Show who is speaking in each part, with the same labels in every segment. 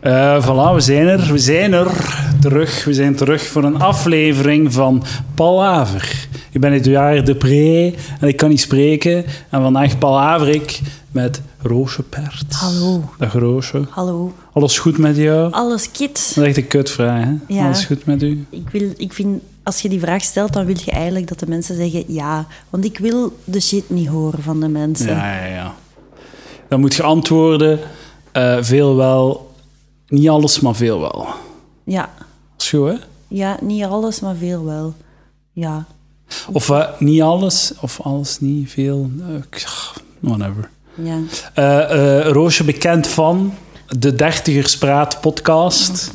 Speaker 1: Eh voilà, we zijn er. We zijn er terug. We zijn terug voor een aflevering van Palaver. Ik ben Eduard de Pre en ik kan niet spreken. En vandaag palaver ik met Roosje Pert.
Speaker 2: Hallo.
Speaker 1: Dag Roosje.
Speaker 2: Hallo.
Speaker 1: Alles goed met jou?
Speaker 2: Alles kit.
Speaker 1: Dat is echt een kutvraag, hè?
Speaker 2: Ja.
Speaker 1: Alles goed met u?
Speaker 2: Ik, wil, ik vind, als je die vraag stelt, dan wil je eigenlijk dat de mensen zeggen ja. Want ik wil de shit niet horen van de mensen.
Speaker 1: Ja, ja, ja. Dan moet je antwoorden, eh, veel wel. Niet alles, maar veel wel.
Speaker 2: Ja.
Speaker 1: Dat is goed, hè?
Speaker 2: Ja, niet alles, maar veel wel. Ja.
Speaker 1: Of eh, niet alles, of alles niet, veel. eh, ik- whatever.
Speaker 2: Ja.
Speaker 1: Eh, eh, Roosje bekend van de Dertigers Praat podcast.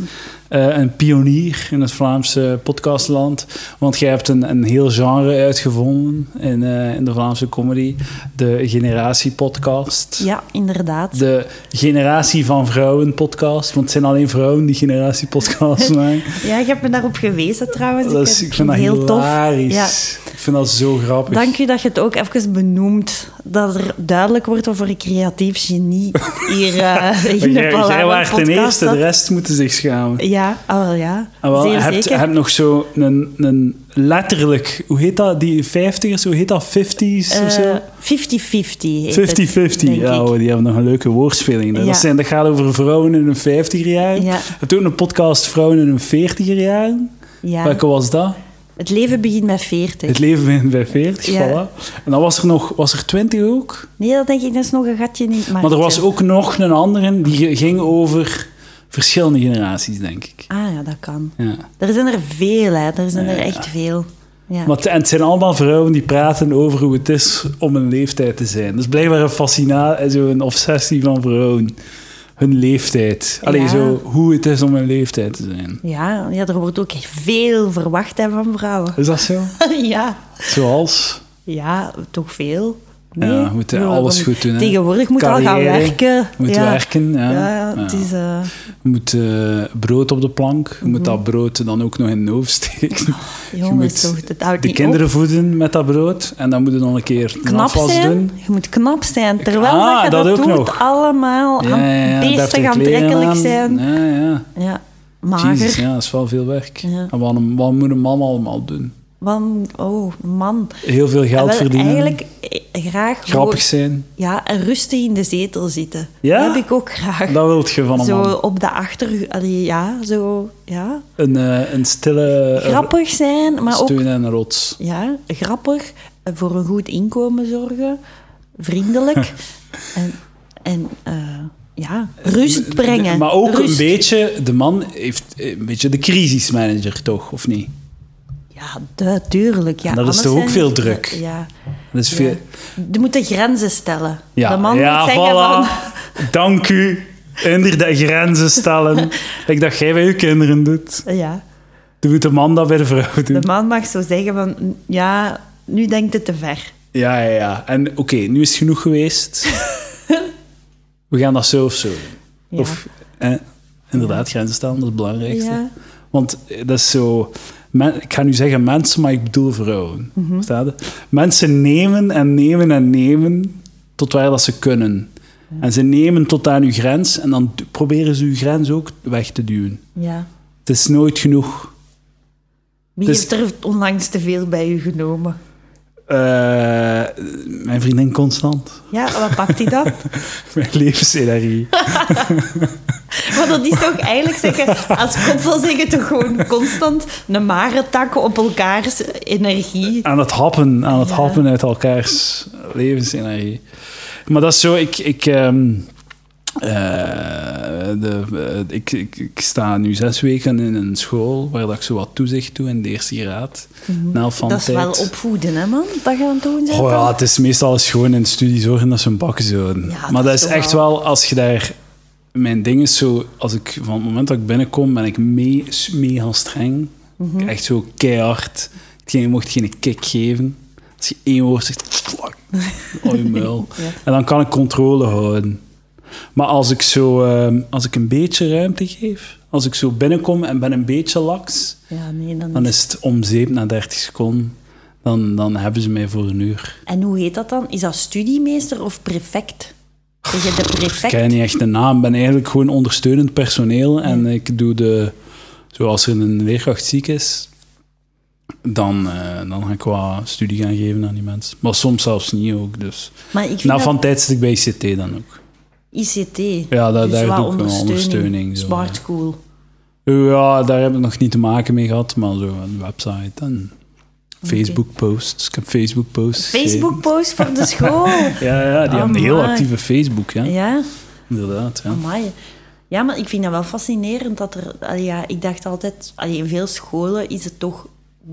Speaker 1: Eh, een pionier in het Vlaamse podcastland. Want jij hebt een, een heel genre uitgevonden in, eh, in de Vlaamse comedy. De Generatie podcast.
Speaker 2: Ja, inderdaad.
Speaker 1: De Generatie van Vrouwen podcast. Want het zijn alleen vrouwen die Generatie podcast maken.
Speaker 2: Ja, je hebt me daarop gewezen trouwens.
Speaker 1: Dat is, ik vind dat
Speaker 2: heel
Speaker 1: hilarisch.
Speaker 2: tof. Ja.
Speaker 1: Ik vind dat zo grappig.
Speaker 2: Dank u dat je het ook even benoemt. Dat er duidelijk wordt over een creatief genie hier eh,
Speaker 1: Maar
Speaker 2: in de
Speaker 1: jij, jij
Speaker 2: Palaver
Speaker 1: waart de
Speaker 2: podcast
Speaker 1: eerste, de
Speaker 2: zat.
Speaker 1: rest moeten zich schamen.
Speaker 2: Ja, ah, wel ja.
Speaker 1: Ah, wel,
Speaker 2: Zeer
Speaker 1: je hebt, je
Speaker 2: zeker.
Speaker 1: hebt nog zo een, een letterlijk, hoe heet dat, die 50ers, hoe heet dat, 50s of zo?
Speaker 2: Eh, 50-50. heet het,
Speaker 1: 50-50,
Speaker 2: denk
Speaker 1: ja,
Speaker 2: ik.
Speaker 1: hoor, die hebben nog een leuke woordspeling. Dat,
Speaker 2: Ja.
Speaker 1: zijn, dat gaat over vrouwen in hun 50er jaar.
Speaker 2: Ja.
Speaker 1: Je hebt ook een podcast Vrouwen in hun 40er jaar.
Speaker 2: Ja.
Speaker 1: Welke was dat?
Speaker 2: Het leven begint met 40.
Speaker 1: Het leven begint bij 40,
Speaker 2: Ja. Ah,
Speaker 1: voilà. En dan was er nog, was er 20 ook?
Speaker 2: Nee, dat denk ik, dat is nog een gatje in het
Speaker 1: Maar er was
Speaker 2: marktje.
Speaker 1: ook nog een andere, die ging over verschillende generaties, denk ik.
Speaker 2: Ah ja, dat kan.
Speaker 1: Ja.
Speaker 2: Er zijn er veel, hè. Er zijn er echt veel. Ja.
Speaker 1: Maar het, en het zijn allemaal vrouwen die praten over hoe het is om een leeftijd te zijn. Dus blijkbaar een fascinatie, een obsessie van vrouwen. Hun leeftijd. Alleen
Speaker 2: Ja.
Speaker 1: zo hoe het is om een leeftijd te zijn.
Speaker 2: Ja, ja, er wordt ook veel verwacht hè, van vrouwen.
Speaker 1: Is dat zo?
Speaker 2: ja.
Speaker 1: Zoals?
Speaker 2: ja, toch veel. Nee.
Speaker 1: Ja, we moeten alles
Speaker 2: want
Speaker 1: goed doen, hè.
Speaker 2: Tegenwoordig moet al gaan
Speaker 1: Carrière,
Speaker 2: werken.
Speaker 1: Moet
Speaker 2: ja.
Speaker 1: werken. Ja.
Speaker 2: Ja, ja, het
Speaker 1: Ja.
Speaker 2: is... eh,
Speaker 1: Je moet eh, brood op de plank. Je moet
Speaker 2: Mhm.
Speaker 1: dat brood dan ook nog in de hoofd steken. je
Speaker 2: jongens,
Speaker 1: moet
Speaker 2: toch, dat houdt
Speaker 1: de
Speaker 2: niet
Speaker 1: kinderen voeden met dat brood. En dan moet je nog een keer
Speaker 2: op. Knap
Speaker 1: afwas
Speaker 2: zijn.
Speaker 1: doen.
Speaker 2: Je moet knap zijn. Terwijl
Speaker 1: Ah,
Speaker 2: dat je
Speaker 1: dat
Speaker 2: dat,
Speaker 1: ook
Speaker 2: doet,
Speaker 1: nog.
Speaker 2: allemaal aan-
Speaker 1: deftige
Speaker 2: beestig
Speaker 1: kleren
Speaker 2: aantrekkelijk
Speaker 1: aan.
Speaker 2: zijn.
Speaker 1: Ja, ja.
Speaker 2: Ja, mager.
Speaker 1: Jezus, ja, dat is wel veel werk.
Speaker 2: Ja.
Speaker 1: En wat, een- wat moet een man allemaal doen?
Speaker 2: Want, oh man.
Speaker 1: Heel veel
Speaker 2: Ik
Speaker 1: geld
Speaker 2: wil
Speaker 1: verdienen,
Speaker 2: eigenlijk eh, graag
Speaker 1: grappig
Speaker 2: gewoon-
Speaker 1: zijn.
Speaker 2: ja, en rustig in de zetel zitten.
Speaker 1: Ja?
Speaker 2: Dat heb ik ook graag.
Speaker 1: Dat wilt je van een
Speaker 2: zo
Speaker 1: man.
Speaker 2: op de achter... Allee, ja, zo... Ja.
Speaker 1: Een, eh, een stille eh,
Speaker 2: Grappig zijn, maar ook...
Speaker 1: steun en een rots.
Speaker 2: Ja, grappig. eh, Voor een goed inkomen zorgen. Vriendelijk. en en eh, ja, rust brengen.
Speaker 1: Maar ook
Speaker 2: Rust.
Speaker 1: een beetje, de man heeft eh, een beetje de crisismanager toch, of niet?
Speaker 2: Ja, du- tuurlijk. Ja,
Speaker 1: En dat is
Speaker 2: anders
Speaker 1: toch ook
Speaker 2: zijn-
Speaker 1: veel druk?
Speaker 2: Ja.
Speaker 1: Dat is
Speaker 2: ja.
Speaker 1: veel...
Speaker 2: Je moet de grenzen stellen.
Speaker 1: Ja,
Speaker 2: de man
Speaker 1: ja
Speaker 2: moet zeggen
Speaker 1: voilà.
Speaker 2: van...
Speaker 1: Dank u. Inderdaad, grenzen stellen. Ik dacht, jij bij je kinderen doet.
Speaker 2: Ja,
Speaker 1: Doe moet de man dat bij de vrouw doen.
Speaker 2: de man mag zo zeggen van... Ja, nu denkt het te ver.
Speaker 1: Ja, ja, ja. En oké, nu is het genoeg geweest. We gaan dat zo of zo. doen.
Speaker 2: Ja.
Speaker 1: Of, eh, inderdaad, grenzen stellen, dat is het belangrijkste.
Speaker 2: Ja.
Speaker 1: Want eh, dat is zo... men- ik ga nu zeggen mensen, maar ik bedoel vrouwen.
Speaker 2: Mhm.
Speaker 1: Staat Mensen nemen en nemen en nemen tot waar dat ze kunnen. En ze nemen tot aan uw grens en dan d- proberen ze uw grens ook weg te duwen.
Speaker 2: Ja.
Speaker 1: Het is nooit genoeg.
Speaker 2: Wie
Speaker 1: Dus-
Speaker 2: heeft er onlangs te veel bij u genomen?
Speaker 1: Eh, mijn vriendin Constant.
Speaker 2: Ja, wat pakt hij dan?
Speaker 1: Mijn levensenergie.
Speaker 2: Want dat is toch eigenlijk zeggen... Als koppel zeggen toch gewoon constant een marentak op elkaars energie.
Speaker 1: aan het happen, aan het
Speaker 2: Ja.
Speaker 1: happen uit elkaars levensenergie. Maar dat is zo, ik, ik, ehm, eh, de, eh, ik, ik, ik sta nu zes weken in een school waar dat ik zo wat toezicht doe in de eerste graad. Na helft van
Speaker 2: Mhm. Dat
Speaker 1: de
Speaker 2: is
Speaker 1: tijd.
Speaker 2: wel opvoeden, hè man? Dat je aan het doen bent
Speaker 1: Oh ja,
Speaker 2: dan?
Speaker 1: het is meestal eens gewoon in de studie zorgen dat ze een bakken zouden.
Speaker 2: Ja,
Speaker 1: maar
Speaker 2: dat
Speaker 1: dat
Speaker 2: is
Speaker 1: is
Speaker 2: toch
Speaker 1: echt
Speaker 2: wel-
Speaker 1: wel, als je daar... Mijn ding is zo, als ik, van het moment dat ik binnenkom, ben ik mee, mega streng.
Speaker 2: Mhm.
Speaker 1: Echt zo keihard. Hetgeen, je mocht geen kick geven. Als je één woord zegt, klak, oh je muil.
Speaker 2: Ja.
Speaker 1: En dan kan ik controle houden. Maar als ik zo, ehm, als ik een beetje ruimte geef, als ik zo binnenkom en ben een beetje laks,
Speaker 2: Ja, nee, dan
Speaker 1: dan is het om zeep na 30 seconden. Dan, dan hebben ze mij voor een uur.
Speaker 2: En hoe heet dat dan? Is dat studiemeester of prefect? Tegen de
Speaker 1: Ik
Speaker 2: prefect.
Speaker 1: ken niet echt een naam. Ik ben eigenlijk gewoon ondersteunend personeel. En ik doe de... Zoals er een leerkracht ziek is, dan, eh, dan ga ik qua studie gaan geven aan die mensen. Maar soms zelfs niet ook, dus...
Speaker 2: Maar ik vind
Speaker 1: Nou,
Speaker 2: dat
Speaker 1: van tijdstip bij ICT dan ook.
Speaker 2: ICT.
Speaker 1: Ja, daar,
Speaker 2: dus
Speaker 1: daar
Speaker 2: wat
Speaker 1: doe ik wel ondersteuning. Zo,
Speaker 2: Smart school.
Speaker 1: Ja, daar heb ik nog niet te maken mee gehad, maar zo een website en Facebook-posts. Ik heb Facebook-posts.
Speaker 2: Facebook-post voor de school.
Speaker 1: geschreven. Ja, ja die hebben een heel
Speaker 2: Amai.
Speaker 1: actieve Facebook, ja.
Speaker 2: ja.
Speaker 1: Inderdaad, ja.
Speaker 2: Amai. Ja, maar ik vind dat wel fascinerend dat er... allee, ja, ik dacht altijd... allee, in veel scholen is het toch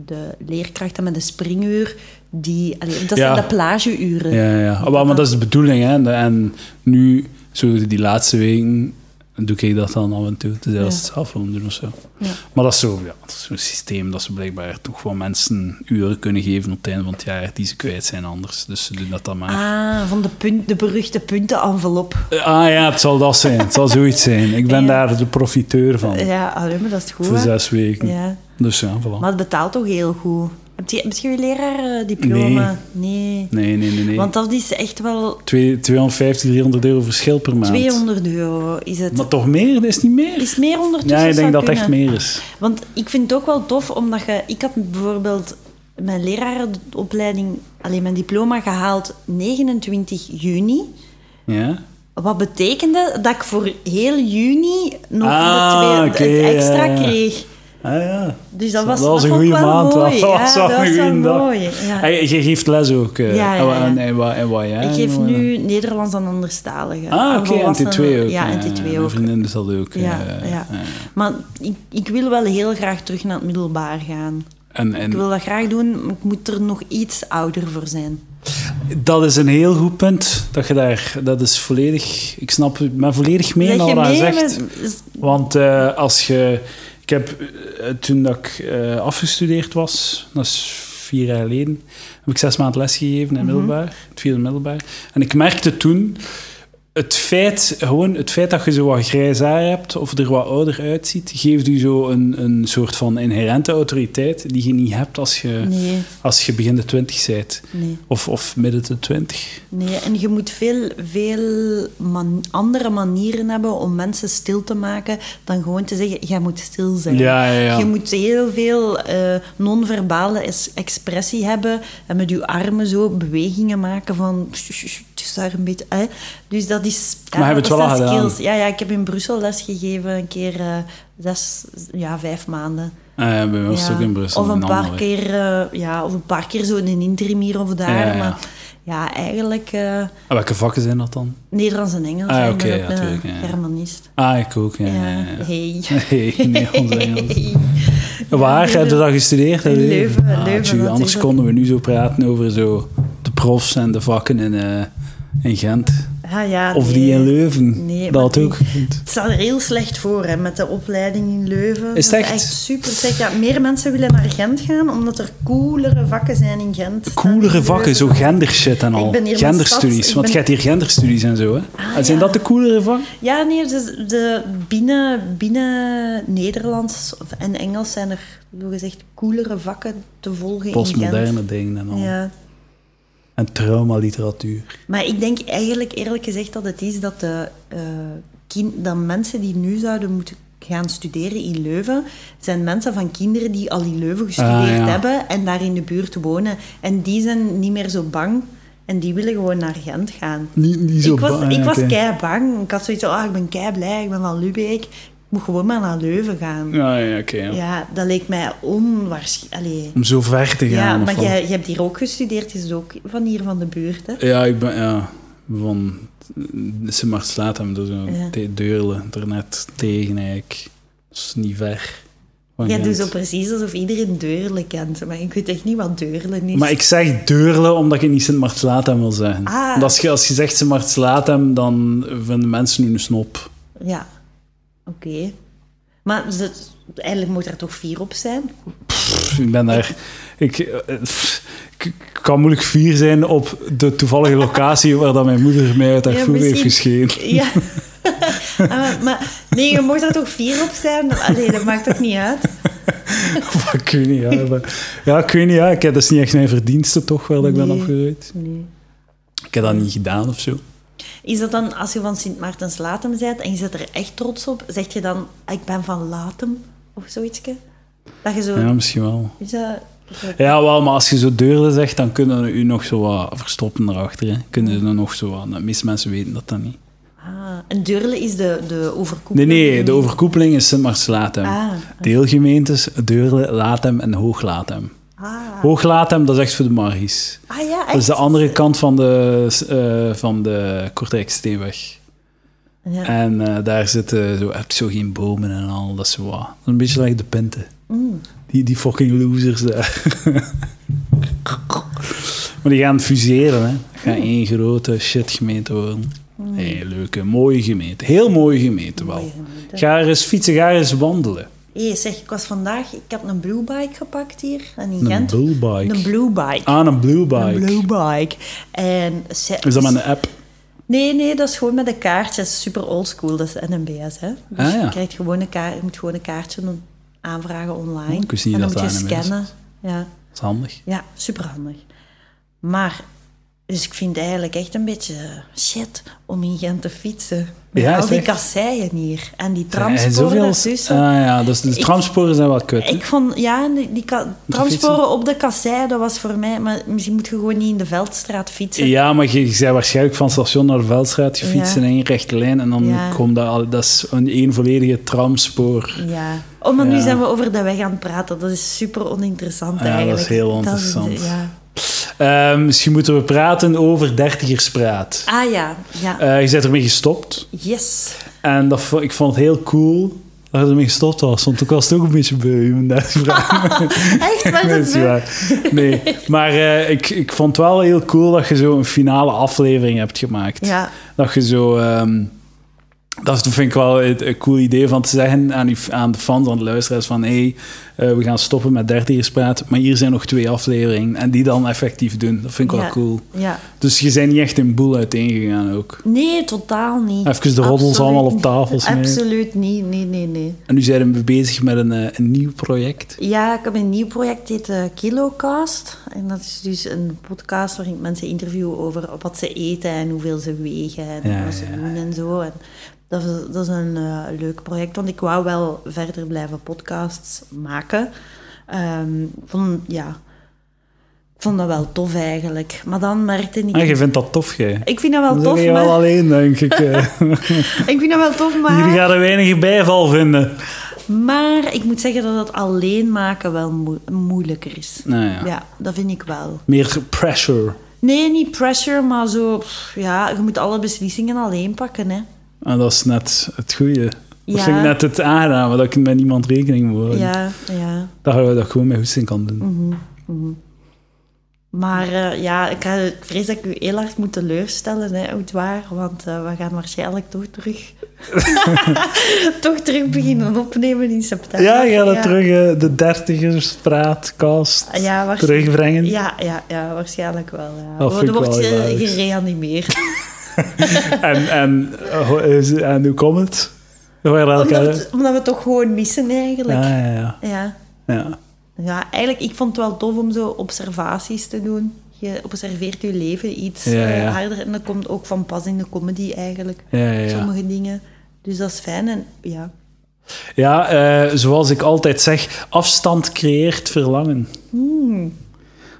Speaker 2: de leerkrachten met een springuur die... allee, dat
Speaker 1: Ja.
Speaker 2: zijn de plageuren.
Speaker 1: Ja, ja. Oh, wel, maar dat is de bedoeling, hè. En- En nu, zo die laatste weken, doe ik dat dan af en toe. Dus als ze het zelf willen doen of zo.
Speaker 2: Ja.
Speaker 1: Maar dat is zo, ja, dat is zo'n systeem dat ze blijkbaar toch wel mensen uren kunnen geven op het einde van het jaar die ze kwijt zijn anders. Dus ze doen dat dan maar.
Speaker 2: Ah, van de, punt, de beruchte puntenenvelop.
Speaker 1: Ah ja, het zal dat zijn. Het zal zoiets zijn. Ik ben
Speaker 2: Ja.
Speaker 1: daar de profiteur van.
Speaker 2: Ja, allee, maar dat is goed.
Speaker 1: Voor
Speaker 2: hè?
Speaker 1: zes weken.
Speaker 2: Ja.
Speaker 1: Dus ja, voilà.
Speaker 2: Maar het betaalt toch heel goed. Heb je, heb je je leraardiploma? Nee.
Speaker 1: Nee, nee, nee. nee.
Speaker 2: Want dat is echt wel
Speaker 1: Twee- 250, 300 euro verschil per maand.
Speaker 2: 200 euro. Is het?
Speaker 1: Maar toch meer? Dat is niet meer.
Speaker 2: Is meer ondertussen?
Speaker 1: Ja, ik denk
Speaker 2: zou
Speaker 1: dat het echt
Speaker 2: kunnen.
Speaker 1: meer is.
Speaker 2: Want ik vind het ook wel tof, omdat je... Ik had bijvoorbeeld mijn lerarenopleiding, alleen mijn diploma gehaald 29 juni.
Speaker 1: Ja?
Speaker 2: Wat betekende dat ik voor heel juni nog
Speaker 1: Ah,
Speaker 2: de
Speaker 1: oké,
Speaker 2: twee, het extra
Speaker 1: ja, ja.
Speaker 2: kreeg.
Speaker 1: Ah ja.
Speaker 2: Dus dat was,
Speaker 1: Dat was een
Speaker 2: vond ik
Speaker 1: goede
Speaker 2: wel
Speaker 1: maand.
Speaker 2: mooi.
Speaker 1: Dat
Speaker 2: ja,
Speaker 1: was wel een
Speaker 2: wel
Speaker 1: goeie dag.
Speaker 2: mooi. Ja.
Speaker 1: Hey, je geeft les ook. eh.
Speaker 2: Ja, ja,
Speaker 1: En,
Speaker 2: ja.
Speaker 1: en, en, wat- en wat jij?
Speaker 2: Ik geef
Speaker 1: en wat-
Speaker 2: nu Nederlands aan anderstaligen.
Speaker 1: Ah,
Speaker 2: Aan
Speaker 1: oké, en
Speaker 2: volwassenen.
Speaker 1: T2 ook.
Speaker 2: Ja, en
Speaker 1: Ja,
Speaker 2: T2
Speaker 1: Mijn
Speaker 2: ook.
Speaker 1: vriendin doet dat ook.
Speaker 2: Ja,
Speaker 1: eh,
Speaker 2: ja.
Speaker 1: eh.
Speaker 2: Maar ik, ik wil wel heel graag terug naar het middelbaar gaan.
Speaker 1: En,
Speaker 2: Ik
Speaker 1: en
Speaker 2: wil dat graag doen, maar ik moet er nog iets ouder voor zijn.
Speaker 1: dat is een heel goed punt. Dat je daar... Dat is volledig... Ik snap... Ik ben volledig mee in
Speaker 2: Zeg
Speaker 1: al
Speaker 2: je
Speaker 1: wat hij
Speaker 2: mee
Speaker 1: zegt.
Speaker 2: met- is-
Speaker 1: Want eh, als je. Ik heb eh, toen dat ik eh, afgestudeerd was, dat is vier jaar geleden, heb ik zes maanden lesgegeven
Speaker 2: Mhm.
Speaker 1: in middelbaar, het vierde middelbaar. En ik merkte toen het feit, gewoon het feit dat je zo wat grijs haar hebt of er wat ouder uitziet, geeft u zo een, een soort van inherente autoriteit die je niet hebt als je,
Speaker 2: Nee,
Speaker 1: als je begin de twintig bent.
Speaker 2: nee,
Speaker 1: Of, of midden de twintig.
Speaker 2: nee. En je moet veel, veel man- andere manieren hebben om mensen stil te maken dan gewoon te zeggen, jij moet stil zijn.
Speaker 1: Ja, ja, ja.
Speaker 2: Je moet heel veel eh, non-verbale es- expressie hebben en met je armen zo bewegingen maken van... "Sst, sst, sst, Het is daar een beetje... Hè? Dus dat is... ja,
Speaker 1: Maar heb je het
Speaker 2: dat
Speaker 1: wel al
Speaker 2: zijn
Speaker 1: gedaan?
Speaker 2: skills. Ja, ja, ik heb in Brussel les gegeven een keer eh, zes, ja, vijf maanden.
Speaker 1: Ah ja, bij mij was het
Speaker 2: Ja.
Speaker 1: ook in Brussel.
Speaker 2: Of een
Speaker 1: in
Speaker 2: paar
Speaker 1: Anderlecht.
Speaker 2: keer, eh, ja, of een paar keer zo in een interim hier of daar.
Speaker 1: Ja, ja.
Speaker 2: Maar ja, eigenlijk eh,
Speaker 1: Ah, welke vakken zijn dat dan?
Speaker 2: Nederlands en Engels.
Speaker 1: Ah,
Speaker 2: en ik
Speaker 1: oké,
Speaker 2: ben
Speaker 1: ja,
Speaker 2: ook een
Speaker 1: tuurlijk, ja, ja.
Speaker 2: Germanist.
Speaker 1: Ah, ik ook, ja.
Speaker 2: Ja,
Speaker 1: ja, ja.
Speaker 2: hey.
Speaker 1: Nee, Nederlands en Engels.
Speaker 2: Hey.
Speaker 1: Waar heb je dat gestudeerd?
Speaker 2: In Leuven,
Speaker 1: Ah,
Speaker 2: Leuven
Speaker 1: tjoe, anders
Speaker 2: natuurlijk.
Speaker 1: konden we nu zo praten over zo de profs en de vakken in, eh, in Gent.
Speaker 2: Ah, ja,
Speaker 1: Of
Speaker 2: nee.
Speaker 1: die in Leuven.
Speaker 2: Nee,
Speaker 1: dat
Speaker 2: maar
Speaker 1: had
Speaker 2: die-
Speaker 1: ook. gekund.
Speaker 2: Het staat er heel slecht voor hè, met de opleiding in Leuven.
Speaker 1: Is het
Speaker 2: Dat
Speaker 1: echt?
Speaker 2: super slecht. Ja, meer mensen willen naar Gent gaan omdat er coolere vakken zijn in Gent. dan in
Speaker 1: Coolere
Speaker 2: Leuven.
Speaker 1: vakken, zo gendershit en
Speaker 2: Ik
Speaker 1: al.
Speaker 2: ben hier van
Speaker 1: Genderstudies,
Speaker 2: stad, ik
Speaker 1: want
Speaker 2: ben- Ah,
Speaker 1: je hebt hier genderstudies en zo. Hè? En zijn
Speaker 2: ja.
Speaker 1: dat de coolere vakken?
Speaker 2: Ja, nee, de, de binnen, binnen Nederlands en Engels zijn er, zo gezegd, coolere vakken te volgen in Gent.
Speaker 1: Postmoderne dingen en al.
Speaker 2: Ja.
Speaker 1: En traumaliteratuur.
Speaker 2: Maar ik denk eigenlijk eerlijk gezegd dat het is dat, de, eh, kin- dat mensen die nu zouden moeten gaan studeren in Leuven, zijn mensen van kinderen die al in Leuven gestudeerd
Speaker 1: Ah, ja.
Speaker 2: hebben en daar in de buurt wonen. En die zijn niet meer zo bang en die willen gewoon naar Gent gaan.
Speaker 1: Niet, niet zo
Speaker 2: ik was,
Speaker 1: bang,
Speaker 2: ik was
Speaker 1: oké.
Speaker 2: kei bang. Ik had zoiets van, ah, ik ben kei blij, ik ben van Lubeek. Ik moet gewoon maar naar Leuven gaan. Ja,
Speaker 1: Ah, Ja, ja, oké. ja.
Speaker 2: dat leek mij onwaarschijnlijk.
Speaker 1: Om zo ver te
Speaker 2: Ja,
Speaker 1: gaan. of
Speaker 2: maar
Speaker 1: wat?
Speaker 2: jij, je hebt hier ook gestudeerd, je is ook van hier van de buurt. Hè?
Speaker 1: Ja, ik ben ja, van Simard hem door zo'n
Speaker 2: Ja.
Speaker 1: dus, eh, te- deurle er net tegen eigenlijk. Dat is niet ver. van
Speaker 2: Jij
Speaker 1: Gent.
Speaker 2: doet dus zo precies alsof iedereen Deurle kent, maar ik weet echt niet wat Deurle is.
Speaker 1: Maar ik zeg deurle omdat ik niet Sint hem wil zeggen.
Speaker 2: Ah.
Speaker 1: Want Als, je, als je zegt Sint hem dan vinden mensen nu een snop.
Speaker 2: Ja, oké. Maar ze, eigenlijk moet er toch vier op zijn?
Speaker 1: Pff, ik ben daar... Ik, eh, pff, ik, ik kan moeilijk fier zijn op de toevallige locatie waar dat mijn moeder mij uit haar
Speaker 2: Ja,
Speaker 1: voer heeft
Speaker 2: misschien-
Speaker 1: gescheen.
Speaker 2: Ja. Ah, maar nee, je mocht er toch vier op zijn? Allee, dat maakt ook niet uit.
Speaker 1: Of ik weet niet, ja. maar- ja, ik weet niet, ja. Ik, dat is niet echt mijn verdienste toch, wel dat ik ben
Speaker 2: Nee.
Speaker 1: opgegroeid.
Speaker 2: Nee.
Speaker 1: Ik heb dat niet gedaan of zo.
Speaker 2: Is dat dan, als je van Sint Maartens Latem bent en je zit er echt trots op, zeg je dan, ik ben van Latem of zoiets? Dat je zo...
Speaker 1: Ja, misschien wel.
Speaker 2: Is dat... is dat-
Speaker 1: Ja, wel, maar als je zo deurden zegt, dan kunnen we u nog zo wat verstoppen erachter. Hè. Kunnen we nog zo wat... De meeste mensen weten dat dan niet.
Speaker 2: Ah, en Deurle is de, de
Speaker 1: Nee,
Speaker 2: overkoepeling?
Speaker 1: nee, de overkoepeling is Sint-Mars-Latem.
Speaker 2: Ah.
Speaker 1: Deelgemeentes, Deurle, Latem en Hoog-Latem.
Speaker 2: Ah,
Speaker 1: Hoog-Latem, dat is echt voor de margies.
Speaker 2: ah ja, echt?
Speaker 1: Dat is de andere kant van de, eh van de Kortrijksteenweg.
Speaker 2: Ja.
Speaker 1: En eh, daar zitten zo, heb je zo geen bomen en al, dat is zo wat. Een beetje like de pinten.
Speaker 2: Mm.
Speaker 1: Die, die fucking losers daar. Eh. maar die gaan fuseren, hè. Dat
Speaker 2: Mm.
Speaker 1: gaat één grote shitgemeente worden. Hey, leuke, mooie gemeente. Heel mooie gemeente wel.
Speaker 2: Mooie gemeente.
Speaker 1: Ga er eens fietsen, ga er eens wandelen.
Speaker 2: Hé, zeg, ik was vandaag... Ik heb een blue bike gepakt hier en in
Speaker 1: Een
Speaker 2: Gent.
Speaker 1: blue bike.
Speaker 2: Een blue bike.
Speaker 1: Aan een blue
Speaker 2: Een
Speaker 1: bike.
Speaker 2: blue bike. En ze-
Speaker 1: Is dat met een app?
Speaker 2: Nee, nee, dat is gewoon met een kaartje. Dat is super oldschool, dat is NMBS. Hè? Dus
Speaker 1: Ah, ja.
Speaker 2: je, krijgt gewoon een kaart, je moet gewoon een kaartje doen- aanvragen online.
Speaker 1: Oh, Ik wist niet
Speaker 2: en dan
Speaker 1: dat
Speaker 2: moet je
Speaker 1: dat NMBS
Speaker 2: scannen.
Speaker 1: is.
Speaker 2: Ja,
Speaker 1: Dat is handig.
Speaker 2: ja super handig. Maar, dus ik vind het eigenlijk echt een beetje eh, shit om in Gent te fietsen. Met
Speaker 1: Ja, is
Speaker 2: al die
Speaker 1: echt.
Speaker 2: kasseien hier en die
Speaker 1: Ja, zoveel-
Speaker 2: tramsporen
Speaker 1: Ah
Speaker 2: ertussen.
Speaker 1: ja, dus de tramsporen zijn wel kut. hè?
Speaker 2: Ik vond, ja, die, die ka- tramsporen op de kassei, dat was voor mij... Maar misschien moet je gewoon niet in de Veldstraat fietsen.
Speaker 1: Ja, maar je, je bent waarschijnlijk van station naar de Veldstraat gefietst
Speaker 2: Ja.
Speaker 1: in één rechte lijn en dan
Speaker 2: Ja.
Speaker 1: komt dat, al- dat is een één volledige tramspoor.
Speaker 2: Ja. Oh, maar nu
Speaker 1: Ja.
Speaker 2: zijn we over de weg aan het praten. Dat is super oninteressant
Speaker 1: Ja, dat is
Speaker 2: eigenlijk.
Speaker 1: heel
Speaker 2: Dat is-
Speaker 1: interessant.
Speaker 2: ja.
Speaker 1: Eh, misschien moeten we praten over dertigerspraat.
Speaker 2: Ah ja, ja.
Speaker 1: Eh je bent ermee gestopt
Speaker 2: Yes.
Speaker 1: en dat, vo- ik vond het heel cool dat je ermee gestopt was, want ik was het ook een beetje beu om daar te praten.
Speaker 2: Echt, waar
Speaker 1: Nee,
Speaker 2: dat
Speaker 1: dat is
Speaker 2: we-
Speaker 1: waar. Nee, maar eh, ik, ik vond het wel heel cool dat je zo een finale aflevering hebt gemaakt.
Speaker 2: Ja.
Speaker 1: Dat je zo... ehm, dat vind ik wel het- een cool idee van te zeggen aan, die, aan de fans, aan de luisteraars van hey, eh, we gaan stoppen met dertigerspraat, maar hier zijn nog twee afleveringen en die dan effectief doen. Dat vind ik
Speaker 2: Ja.
Speaker 1: wel cool.
Speaker 2: Ja.
Speaker 1: Dus je bent niet echt in boel uiteengegaan ook.
Speaker 2: Nee, totaal niet.
Speaker 1: Even de roddels
Speaker 2: Absoluut
Speaker 1: allemaal op
Speaker 2: niet.
Speaker 1: tafel smijten.
Speaker 2: Absoluut niet, nee, nee, nee.
Speaker 1: En nu zijn we bezig met een, eh, een nieuw project.
Speaker 2: Ja, ik heb een nieuw project, dit heet eh, Kilocast. En dat is dus een podcast waarin ik mensen interview over wat ze eten en hoeveel ze wegen en
Speaker 1: Ja,
Speaker 2: wat ze
Speaker 1: ja,
Speaker 2: doen en zo. En dat, is- dat is een eh, leuk project, want ik wou wel verder blijven podcasts maken. Ehm, ik vond, ja, ik vond dat wel tof eigenlijk. Maar dan merkte ik...
Speaker 1: En Ah, je vindt dat tof, jij?
Speaker 2: Ik vind dat wel
Speaker 1: Dan
Speaker 2: tof,
Speaker 1: ben je
Speaker 2: maar...
Speaker 1: wel alleen, denk ik. eh.
Speaker 2: Ik vind dat wel tof, maar...
Speaker 1: Jullie gaan er weinig bijval vinden.
Speaker 2: Maar ik moet zeggen dat het alleen maken wel moe- moeilijker is.
Speaker 1: Nou ja.
Speaker 2: Ja, dat vind ik wel.
Speaker 1: Meer pressure.
Speaker 2: Nee, niet pressure, maar zo... pff, ja, je moet alle beslissingen alleen pakken, hè.
Speaker 1: En dat is net het goede. Dat
Speaker 2: Ja.
Speaker 1: vind ik net het aangename, dat ik met niemand rekening moet houden.
Speaker 2: Ja, ja.
Speaker 1: Dat je dat gewoon met hoesting kan doen.
Speaker 2: Mhm. Maar eh, ja, ik, ga- ik vrees dat ik u heel hard moet teleurstellen, hè, oud waar. Want eh, we gaan waarschijnlijk toch terug... toch terug beginnen opnemen in september.
Speaker 1: Ja, je gaat dat terug eh, de dertigerspraatkast
Speaker 2: Ja, wacht.
Speaker 1: terugbrengen.
Speaker 2: Ja, ja, ja, waarschijnlijk wel. Ja.
Speaker 1: Dat vind
Speaker 2: Er
Speaker 1: ik
Speaker 2: wordt
Speaker 1: wel
Speaker 2: eh,
Speaker 1: hilarisch.
Speaker 2: gereanimeerd.
Speaker 1: En, en, eh, ho- is- en hoe komt het? We gaan
Speaker 2: omdat,
Speaker 1: elkaar...
Speaker 2: we, het- omdat we het toch gewoon missen, eigenlijk.
Speaker 1: Ah, ja, ja.
Speaker 2: ja.
Speaker 1: ja.
Speaker 2: Ja, eigenlijk, ik vond het wel tof om zo observaties te doen. Je observeert je leven iets
Speaker 1: Ja,
Speaker 2: eh,
Speaker 1: ja.
Speaker 2: harder. En dat komt ook van pas in de comedy eigenlijk.
Speaker 1: Ja, ja, ja.
Speaker 2: Sommige dingen. Dus dat is fijn. En ja,
Speaker 1: Ja, eh, zoals ik altijd zeg, afstand creëert verlangen.
Speaker 2: Hmm.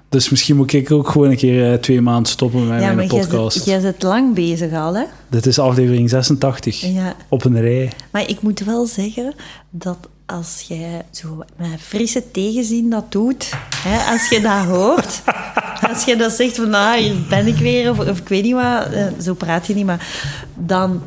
Speaker 1: Dus misschien moet ik ook gewoon een keer eh, twee maanden stoppen met
Speaker 2: ja
Speaker 1: mijn
Speaker 2: jij
Speaker 1: podcast.
Speaker 2: zit, jij zit lang bezig al, hè?
Speaker 1: Dit is aflevering 86.
Speaker 2: Ja.
Speaker 1: Op een rij.
Speaker 2: Maar ik moet wel zeggen dat als jij zo met frisse tegenzin dat doet, hè, als je dat hoort, als je dat zegt van nou, hier ben ik weer, of, of ik weet niet wat, eh, zo praat je niet, maar dan,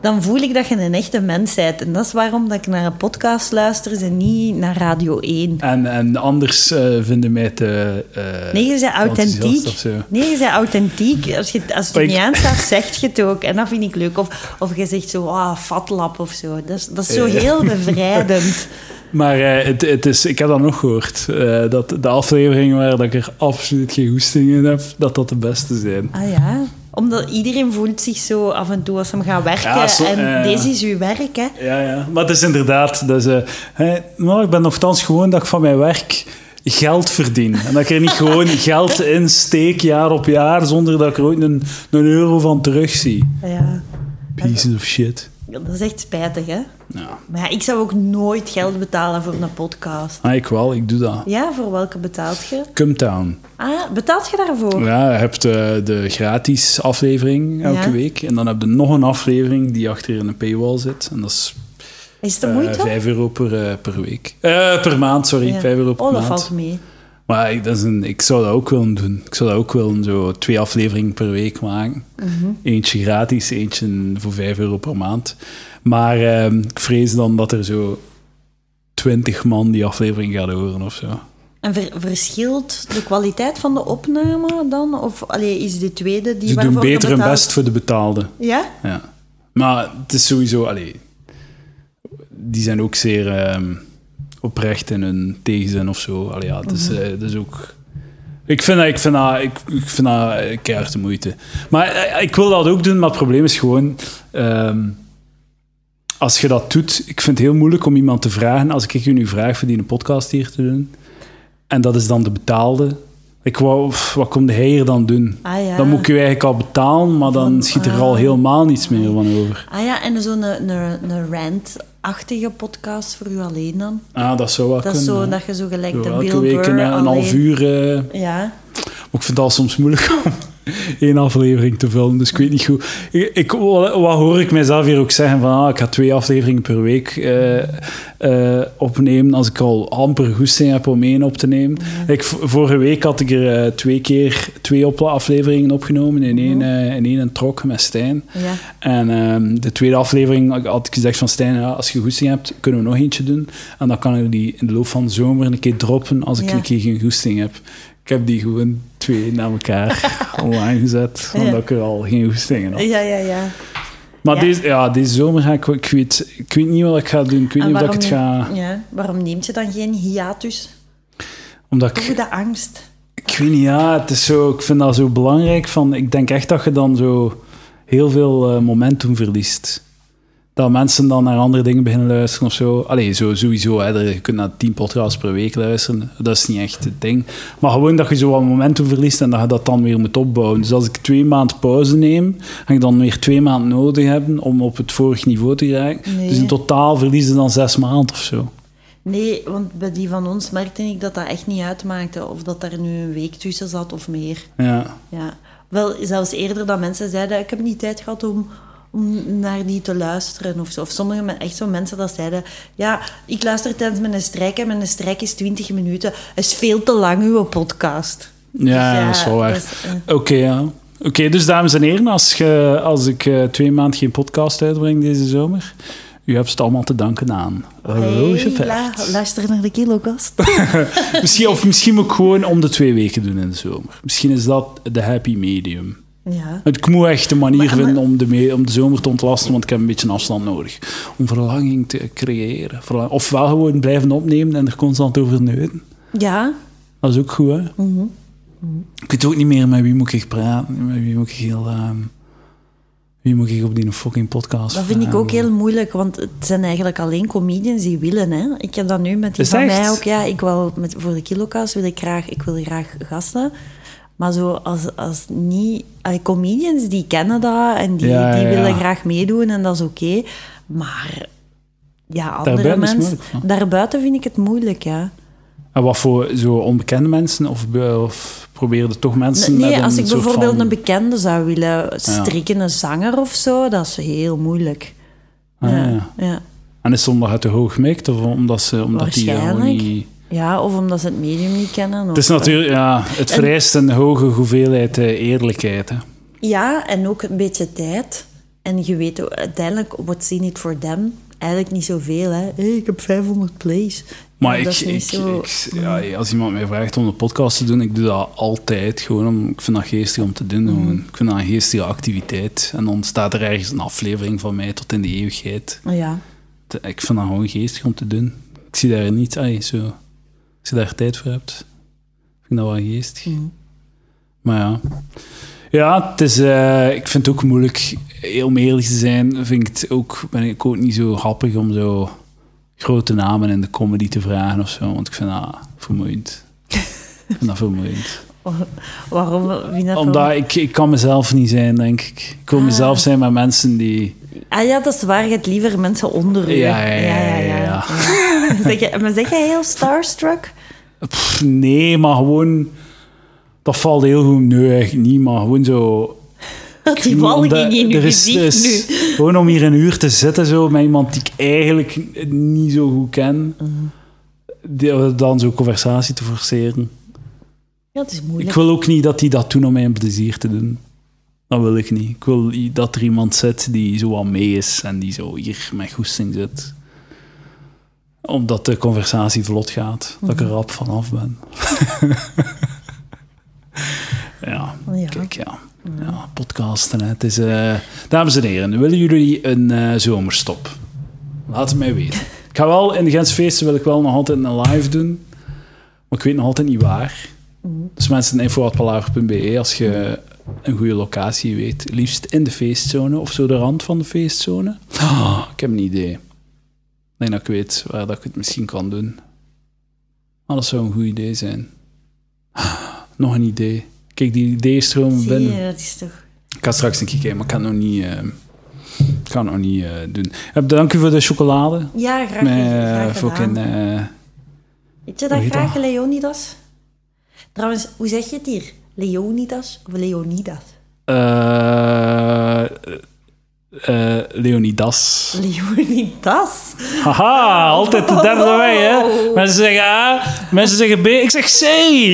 Speaker 2: dan voel ik dat je een echte mens bent. En dat is waarom dat ik naar een podcast luister en niet naar Radio 1.
Speaker 1: En, en anders eh, vinden mij te... eh,
Speaker 2: Nee, je bent
Speaker 1: enthousiast
Speaker 2: authentiek.
Speaker 1: of zo.
Speaker 2: Nee, je bent authentiek. Als, je, als het
Speaker 1: Maar
Speaker 2: er niet
Speaker 1: ik-
Speaker 2: aan staat, zeg je het ook. En dat vind ik leuk. Of, of je zegt zo, ah, fatlap of zo. Dat is, dat is zo
Speaker 1: Ja.
Speaker 2: heel bevrijdend.
Speaker 1: Maar eh, het, het is, ik heb dat nog gehoord. eh, dat de afleveringen waar dat ik er absoluut geen hoesting in heb, dat dat de beste zijn.
Speaker 2: Ah ja, omdat iedereen voelt zich zo af en toe als ze hem gaan werken.
Speaker 1: Ja, zo-
Speaker 2: en
Speaker 1: ja, ja.
Speaker 2: deze is uw werk, hè.
Speaker 1: Ja, ja. Maar het is inderdaad... Dus, eh, hè, nou, ik ben nogthans gewoon dat ik van mijn werk geld verdien. En dat ik er niet gewoon geld in steek jaar op jaar zonder dat ik er ooit een, een euro van terugzie.
Speaker 2: Ah Ja.
Speaker 1: Pieces of shit.
Speaker 2: Dat is echt spijtig, hè?
Speaker 1: Ja.
Speaker 2: Maar ja, ik zou ook nooit geld betalen voor een podcast.
Speaker 1: Ah, ik wel, ik doe dat.
Speaker 2: Ja, voor welke betaalt je?
Speaker 1: Come Town.
Speaker 2: Ah, betaalt je daarvoor?
Speaker 1: Ja, je hebt de, de gratis aflevering elke
Speaker 2: Ja.
Speaker 1: week. En dan heb je nog een aflevering die achter in een paywall zit. En dat is
Speaker 2: Is het de
Speaker 1: eh,
Speaker 2: moeite?
Speaker 1: 5 euro per, eh, per week. Eh, per maand, sorry.
Speaker 2: Ja.
Speaker 1: 5 euro per
Speaker 2: Oh, dat
Speaker 1: maand.
Speaker 2: valt mee.
Speaker 1: Maar ik, dat is een, ik zou dat ook willen doen. Ik zou dat ook willen zo twee afleveringen per week maken.
Speaker 2: Mhm.
Speaker 1: Eentje gratis, eentje voor 5 euro per maand. Maar ehm, ik vrees dan dat er zo 20 man die aflevering gaat horen of zo.
Speaker 2: En ver- verschilt de kwaliteit van de opname dan? Of allee, is de tweede die
Speaker 1: Ze doen
Speaker 2: waarvoor je
Speaker 1: beter hun
Speaker 2: betaalt-
Speaker 1: best voor de betaalde.
Speaker 2: Ja?
Speaker 1: Ja. Maar het is sowieso... Allee, die zijn ook zeer ehm, oprecht in hun tegenzin of zo. Allee, ja, het is, eh, het is ook... Ik vind dat, ik vind dat, ik, ik vind dat eh, keihard de moeite. Maar eh, ik wil dat ook doen, maar het probleem is gewoon... ehm, als je dat doet... Ik vind het heel moeilijk om iemand te vragen... Als ik je nu vraag voor die een podcast hier te doen... En dat is dan de betaalde... Ik wou, pff, wat komt hij hier dan doen?
Speaker 2: Ah ja.
Speaker 1: Dan moet ik je eigenlijk al betalen, maar dan
Speaker 2: Van-
Speaker 1: schiet er
Speaker 2: ah.
Speaker 1: al helemaal niets meer van over.
Speaker 2: Ah ja, en zo'n een, een, een rant-achtige podcast voor u alleen dan.
Speaker 1: Ah, dat zou wel
Speaker 2: Dat is
Speaker 1: kunnen.
Speaker 2: zo dat je zo gelijk de
Speaker 1: Zo
Speaker 2: Bill
Speaker 1: elke week een,
Speaker 2: Burr
Speaker 1: een half
Speaker 2: alleen-
Speaker 1: uur. eh, maar
Speaker 2: Ja.
Speaker 1: ik vind dat soms moeilijk om één aflevering te vullen, dus ik weet niet goed. Ik, ik- wat hoor ik mezelf hier ook zeggen? Van, ah, ik ga twee afleveringen per week eh, eh, opnemen als ik al amper goesting heb om één op te nemen. Ik, v- vorige week had ik er eh, twee keer twee op- afleveringen opgenomen. In één,
Speaker 2: Oh.
Speaker 1: eh, in één een trok met Stijn.
Speaker 2: Ja.
Speaker 1: En ehm, de tweede aflevering had ik gezegd van Stijn, ja, als je goesting hebt, kunnen we nog eentje doen. En dan kan ik die in de loop van de zomer een keer droppen als ik
Speaker 2: Ja.
Speaker 1: een keer geen goesting heb. Ik heb die gewoon twee na elkaar online gezet, omdat
Speaker 2: Ja.
Speaker 1: ik er al geen goestingen had.
Speaker 2: ja, ja, ja.
Speaker 1: Maar
Speaker 2: Ja.
Speaker 1: Deze, ja, deze zomer ga ik... Ik weet, ik weet niet wat ik ga doen. Ik weet
Speaker 2: En
Speaker 1: niet of dat ik het
Speaker 2: waarom-
Speaker 1: ga...
Speaker 2: ja, waarom neemt je dan geen hiatus?
Speaker 1: Omdat ik,
Speaker 2: Toch de angst.
Speaker 1: ik weet niet, ja, het is zo, ik vind dat zo belangrijk. Van, ik denk echt dat je dan zo heel veel eh, momentum verliest. Dat mensen dan naar andere dingen beginnen luisteren of zo. Allee, zo, sowieso, hè, er- je kunt naar tien podcasts per week luisteren. Dat is niet echt het ding. Maar gewoon dat je zo wat momentum verliest en dat je dat dan weer moet opbouwen. Dus als ik twee maanden pauze neem, ga ik dan weer twee maanden nodig hebben om op het vorig niveau te geraken.
Speaker 2: Nee.
Speaker 1: Dus in totaal verliezen dan zes maanden of zo.
Speaker 2: Nee, want bij die van ons merkte ik dat dat echt niet uitmaakte of dat er nu een week tussen zat of meer.
Speaker 1: Ja.
Speaker 2: Ja. Wel, zelfs eerder dat mensen zeiden, ik heb niet tijd gehad om, om naar die te luisteren of zo. Of sommige men- echt zo mensen dat zeiden, ja, ik luister tijdens mijn strijk en mijn strijk is 20 minuten. is veel te lang, uw podcast.
Speaker 1: Ja,
Speaker 2: Dus ja,
Speaker 1: dat is wel waar.
Speaker 2: dat is, eh.
Speaker 1: Oké, ja. Oké, dus dames en heren, als, ge, als ik eh, twee maanden geen podcast uitbreng deze zomer, u hebt het allemaal te danken aan Roosje
Speaker 2: Hey, la-
Speaker 1: Vert.
Speaker 2: luister naar de kilokast.
Speaker 1: Misschien, of misschien moet ik gewoon om de twee weken doen in de zomer. Misschien is dat de happy medium.
Speaker 2: ja.
Speaker 1: Ik moet echt een manier
Speaker 2: Maar- maar-
Speaker 1: vinden om de, me- om de zomer te ontlasten, want ik heb een beetje afstand nodig. Om verlanging te creëren. Verlang- of wel gewoon blijven opnemen en er constant over neuten.
Speaker 2: Ja,
Speaker 1: Dat is ook goed, hè?
Speaker 2: Mhm.
Speaker 1: Ik weet ook niet meer met wie moet ik praten, met wie moet ik heel... ehm, wie moet ik op die fucking podcast
Speaker 2: dat vind ik
Speaker 1: vragen?
Speaker 2: ook heel moeilijk, want het zijn eigenlijk alleen comedians die willen. Hè. Ik heb dat nu met die
Speaker 1: Is
Speaker 2: van
Speaker 1: het
Speaker 2: mij
Speaker 1: echt?
Speaker 2: ook. Ja, ik wil met, voor de kilokast wil ik graag, ik wil graag gasten. Maar zo als, als niet... allee, comedians, die kennen dat en die,
Speaker 1: Ja,
Speaker 2: die
Speaker 1: ja, ja.
Speaker 2: willen graag meedoen en dat is oké. Maar ja, andere
Speaker 1: Daarbuiten is het
Speaker 2: mensen...
Speaker 1: moeilijk, hè?
Speaker 2: Daarbuiten vind ik het moeilijk, ja.
Speaker 1: En wat voor zo onbekende mensen? Of, be- of probeerde toch mensen met
Speaker 2: Nee,
Speaker 1: een
Speaker 2: als ik
Speaker 1: soort
Speaker 2: bijvoorbeeld
Speaker 1: van-
Speaker 2: een bekende zou willen strikken, een zanger of zo, dat is heel moeilijk.
Speaker 1: Ah, ja.
Speaker 2: ja.
Speaker 1: En is het omdat het te hoog mikt? Of omdat, ze, omdat die gewoon
Speaker 2: Waarschijnlijk.
Speaker 1: niet...
Speaker 2: Ja, of omdat ze het medium niet kennen.
Speaker 1: Het is natuurlijk... Ja, het vereist een hoge hoeveelheid eh, eerlijkheid, hè.
Speaker 2: Ja, en ook een beetje tijd. En je weet ook, uiteindelijk, what's in it for them? Eigenlijk niet zoveel, hè. Hé, ik heb 500 plays.
Speaker 1: Maar
Speaker 2: Ja,
Speaker 1: ik,
Speaker 2: dat is niet
Speaker 1: ik,
Speaker 2: zo- Mm.
Speaker 1: ik- ja, als iemand mij vraagt om een podcast te doen, ik doe dat altijd. Gewoon om, ik vind dat geestig om te
Speaker 2: Mm.
Speaker 1: doen. Gewoon. Ik vind dat een geestige activiteit. En dan staat er ergens een aflevering van mij tot in de eeuwigheid.
Speaker 2: Ja.
Speaker 1: Te- Ik vind dat gewoon geestig om te doen. Ik zie daar niet, ai, zo. Als je daar tijd voor hebt, ik vind dat wel geestig. Maar ja. Ja, het is, eh, ik vind het ook moeilijk. eh, Om eerlijk te zijn, vind ik het ook, ben ik ook niet zo happig om zo grote namen in de comedy te vragen of zo. Want ik vind dat vermoeiend. Ik vind dat vermoeiend.
Speaker 2: Waarom vind je dat
Speaker 1: Omdat ik, ik kan mezelf niet zijn, denk ik. Ik wil mezelf zijn met mensen die...
Speaker 2: vermoeiend? Ah ja, dat is waar. Je hebt liever mensen onder je.
Speaker 1: Ja, ja, ja, ja, ja.
Speaker 2: Zeg je- maar zeg jij heel starstruck?
Speaker 1: Pff, nee, maar gewoon... Dat valt heel goed. Nee, eigenlijk niet, maar gewoon zo...
Speaker 2: Dat die walging
Speaker 1: Omdat
Speaker 2: in je
Speaker 1: er is-
Speaker 2: gezicht
Speaker 1: er is-
Speaker 2: nu.
Speaker 1: Gewoon om hier een uur te zitten zo, met iemand die ik eigenlijk niet zo goed ken.
Speaker 2: Mhm.
Speaker 1: die- Dan zo'n conversatie te forceren.
Speaker 2: Ja, het is
Speaker 1: Ik
Speaker 2: moeilijk.
Speaker 1: wil ook niet dat die dat doen om mij een plezier te doen. Dat wil ik niet. Ik wil i- dat er iemand zit die zo wat mee is en die zo hier met goesting zit. Omdat de conversatie vlot gaat. Dat ik er rap vanaf ben. ja,
Speaker 2: Oh Ja.
Speaker 1: kijk ja. Ja, podcasten. Hè. Het is, eh, Dames en heren, willen jullie een eh, zomerstop? Laat het mij weten. Ik ga wel in de Gentse feesten wil ik wel nog altijd een live doen. Maar ik weet nog altijd niet waar. Dus mensen info.palaver.be als je een goede locatie weet. Liefst in de feestzone of zo de rand van de feestzone. Ah, ik heb een idee. Nee, dat ik weet waar dat ik het misschien kan doen. Maar dat zou een goed idee zijn. Ah, Nog een idee. Kijk, die ideeën stromen
Speaker 2: Zie
Speaker 1: binnen.
Speaker 2: je, dat is toch...
Speaker 1: Ik ga straks een keer kijken, maar ik kan het nog niet, eh, ik kan het nog niet eh, doen. Eh, Dank u voor de chocolade.
Speaker 2: Ja, graag,
Speaker 1: Met
Speaker 2: graag
Speaker 1: eh,
Speaker 2: gedaan.
Speaker 1: fucking... eh,
Speaker 2: Weet je dat
Speaker 1: Hoe heet
Speaker 2: graag
Speaker 1: dat?
Speaker 2: Leonidas? Trouwens, hoe zeg je het hier? Leonidas of Leonidas?
Speaker 1: eh, eh, Leonidas.
Speaker 2: Leonidas?
Speaker 1: Haha, altijd de derde
Speaker 2: Oh.
Speaker 1: wij, hè? Mensen zeggen A, mensen zeggen B. Ik zeg C.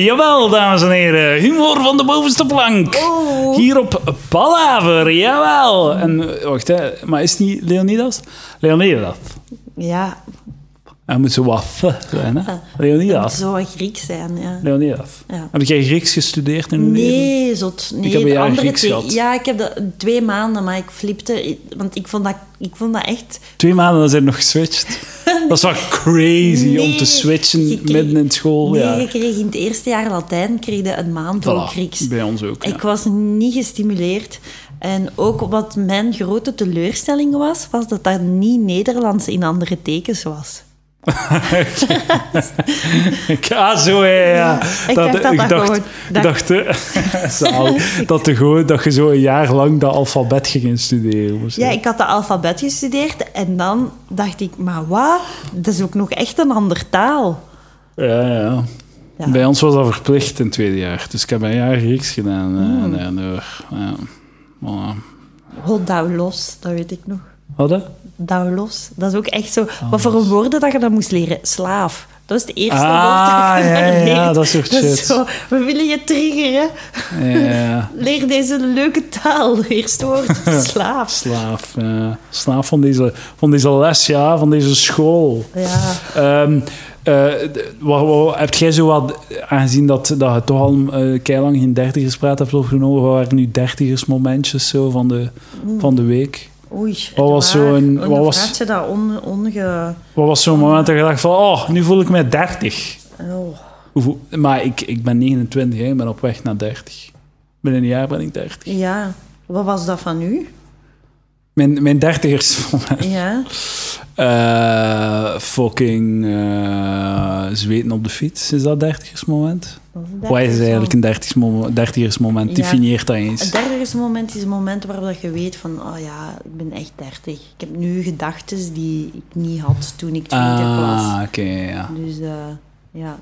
Speaker 1: Jawel, dames en heren. Humor van de bovenste plank.
Speaker 2: Oh.
Speaker 1: Hier op Palaver, jawel. En eh, wacht, hè. maar is het niet Leonidas? Leonidas.
Speaker 2: Ja,
Speaker 1: Hij moet zo wat f zijn, hè?
Speaker 2: het
Speaker 1: Leonidas.
Speaker 2: zou een Griek zijn, ja.
Speaker 1: Leonidas.
Speaker 2: Ja.
Speaker 1: Heb jij Grieks gestudeerd in je leven?
Speaker 2: Nee, zot. Nee,
Speaker 1: heb een
Speaker 2: de
Speaker 1: jaar
Speaker 2: andere
Speaker 1: Grieks
Speaker 2: twee-
Speaker 1: gehad.
Speaker 2: Ja, ik heb dat twee maanden, maar ik flipte. Want ik vond dat, ik vond dat echt...
Speaker 1: Twee maanden dan zijn we nog geswitcht. Dat is wel crazy om
Speaker 2: Nee,
Speaker 1: te switchen
Speaker 2: je kreeg-
Speaker 1: midden in school.
Speaker 2: Nee,
Speaker 1: ja.
Speaker 2: ik kreeg in het eerste jaar Latijn, kreeg je een maand ook
Speaker 1: Voilà,
Speaker 2: Grieks.
Speaker 1: Bij ons ook. ja.
Speaker 2: Ik was niet gestimuleerd. En ook wat mijn grote teleurstelling was, was dat daar niet Nederlands in andere tekens was.
Speaker 1: Ah, zo, ja, ja, ja.
Speaker 2: ik dacht dat dat
Speaker 1: dacht,
Speaker 2: gewoon-
Speaker 1: ik dacht eh, zalig, dat, er gewoon, dat je zo een jaar lang dat alfabet ging instuderen. moest
Speaker 2: Ja,
Speaker 1: doen.
Speaker 2: ik had de alfabet gestudeerd en dan dacht ik, maar wat? Dat is ook nog echt een ander taal.
Speaker 1: ja, ja.
Speaker 2: Ja.
Speaker 1: Bij ons was dat verplicht in het tweede jaar. Dus ik heb een jaar Grieks gedaan. eh,
Speaker 2: Hmm.
Speaker 1: en daardoor, ja. Voilà.
Speaker 2: Oh, daulos, dat weet ik nog.
Speaker 1: Hadden?
Speaker 2: Daulos, dat is ook echt zo...
Speaker 1: Ah,
Speaker 2: Wat voor een woorden dat je dan moest leren? Slaaf. Dat is het eerste
Speaker 1: Ah,
Speaker 2: woord dat je
Speaker 1: ja,
Speaker 2: daar
Speaker 1: ja,
Speaker 2: leert.
Speaker 1: dat soort
Speaker 2: is
Speaker 1: shit.
Speaker 2: zo, we willen je triggeren.
Speaker 1: Ja, ja.
Speaker 2: Leer deze leuke taal. Eerste woord, slaaf.
Speaker 1: slaaf. ja. slaaf van deze, van deze les, ja, van deze school.
Speaker 2: Ja.
Speaker 1: Ehm, eh, d- wa- wa- heb jij zo wat, aangezien dat, dat je toch al eh keilang geen dertigers praat hebt opgenomen, wat waren nu dertigers momentjes zo van de, van de week?
Speaker 2: Oei.
Speaker 1: Wat was
Speaker 2: waar.
Speaker 1: zo een-
Speaker 2: En
Speaker 1: wat
Speaker 2: dan
Speaker 1: was-
Speaker 2: vraagt je dat on, onge...
Speaker 1: Wat was zo'n moment dat je dacht van, oh, nu voel ik mij dertig?
Speaker 2: Oh.
Speaker 1: Hoeveel- Maar ik, ik ben 29, hè, ik ben op weg naar 30. Binnen een jaar ben ik 30.
Speaker 2: Ja. Wat was dat van u?
Speaker 1: Mijn, mijn dertigersmoment.
Speaker 2: Ja.
Speaker 1: Eh, fucking eh, zweten op de fiets, is dat dertigersmoment? Wat is eigenlijk een dertigersmoment? dertigersmoment?
Speaker 2: Ja.
Speaker 1: Definieer dat eens.
Speaker 2: Het dertigste moment is het moment waarop dat je weet van, oh ja, ik ben echt dertig. Ik heb nu gedachten die ik niet had toen ik twintig was.
Speaker 1: Ah, oké, ja.
Speaker 2: Dus eh, ja.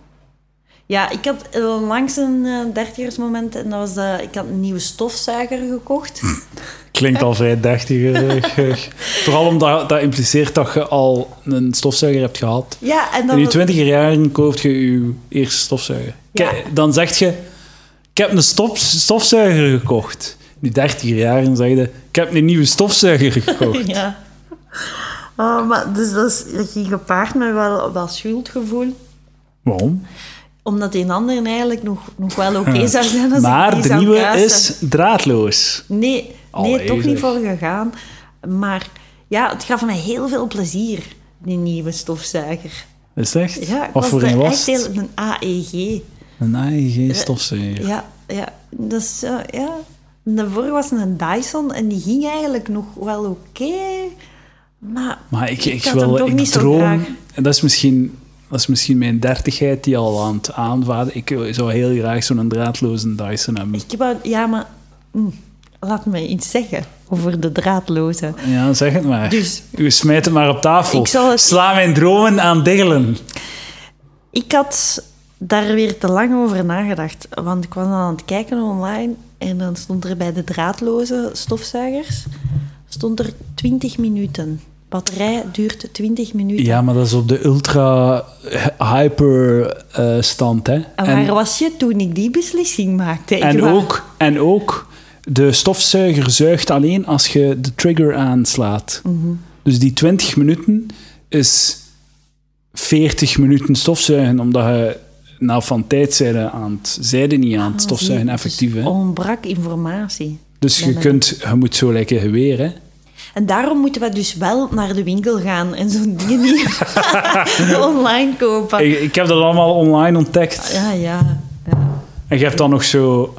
Speaker 2: Ja, ik had eh, onlangs een eh, dertigersmoment en dat was dat ik had een nieuwe stofzuiger
Speaker 1: Hm.
Speaker 2: gekocht.
Speaker 1: Klinkt al vrij dertiger. eh, Vooral omdat dat impliceert dat je al een stofzuiger hebt gehad.
Speaker 2: Ja, en
Speaker 1: In
Speaker 2: dan...
Speaker 1: je twintiger jaren koopt je je eerste stofzuiger.
Speaker 2: Ja.
Speaker 1: Kijk, Dan zeg je, ik heb een stof, stofzuiger gekocht. In je dertiger jaren zeg je, ik heb een nieuwe stofzuiger gekocht.
Speaker 2: Ja. Oh, maar dus dat, is, dat ging gepaard met wel, wel schuldgevoel.
Speaker 1: Waarom?
Speaker 2: Omdat in anderen eigenlijk nog, nog wel oké zou zijn als ik
Speaker 1: Maar
Speaker 2: die
Speaker 1: de
Speaker 2: zou
Speaker 1: nieuwe
Speaker 2: kuisen.
Speaker 1: is draadloos.
Speaker 2: Nee, nee
Speaker 1: Allee,
Speaker 2: toch
Speaker 1: zeg.
Speaker 2: niet voor gegaan. Maar ja, het gaf mij heel veel plezier, die nieuwe stofzuiger.
Speaker 1: Is het echt?
Speaker 2: Ja, ik
Speaker 1: Wat
Speaker 2: was
Speaker 1: voor
Speaker 2: er
Speaker 1: een was
Speaker 2: echt heel...
Speaker 1: het?
Speaker 2: Een E AEG.
Speaker 1: Een AEG stofzuiger.
Speaker 2: Ja, ja. Dus eh, ja... Daarvoor was het een Dyson en die ging eigenlijk nog wel oké. maar
Speaker 1: Maar ik, ik,
Speaker 2: had hem
Speaker 1: wil,
Speaker 2: toch
Speaker 1: ik
Speaker 2: niet zo
Speaker 1: droom,
Speaker 2: graag.
Speaker 1: en dat is misschien Dat is misschien mijn dertigheid die al aan het aanvaarden. Ik zou heel graag zo'n draadloze Dyson hebben.
Speaker 2: Ik wou, ja, maar hm, laat me iets zeggen over de draadloze.
Speaker 1: Ja, zeg het maar.
Speaker 2: Dus-
Speaker 1: U smijt het maar op tafel.
Speaker 2: Ik zal het-
Speaker 1: Sla mijn dromen aan diggelen.
Speaker 2: Ik had daar weer te lang over nagedacht, want ik was dan aan het kijken online en dan stond er bij de draadloze stofzuigers stond er 20 minuten. Batterij duurt 20 minuten.
Speaker 1: Ja, maar dat is op de ultra-hyper eh, stand, hè.
Speaker 2: En waar was je toen ik die beslissing maakte? Ik
Speaker 1: en,
Speaker 2: wa-
Speaker 1: ook, en ook, de stofzuiger zuigt alleen als je de trigger aanslaat.
Speaker 2: Mhm.
Speaker 1: Dus die 20 minuten is 40 minuten stofzuigen, omdat je nou van tijd zijde aan het zijde niet aan het stofzuigen
Speaker 2: Ah, Zie je,
Speaker 1: effectief.
Speaker 2: dus
Speaker 1: hè.
Speaker 2: ontbrak informatie.
Speaker 1: Dus je,
Speaker 2: Ja, maar-
Speaker 1: kunt, je moet zo lekker geweer, hè.
Speaker 2: En daarom moeten we dus wel naar de winkel gaan en zo'n dingen niet online kopen.
Speaker 1: Ik, ik heb dat allemaal online ontdekt.
Speaker 2: Ah. Ja, ja. ja.
Speaker 1: En je hebt dan nog zo...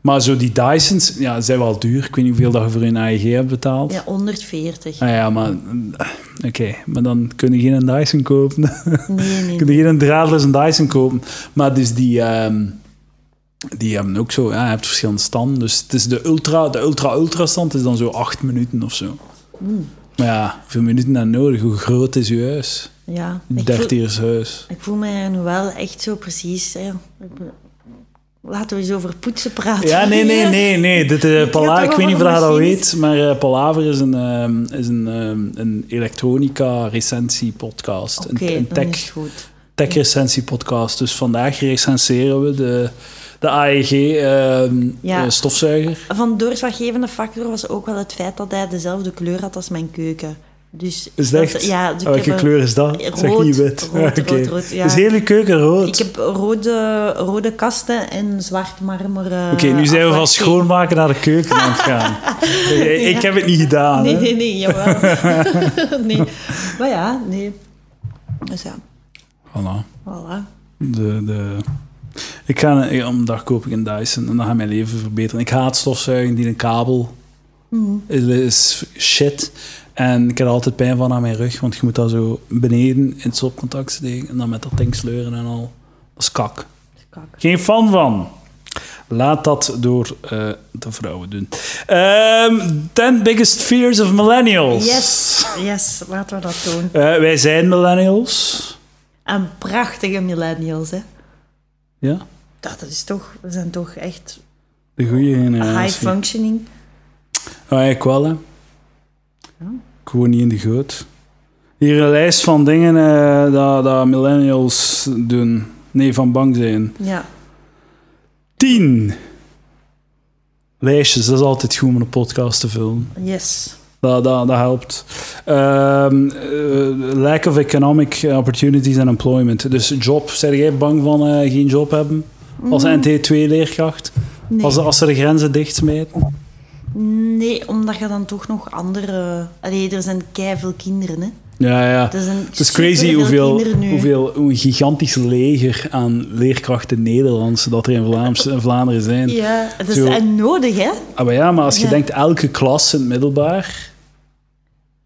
Speaker 1: Maar zo die Dysons, ja, zijn wel duur. Ik weet niet hoeveel dat je voor een AEG hebt betaald.
Speaker 2: Ja, 140.
Speaker 1: Ah ja, maar... mm, Oké, maar dan kun je geen Dyson kopen.
Speaker 2: Nee, nee.
Speaker 1: kun je geen draadloze Dyson kopen. Maar dus die... ehm, die hebben ook zo... Ja, je hebt verschillende standen. Dus het is de ultra... De ultra-ultra stand is dan zo acht minuten of zo.
Speaker 2: Hmm.
Speaker 1: Maar ja, hoeveel minuten dan nodig? Hoe groot is je huis?
Speaker 2: Ja. Ik voel,
Speaker 1: Dertiers huis.
Speaker 2: ik voel mij nu wel echt zo precies... hè. Laten we eens over poetsen praten.
Speaker 1: Ja, nee, nee, nee, nee. Dit, eh, Pala-
Speaker 2: toch
Speaker 1: ik weet niet of
Speaker 2: over
Speaker 1: je dat
Speaker 2: machines.
Speaker 1: weet, maar eh, Palaver is een, ehm, is een, ehm, een elektronica recensie podcast.
Speaker 2: Oké,
Speaker 1: een, een
Speaker 2: dan is het
Speaker 1: tech,
Speaker 2: goed.
Speaker 1: tech recensie podcast. Dus vandaag recenseren we de, de AEG ehm,
Speaker 2: Ja.
Speaker 1: eh, stofzuiger.
Speaker 2: Van doorslaggevende factor was ook wel het feit dat hij dezelfde kleur had als mijn keuken. Dus
Speaker 1: Is dat echt? Oh,
Speaker 2: Ja, dus ik
Speaker 1: Welke
Speaker 2: heb een-
Speaker 1: kleur is dat?
Speaker 2: rood,
Speaker 1: zeg niet wit.
Speaker 2: rood, rood,
Speaker 1: Oké.
Speaker 2: rood, ja.
Speaker 1: Dus heel je keuken rood.
Speaker 2: Ik heb rode, rode kasten en zwart marmeren.
Speaker 1: Oké, nu zijn we van
Speaker 2: afwerking.
Speaker 1: schoonmaken naar de keuken aan het gaan. Ik- Ik heb het niet gedaan.
Speaker 2: Nee,
Speaker 1: hè.
Speaker 2: nee, nee, jawel. nee. Maar ja, nee. Dus ja,
Speaker 1: Voilà.
Speaker 2: voilà.
Speaker 1: De, de... Ik ga, eh, om dag koop ik een Dyson en dan gaat mijn leven verbeteren. Ik haat stofzuigen die een kabel
Speaker 2: Mm.
Speaker 1: Het is shit. En ik heb er altijd pijn van aan mijn rug, want je moet dat zo beneden in het stopcontact steken en dan met dat ding sleuren en al. Dat is kak.
Speaker 2: Kak.
Speaker 1: Geen fan van. Laat dat door eh, de vrouwen doen. Ehm 10 biggest fears of millennials.
Speaker 2: Yes, yes, laten we dat doen.
Speaker 1: Eh, wij zijn millennials.
Speaker 2: En prachtige millennials, hè.
Speaker 1: Ja,
Speaker 2: Dat is toch, we zijn toch echt
Speaker 1: de goede generatie.
Speaker 2: high functioning.
Speaker 1: Ja, Ah, ik wel, hè. Ik woon niet in de goot. Hier een lijst van dingen eh, dat, dat millennials doen. Nee, van bang zijn.
Speaker 2: Ja,
Speaker 1: Tien. Lijstjes, dat is altijd goed om een podcast te vullen.
Speaker 2: yes.
Speaker 1: Dat, dat, dat helpt. Ehm, eh, lack of economic opportunities and employment. Dus job. Zijn jij bang van eh, geen job hebben? Als NT2-leerkracht?
Speaker 2: Nee.
Speaker 1: Als, als ze de grenzen dichtsmijten?
Speaker 2: Nee, omdat je dan toch nog andere... Allee, er zijn keiveel kinderen, hè.
Speaker 1: Ja, ja.
Speaker 2: Er zijn
Speaker 1: Het is crazy hoeveel,
Speaker 2: kinderen nu.
Speaker 1: hoeveel hoe een gigantisch leger aan leerkrachten Nederlands dat er in, Vlaams, in Vlaanderen zijn.
Speaker 2: Ja, het is
Speaker 1: Zo.
Speaker 2: en nodig, hè.
Speaker 1: Ah, maar ja, maar als je
Speaker 2: Ja.
Speaker 1: denkt, elke klas in het middelbaar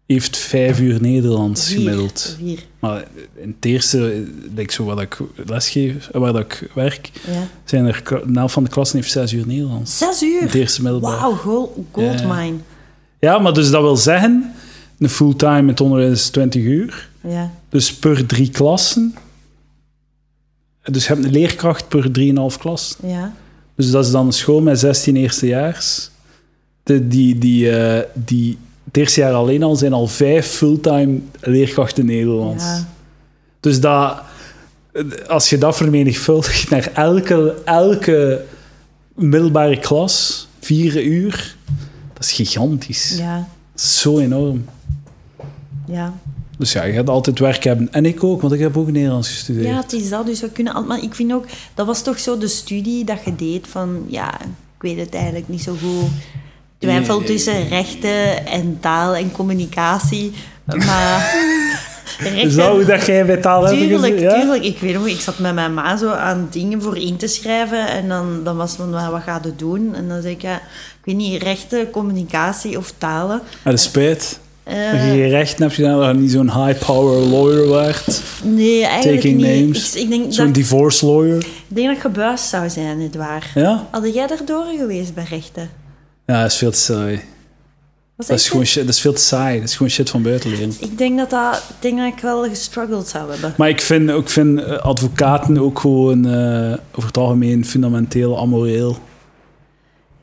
Speaker 1: heeft vijf uur Nederlands
Speaker 2: Vier,
Speaker 1: gemiddeld.
Speaker 2: Vier,
Speaker 1: Maar in het eerste, eh, like zo wat ik lesgeef, eh, waar dat ik werk,
Speaker 2: ja.
Speaker 1: zijn er, kla- de helft van de klassen heeft zes uur Nederlands.
Speaker 2: Zes
Speaker 1: In het
Speaker 2: uur.
Speaker 1: eerste middelbaar.
Speaker 2: Wauw, gold, goldmine.
Speaker 1: Ja, maar dus dat wil zeggen, een fulltime in het onderwijs is 20 uur.
Speaker 2: Ja.
Speaker 1: Dus per drie klassen. Dus je hebt een leerkracht per 3,5 klas.
Speaker 2: Ja.
Speaker 1: Dus dat is dan een school met 16 eerstejaars. De, die, die, eh, die, het eerste jaar alleen al zijn al vijf fulltime leerkrachten Nederlands.
Speaker 2: Ja.
Speaker 1: Dus dat, als je dat vermenigvuldigt naar elke, elke middelbare klas, vier uur, dat is gigantisch.
Speaker 2: Ja.
Speaker 1: Dat is zo enorm.
Speaker 2: Ja.
Speaker 1: Dus ja, je gaat altijd werk hebben. En ik ook, want ik heb ook Nederlands gestudeerd.
Speaker 2: ja, het is dat. Dus we kunnen altijd... Maar ik vind ook... Dat was toch zo de studie dat je deed van... Ja, ik weet het eigenlijk niet zo goed. Twijfel
Speaker 1: Nee.
Speaker 2: tussen rechten en taal en communicatie. Maar... rechten...
Speaker 1: Is dat hoe dat jij bij taal hebt
Speaker 2: Tuurlijk,
Speaker 1: gezien? Ja?
Speaker 2: tuurlijk. Ik weet nog, ik zat met mijn ma zo aan dingen voor in te schrijven. En dan, dan was van, "Wa- wat gaat het doen? En dan zei ik, ja, ik weet niet, rechten, communicatie of talen.
Speaker 1: Maar dat is spijt. Als je je recht hebt gedaan, dat je niet zo'n high-power lawyer werd.
Speaker 2: Nee, eigenlijk
Speaker 1: Taking
Speaker 2: niet.
Speaker 1: names.
Speaker 2: Ik, ik denk dat,
Speaker 1: Zo'n divorce lawyer.
Speaker 2: ik denk dat ik gebuist zou zijn, niet waar?
Speaker 1: Ja?
Speaker 2: Hadden jij daardoor geweest bij rechten?
Speaker 1: Ja, dat is veel te saai.
Speaker 2: Was
Speaker 1: Dat is, gewoon shit, dat is veel te saai. Dat is gewoon shit van buiten leren.
Speaker 2: Ik denk dat, dat, ik denk dat ik wel gestruggeld zou hebben.
Speaker 1: Maar ik vind, ik vind eh, advocaten ook gewoon eh, over het algemeen fundamenteel amoreel.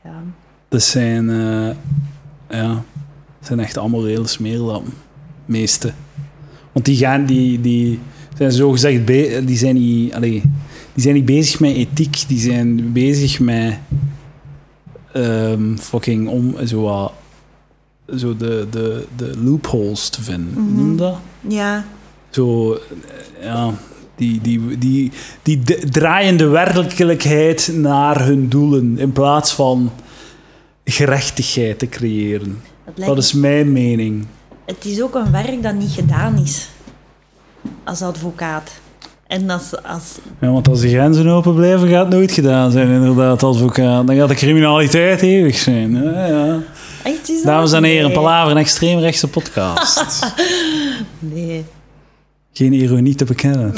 Speaker 2: Ja.
Speaker 1: Dat zijn, eh, ja, dat zijn echt amorele smeerlappen. Meeste. Want die gaan, die, die zijn zogezegd, be- die zijn niet, allee, die zijn niet bezig met ethiek. Die zijn bezig met ehm, fucking om zo wat, zo de, de, de loopholes te vinden. Hoe
Speaker 2: Mhm.
Speaker 1: noem je dat?
Speaker 2: Ja.
Speaker 1: Zo, eh, ja, die, die, die, die d- draaien de werkelijkheid naar hun doelen in plaats van gerechtigheid te creëren.
Speaker 2: Het, lijkt
Speaker 1: Dat is mijn mening.
Speaker 2: me- het is ook een werk dat niet gedaan is. Als advocaat. En als... als
Speaker 1: Ja, want als de grenzen open blijven, gaat het nooit gedaan zijn, inderdaad, advocaat. Dan gaat de criminaliteit eeuwig zijn. Ja, ja.
Speaker 2: Echt, is dat-
Speaker 1: Dames en heren,
Speaker 2: Nee.
Speaker 1: Palaver, een extreemrechtse podcast.
Speaker 2: Nee.
Speaker 1: Geen ironie te bekennen.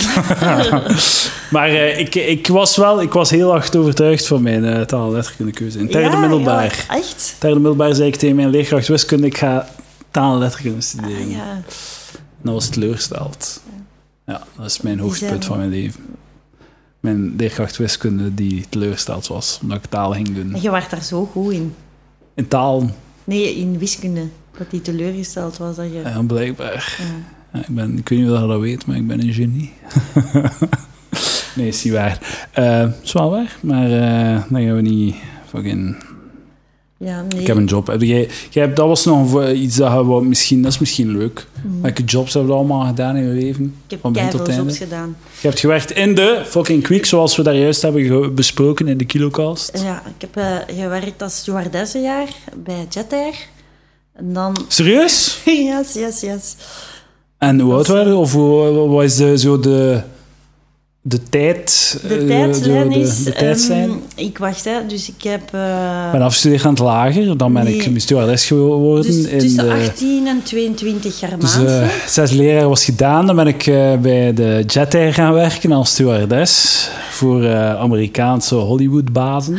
Speaker 1: maar eh, ik, ik was wel ik was heel hard overtuigd van mijn eh taal- en letterkundekeuze. In derde
Speaker 2: Ja,
Speaker 1: middelbaar.
Speaker 2: ja, echt?
Speaker 1: Tijdens de middelbaar zei ik tegen mijn leerkracht wiskunde, ik ga taal en letterkunde studeren.
Speaker 2: Ah, ja.
Speaker 1: En dat was teleurgesteld. Ja, dat is mijn hoogtepunt
Speaker 2: zijn-
Speaker 1: van mijn leven. Mijn leerkracht wiskunde die teleurgesteld was, omdat ik taal ging doen.
Speaker 2: En je werd daar zo goed in.
Speaker 1: In taal,
Speaker 2: Nee, in wiskunde. Dat die teleurgesteld was dat je...
Speaker 1: ja, blijkbaar.
Speaker 2: Ja.
Speaker 1: Ja, ik, ben, ik weet niet of je dat weet, maar ik ben een genie. nee, is niet waar. Eh, is wel waar, maar eh dan gaan we niet fucking
Speaker 2: Ja, nee.
Speaker 1: Ik heb een job. Heb jij, jij hebt, dat was nog voor iets dat je wou- misschien, dat is misschien leuk. Welke jobs hebben we allemaal gedaan in je leven?
Speaker 2: Mm. Ik heb
Speaker 1: Van begin tot
Speaker 2: keiveel
Speaker 1: einde.
Speaker 2: jobs gedaan.
Speaker 1: Je hebt gewerkt in de fucking Quick, zoals we daar juist hebben ge- besproken in de kilocast.
Speaker 2: Ja, ik heb eh, gewerkt als stewardess een jaar bij Jet Air. En dan...
Speaker 1: Serieus?
Speaker 2: Yes, yes, yes.
Speaker 1: En hoe oud waren we? Of hoe- wat is de, zo de, de tijd? eh,
Speaker 2: De tijdslijn
Speaker 1: de- de-
Speaker 2: is...
Speaker 1: De, tijdslijn?
Speaker 2: ehm, ik wacht, hè. Dus ik heb... eh,
Speaker 1: ik ben afgestudeerd aan het lager, dan ben ik
Speaker 2: Nee.
Speaker 1: stewardess geworden.
Speaker 2: dus
Speaker 1: in
Speaker 2: tussen
Speaker 1: de,
Speaker 2: 18 en 22 jaar
Speaker 1: Dus
Speaker 2: maand.
Speaker 1: eh, zes leraar was gedaan. Dan ben ik eh, bij de Jet Air gaan werken als stewardess voor eh, Amerikaanse Hollywood-bazen.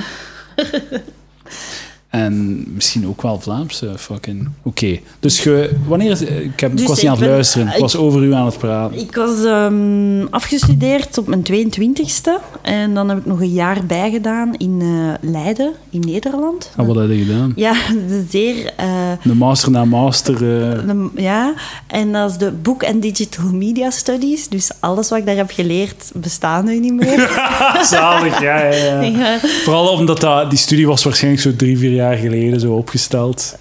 Speaker 1: en misschien ook wel Vlaamse, fucking. Oké, dus ge, wanneer is, ik, heb, ik
Speaker 2: Dus
Speaker 1: was
Speaker 2: ik
Speaker 1: niet aan het
Speaker 2: ben- Ah,
Speaker 1: luisteren, ik,
Speaker 2: ik-
Speaker 1: was over u aan het praten.
Speaker 2: Ik was ehm, afgestudeerd op mijn 22e. En dan heb ik nog een jaar bijgedaan in eh, Leiden, in Nederland.
Speaker 1: En Ah, wat had je gedaan?
Speaker 2: Ja, zeer... eh,
Speaker 1: De master na master. eh,
Speaker 2: De- Ja, en dat is de Book and Digital Media Studies. Dus alles wat ik daar heb geleerd, bestaat nu niet meer.
Speaker 1: zalig, ja, ja, ja.
Speaker 2: Ja.
Speaker 1: Vooral omdat dat, die studie was waarschijnlijk zo drie, vier jaar geleden zo opgesteld.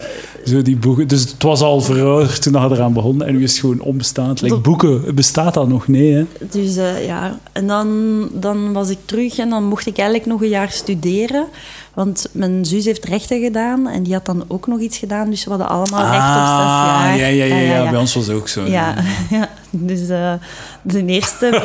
Speaker 1: Zo die boeken. Dus het was al verouderd toen dat eraan begon. En nu is het gewoon onbestaand. Like,
Speaker 2: Dat-
Speaker 1: boeken, bestaat dat nog? Nee, hè?
Speaker 2: Dus eh, ja, en dan, dan was ik terug en dan mocht ik eigenlijk nog een jaar studeren. Want mijn zus heeft rechten gedaan en die had dan ook nog iets gedaan. Dus we hadden allemaal recht op zes jaar.
Speaker 1: ja, ja, ja,
Speaker 2: Ah,
Speaker 1: ja. Bij ons was het ook zo.
Speaker 2: Ja, ja. dus eh, de eerste...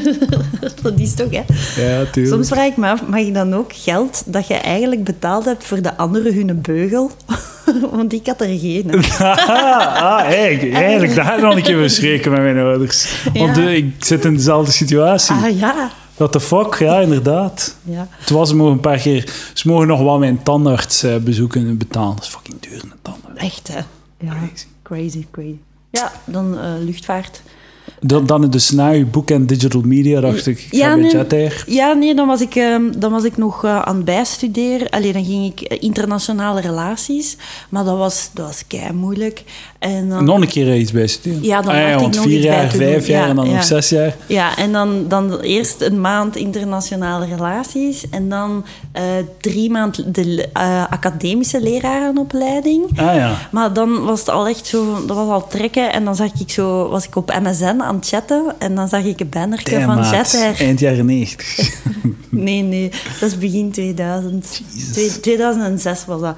Speaker 2: dat is toch, hè?
Speaker 1: ja tuurlijk.
Speaker 2: Soms vraag ik me af, mag je dan ook geld dat je eigenlijk betaald hebt voor de anderen hun beugel? Want ik had er geen. hè.
Speaker 1: ah, eigenlijk, eigenlijk, daar had ik nog een keer verschrikken met mijn ouders. Want
Speaker 2: Ja.
Speaker 1: eh, ik zit in dezelfde situatie.
Speaker 2: Ah ja.
Speaker 1: What the fuck? Ja, inderdaad.
Speaker 2: ja.
Speaker 1: Het was nog een paar keer. Ze mogen nog wel mijn tandarts eh, bezoeken en betalen. Dat is fucking duur, een tandarts.
Speaker 2: Echt hè? Ja.
Speaker 1: Crazy.
Speaker 2: Crazy, crazy. Ja, dan eh, luchtvaart.
Speaker 1: Dan, dan dus na je boek en digital media dacht ik, ik ga
Speaker 2: Ja,
Speaker 1: bij
Speaker 2: nee.
Speaker 1: Jet Air.
Speaker 2: Ja, nee, dan was ik, ehm, dan was ik nog eh, aan het bijstuderen. Allee, dan ging ik eh, internationale relaties. Maar dat was, dat was kei moeilijk. En dan,
Speaker 1: Nog een keer er iets bij studeren.
Speaker 2: Ja, dan
Speaker 1: Ah
Speaker 2: had ik
Speaker 1: want
Speaker 2: nog
Speaker 1: vier
Speaker 2: iets bij
Speaker 1: jaar,
Speaker 2: te doen.
Speaker 1: vijf jaar
Speaker 2: Ja,
Speaker 1: en dan
Speaker 2: ja.
Speaker 1: nog zes jaar.
Speaker 2: Ja, en dan, dan eerst een maand internationale relaties. En dan eh, drie maanden de le- eh, academische lerarenopleiding.
Speaker 1: Ah ja.
Speaker 2: Maar dan was het al echt zo, van- dat was al trekken. En dan zag ik zo, was ik op MSN aan het chatten. En dan zag ik een bannerke
Speaker 1: Damn,
Speaker 2: van
Speaker 1: maat.
Speaker 2: Jet Air.
Speaker 1: Eind jaren negentig.
Speaker 2: Nee, nee, dat is begin 2000. Twee- 2006 was dat.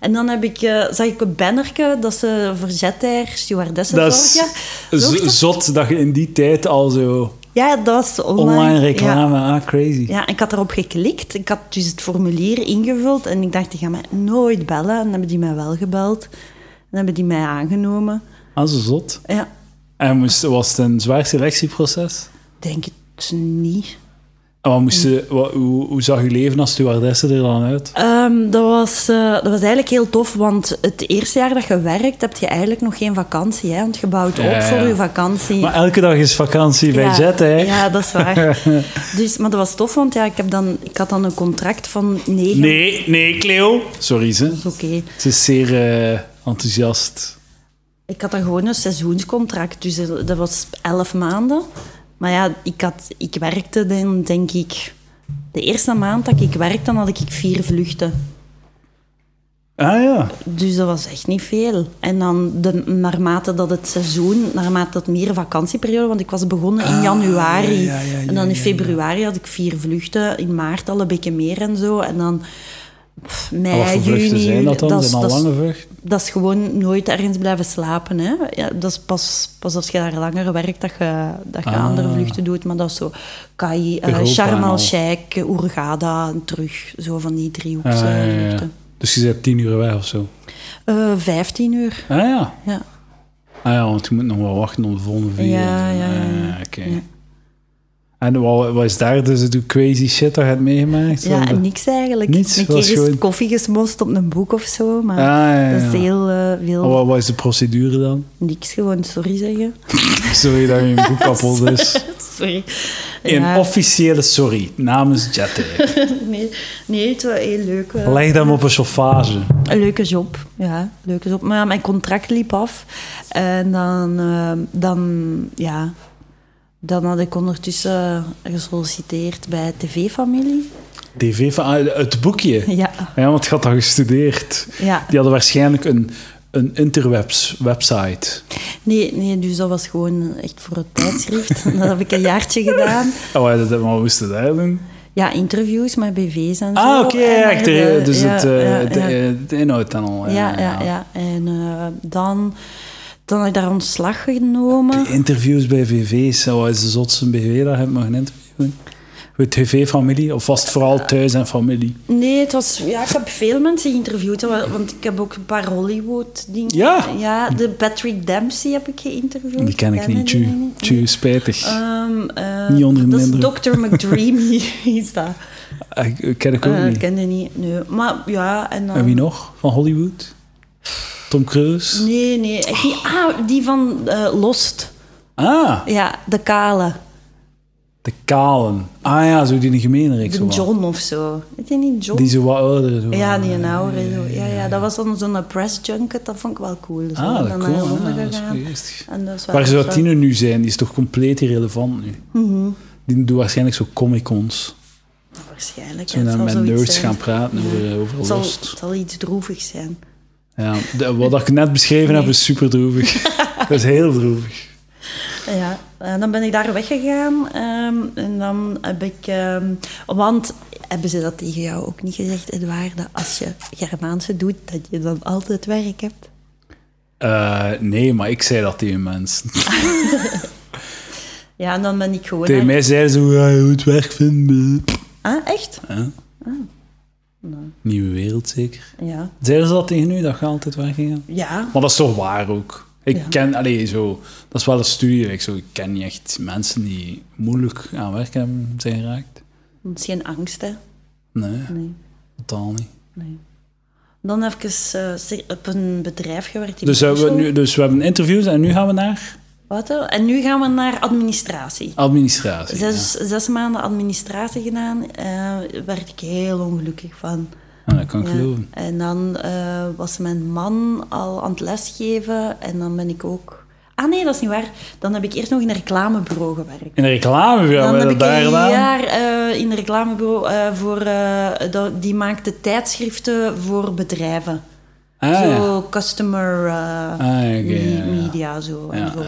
Speaker 2: En dan heb ik, eh, zag ik een bannerke dat ze voor Jet Air stewardessen
Speaker 1: Dat is
Speaker 2: zorgen. Zorgt
Speaker 1: z-
Speaker 2: dat-
Speaker 1: zot dat je in die tijd al zo
Speaker 2: Ja, dat was online.
Speaker 1: online
Speaker 2: Ja.
Speaker 1: reclame. Ah, crazy.
Speaker 2: Ja, ik had erop geklikt. Ik had dus het formulier ingevuld en ik dacht, die gaan mij nooit bellen. En dan hebben die mij wel gebeld. En hebben die mij aangenomen.
Speaker 1: Ah, zo zot.
Speaker 2: Ja,
Speaker 1: En moest, was het een zwaar selectieproces?
Speaker 2: denk het niet.
Speaker 1: En wat
Speaker 2: Mm.
Speaker 1: moest je- wat- hoe, hoe zag je leven als stewardesse er dan uit?
Speaker 2: Ehm, dat, was, eh, dat was eigenlijk heel tof, want het eerste jaar dat je werkt, heb je eigenlijk nog geen vakantie. Hè? Want je bouwt op
Speaker 1: Ja, ja.
Speaker 2: voor je vakantie.
Speaker 1: Maar elke dag is vakantie bij
Speaker 2: ja,
Speaker 1: Jet, hè?
Speaker 2: Ja, dat is waar. dus, maar dat was tof, want ja, ik, heb dan, ik had dan een contract van negen...
Speaker 1: Nee, nee, Cleo. Sorry, ze.
Speaker 2: Dat is Oké.
Speaker 1: Ze is zeer eh, enthousiast.
Speaker 2: Ik had dan gewoon een seizoenscontract, dus dat dat was elf maanden. Maar ja, ik, had, ik werkte dan, denk ik... De eerste maand dat ik werkte, dan had ik vier vluchten.
Speaker 1: Ah ja.
Speaker 2: Dus dat was echt niet veel. En dan de, naarmate dat het seizoen, naarmate dat meer vakantieperiode, want ik was begonnen in januari.
Speaker 1: Ah, ja, ja, ja,
Speaker 2: en dan in
Speaker 1: ja,
Speaker 2: februari had ik vier vluchten, in maart al een beetje meer en zo. En dan pff,
Speaker 1: En Ah, wat
Speaker 2: mei,
Speaker 1: voor vluchten
Speaker 2: juni.
Speaker 1: zijn dat dan?
Speaker 2: is-
Speaker 1: zijn al
Speaker 2: is-
Speaker 1: lange vluchten?
Speaker 2: dat is gewoon nooit ergens blijven slapen. Hè? Ja, dat is pas, pas als je daar langer werkt dat je, dat je
Speaker 1: Ah.
Speaker 2: andere vluchten doet. Maar dat is zo Kai, eh,
Speaker 1: Europa
Speaker 2: Sharm
Speaker 1: en al.
Speaker 2: el-Sheikh, Hurghada en terug. Zo van die
Speaker 1: Ah, ja, ja, ja.
Speaker 2: driehoeksvluchten.
Speaker 1: Dus je zit tien uur weg of zo?
Speaker 2: Eh 15 uur,
Speaker 1: Ah ja.
Speaker 2: ja.
Speaker 1: Ah ja, want je moet nog wel wachten op de volgende vlieg.
Speaker 2: Ja, ja, ja, ja.
Speaker 1: Ah, Oké.
Speaker 2: Ja.
Speaker 1: En wat, wat is daar dus de crazy shit dat je hebt meegemaakt?
Speaker 2: Ja,
Speaker 1: Want- eh,
Speaker 2: en niks eigenlijk.
Speaker 1: Niets,
Speaker 2: een keer
Speaker 1: was
Speaker 2: is
Speaker 1: gewoon-
Speaker 2: koffie gesmost op een boek of zo, maar
Speaker 1: Ah, ja, ja,
Speaker 2: dat is
Speaker 1: ja.
Speaker 2: heel eh, veel.
Speaker 1: Maar wat, wat is de procedure dan?
Speaker 2: Niks gewoon sorry zeggen.
Speaker 1: Sorry dat je een boek kapot is.
Speaker 2: sorry.
Speaker 1: Een
Speaker 2: Ja,
Speaker 1: officiële sorry namens Jette.
Speaker 2: nee, nee, het was heel leuk. eh.
Speaker 1: Leg dat maar op een chauffage.
Speaker 2: Een leuke job, ja, leuke job. Maar ja, mijn contract liep af. En dan, eh, dan, ja, dan had ik ondertussen gesolliciteerd bij TV-familie.
Speaker 1: TV van ah, het boekje.
Speaker 2: Ja,
Speaker 1: Ja, want je had dat gestudeerd.
Speaker 2: ja.
Speaker 1: Die hadden waarschijnlijk een, een interwebs website.
Speaker 2: Nee, nee, dus dat was gewoon echt voor het tijdschrift. Dat heb ik een jaartje gedaan.
Speaker 1: Oh, wat dat, wat moesten daar doen?
Speaker 2: Ja, interviews met BV's en zo.
Speaker 1: Ah, oké,
Speaker 2: En
Speaker 1: ja,
Speaker 2: dan
Speaker 1: echt,
Speaker 2: hebben
Speaker 1: eh,
Speaker 2: we-
Speaker 1: dus
Speaker 2: ja,
Speaker 1: het, eh,
Speaker 2: ja,
Speaker 1: het,
Speaker 2: ja.
Speaker 1: eh, de inhoud dan al.
Speaker 2: Ja, ja, ja. En eh, dan, dan had ik daar ontslag genomen.
Speaker 1: De interviews bij VV's, oh, wat is de zotste BV dat je hebt mogen interviewen? Met TV-familie, of was het
Speaker 2: Eh,
Speaker 1: vooral thuis en familie?
Speaker 2: Nee, het was, ja, ik heb veel mensen geïnterviewd, hè, want ik heb ook een paar Hollywood-dingen.
Speaker 1: Ja.
Speaker 2: Ja, de Patrick Dempsey heb ik geïnterviewd.
Speaker 1: Die ken ik
Speaker 2: Kennen
Speaker 1: niet, tju.
Speaker 2: die niet?
Speaker 1: Tju, spijtig.
Speaker 2: Ehm, eh,
Speaker 1: Niet onder de
Speaker 2: Dat is
Speaker 1: indruk.
Speaker 2: Dr. McDreamy, is dat.
Speaker 1: Eh, ik- ken ik ook
Speaker 2: Eh,
Speaker 1: niet.
Speaker 2: ken je niet, nee. Maar ja, en dan...
Speaker 1: En wie nog van Hollywood? Tom Cruise?
Speaker 2: Nee, nee, echt niet. Ah, die van eh, Lost.
Speaker 1: Ah,
Speaker 2: Ja, de kale.
Speaker 1: de Kalen. Ah ja, zo die in de gemeenreeks.
Speaker 2: De
Speaker 1: zo wat.
Speaker 2: John of zo. Weet je niet, John?
Speaker 1: Die zo wat ouder. Zo.
Speaker 2: Ja, die een oude. zo. Ja, ja, dat was dan zo'n press junket, dat vond ik wel cool. Dus
Speaker 1: Ah,
Speaker 2: we
Speaker 1: dat
Speaker 2: zijn
Speaker 1: cool.
Speaker 2: naar
Speaker 1: Ah,
Speaker 2: Londen
Speaker 1: dat is
Speaker 2: gegaan.
Speaker 1: geestig.
Speaker 2: En dat is wel
Speaker 1: Waar zou
Speaker 2: zo. Mhm.
Speaker 1: Tine nu zijn? Die is toch compleet irrelevant nu? Die doen waarschijnlijk zo comic-cons.
Speaker 2: Waarschijnlijk.
Speaker 1: Toen
Speaker 2: ja, het
Speaker 1: dan
Speaker 2: zal
Speaker 1: met
Speaker 2: zoiets
Speaker 1: nerds
Speaker 2: zijn.
Speaker 1: gaan praten over, eh, over
Speaker 2: Het zal,
Speaker 1: Lost.
Speaker 2: het zal iets droevigs zijn.
Speaker 1: Ja, de- wat ik net beschreven heb
Speaker 2: Nee.
Speaker 1: is super droevig. dat is heel droevig.
Speaker 2: Ja, en Eh, dan ben ik daar weggegaan. ehm, en dan heb ik... ehm, want, hebben ze dat tegen jou ook niet gezegd, Edouard? Dat als je Germaanse doet, dat je dan altijd werk hebt?
Speaker 1: Eh, nee, maar ik zei dat tegen mensen.
Speaker 2: Ja, en dan ben ik gewoon...
Speaker 1: Tegen mij zeiden ze hoe je het werk vindt. bleh.
Speaker 2: Ah, echt?
Speaker 1: Nieuwe wereld zeker.
Speaker 2: Ja.
Speaker 1: Zeiden ze dat tegen u, dat je altijd weggegaan?
Speaker 2: Ja.
Speaker 1: Maar dat is toch waar ook. Ik
Speaker 2: Ja.
Speaker 1: ken, allee, zo, dat is wel een studie. Ik, zo, ik ken niet echt mensen die moeilijk aan werk hebben zijn geraakt.
Speaker 2: Dat is geen angst, hè?
Speaker 1: Nee,
Speaker 2: Nee.
Speaker 1: totaal niet.
Speaker 2: nee. Dan heb ik eens eh, se- op een bedrijf gewerkt in
Speaker 1: Dus, eh, we,
Speaker 2: Brussel.
Speaker 1: nu, dus we hebben interviews en nu gaan we naar
Speaker 2: Wat, hè? En nu gaan we naar administratie.
Speaker 1: administratie.
Speaker 2: Zes, zes maanden administratie gedaan, eh werd ik heel ongelukkig van.
Speaker 1: Ja. Ah, dat kan ik
Speaker 2: Ja.
Speaker 1: geloven.
Speaker 2: En dan eh, was mijn man al aan het lesgeven en dan ben ik ook... Ah nee, dat is niet waar. Dan heb ik eerst nog in een reclamebureau gewerkt.
Speaker 1: In de reclame
Speaker 2: Dan
Speaker 1: gaan we
Speaker 2: heb ik
Speaker 1: dat daar
Speaker 2: een
Speaker 1: gedaan.
Speaker 2: jaar eh, in een reclamebureau eh, voor... eh, dat- die maakte tijdschriften voor bedrijven.
Speaker 1: Ah, ja.
Speaker 2: zo customer eh,
Speaker 1: Ah, ja, oké, ja, ja.
Speaker 2: media, zo. en zo wat,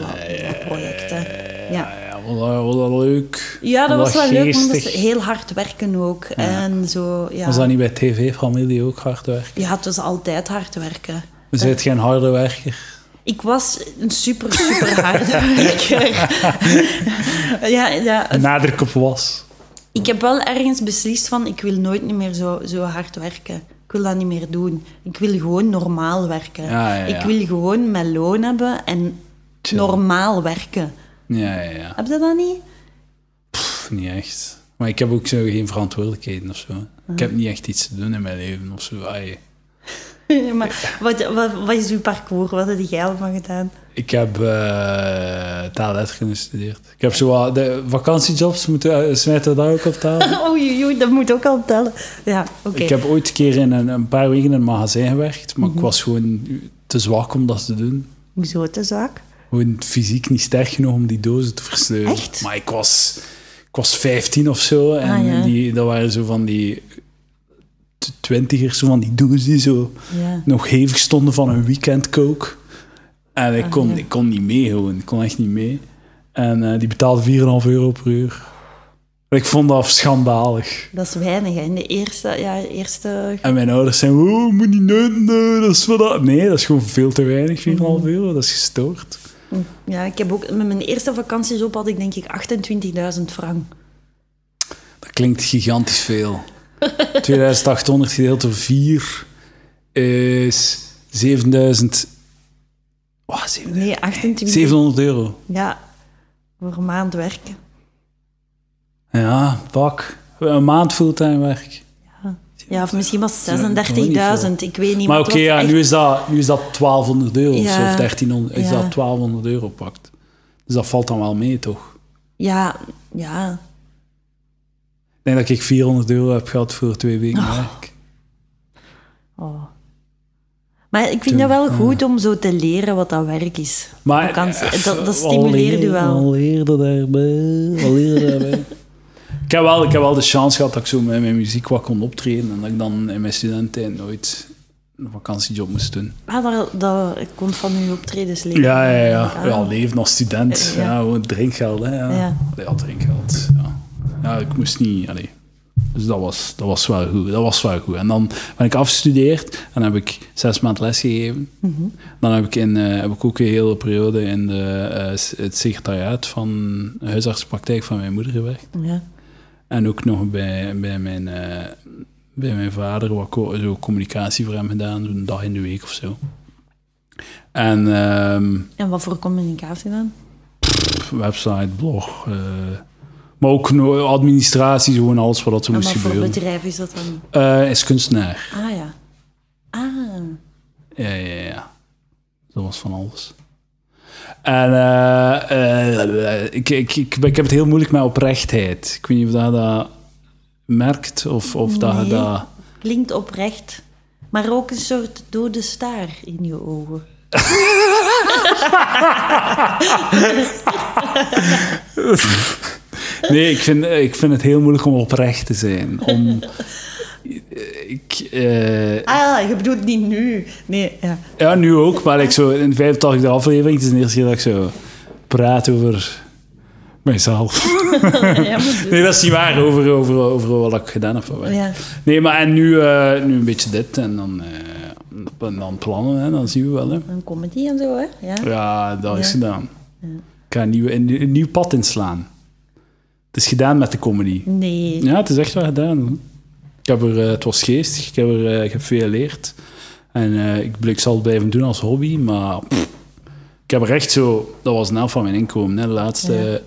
Speaker 2: wat projecten. eh, ja.
Speaker 1: Ja, wat, een- wat een leuk.
Speaker 2: Ja, dat
Speaker 1: Wat
Speaker 2: was wel leuk, want dat is
Speaker 1: geestig.
Speaker 2: heel hard werken ook. En zo, ja.
Speaker 1: Was dat niet bij tv-familie ook hard werken?
Speaker 2: Ja, het was altijd hard werken.
Speaker 1: We zijn geen harde werker.
Speaker 2: Ik was een super, super harde werker. ja, ja,
Speaker 1: Nadruk op was.
Speaker 2: ik heb wel ergens beslist van, ik wil nooit niet meer zo, zo hard werken. Ik wil dat niet meer doen. Ik wil gewoon normaal werken.
Speaker 1: Ja, ja, ja.
Speaker 2: Ik wil gewoon mijn loon hebben en
Speaker 1: Chill.
Speaker 2: normaal werken.
Speaker 1: Ja, ja, ja.
Speaker 2: Heb je dat niet?
Speaker 1: Pff, niet echt. Maar ik heb ook zo geen verantwoordelijkheden of zo. Ik
Speaker 2: Ah.
Speaker 1: heb niet echt iets te doen in mijn leven of zo. Ai.
Speaker 2: Ja, maar wat, wat, wat is uw parcours? Wat heb jij allemaal gedaan?
Speaker 1: Ik heb eh taalletterkunde gestudeerd. Ik heb zo wat- de vakantiejobs moeten uh, smijten we daar ook op tafel.
Speaker 2: Oei, oei, oei, dat moet ook al tellen. Ja, oké. Mhm.
Speaker 1: Ik heb ooit een keer in een, een paar weken in een magazijn gewerkt, maar ik was gewoon te zwak om dat te doen.
Speaker 2: Hoezo te zaak?
Speaker 1: Gewoon fysiek niet sterk genoeg om die dozen te versleuren.
Speaker 2: Echt?
Speaker 1: Maar ik was, ik was 15 of zo en
Speaker 2: Ah, ja.
Speaker 1: die, dat waren zo van die t- twintigers, zo van die dozen die zo
Speaker 2: Ja.
Speaker 1: nog hevig stonden van een weekendcoke. En ik kon,
Speaker 2: ja.
Speaker 1: ik kon niet mee gewoon, ik kon echt niet mee. En eh, die betaalde 4,5 euro per uur. Ik vond dat schandalig.
Speaker 2: Dat is weinig, hè. In de eerste... Ja, eerste...
Speaker 1: En mijn ouders zijn, oh, moet niet neuten, nee, dat is wat dat... Nee, dat is gewoon veel te weinig, 4,5 euro, dat is gestoord.
Speaker 2: Ja, ik heb ook... Met mijn eerste vakantiejob had ik denk ik 28.000 frank.
Speaker 1: Dat klinkt gigantisch veel. 2800 gedeeld door 4 is 7000... Wauw, 7000
Speaker 2: Nee, 28...
Speaker 1: 700 euro.
Speaker 2: Ja, voor een maand werken.
Speaker 1: Ja, pak. Een maand fulltime werk.
Speaker 2: Ja, of misschien was het 36.000. Ik weet niet.
Speaker 1: Maar
Speaker 2: het
Speaker 1: oké,
Speaker 2: was
Speaker 1: ja,
Speaker 2: echt-
Speaker 1: nu, is dat, nu is dat 1200 euro of zo,
Speaker 2: Ja,
Speaker 1: of 1300, is
Speaker 2: ja.
Speaker 1: dat 1200 euro pakt. Dus dat valt dan wel mee, toch?
Speaker 2: Ja, ja.
Speaker 1: Ik denk dat ik 400 euro heb gehad voor twee weken werk.
Speaker 2: Oh. Maar ik vind dat wel
Speaker 1: oh.
Speaker 2: goed om zo te leren wat dat werk is.
Speaker 1: Maar,
Speaker 2: Vakantie,
Speaker 1: eh,
Speaker 2: dat,
Speaker 1: wat
Speaker 2: dat stimuleert
Speaker 1: leer-
Speaker 2: u wel.
Speaker 1: Wat leerde daarbij? Wat leerde daarbij? ik, heb wel, ik heb wel de chance gehad dat ik zo met mijn muziek wat kon optreden en dat ik dan in mijn studententijd nooit een vakantiejob moest doen.
Speaker 2: Ah, dat, dat komt van uw optredens leren.
Speaker 1: Ja, ja, ja. ja leven als student.
Speaker 2: Ja.
Speaker 1: Ja, gewoon drinkgeld, hè. Ja,
Speaker 2: Ja.
Speaker 1: ja. drinkgeld. Ja. ja, ik moest niet... Allee. Dus dat was, dat was wel goed. Dat was wel goed. En dan ben ik afgestudeerd en heb ik zes maanden lesgegeven.
Speaker 2: Mhm.
Speaker 1: Dan heb ik, in, eh, heb ik ook een hele periode in de, eh, s- het secretariaat van de huisartsenpraktijk van mijn moeder gewerkt.
Speaker 2: Ja.
Speaker 1: En ook nog bij, bij, mijn, eh, bij mijn vader wat co- zo communicatie voor hem gedaan, een dag in de week of zo. En ehm,
Speaker 2: En wat voor communicatie dan?
Speaker 1: pff, website, blog, eh, maar ook no- administratie, zo gewoon alles wat dat er
Speaker 2: En
Speaker 1: moest
Speaker 2: wat Ah, voor
Speaker 1: gebeuren.
Speaker 2: bedrijf is dat dan?
Speaker 1: Eh, is kunstenaar.
Speaker 2: Ah ja. Ah.
Speaker 1: Ja, ja, ja. Dat was van alles. En eh, eh, ik, ik, ik, ik heb het heel moeilijk met oprechtheid. Ik weet niet of dat, je dat merkt of, of dat je
Speaker 2: Nee.
Speaker 1: dat...
Speaker 2: Klinkt oprecht. Maar ook een soort dode staar in je ogen.
Speaker 1: Nee, ik vind, ik vind het heel moeilijk om oprecht te zijn. Om, ik, eh,
Speaker 2: Ah, je bedoelt niet nu. Nee, ja.
Speaker 1: ja, nu ook, maar ik zo in de 85e aflevering, het is de eerste keer dat ik zo praat over mijzelf.
Speaker 2: ja, maar dus-
Speaker 1: Nee, dat is niet waar, over, over, over wat ik gedaan heb. van werk.
Speaker 2: Oh, ja.
Speaker 1: Nee, maar en nu, eh, nu een beetje dit en dan, eh, en dan plannen, hè, dan zien we wel. Hè.
Speaker 2: Een comedy en zo, hè? Ja.
Speaker 1: Ja, dat is
Speaker 2: Ja.
Speaker 1: gedaan. Ik ga een, nieuwe, een, een nieuw pad inslaan. Het is gedaan met de comedy.
Speaker 2: Nee.
Speaker 1: Ja, het is echt wel gedaan. Ik heb er, eh, het was geestig, ik heb, er, eh, ik heb veel geleerd. En eh, ik, bl- ik zal het blijven doen als hobby, maar pff, ik heb er echt zo... Dat was een helft van mijn inkomen, hè, de laatste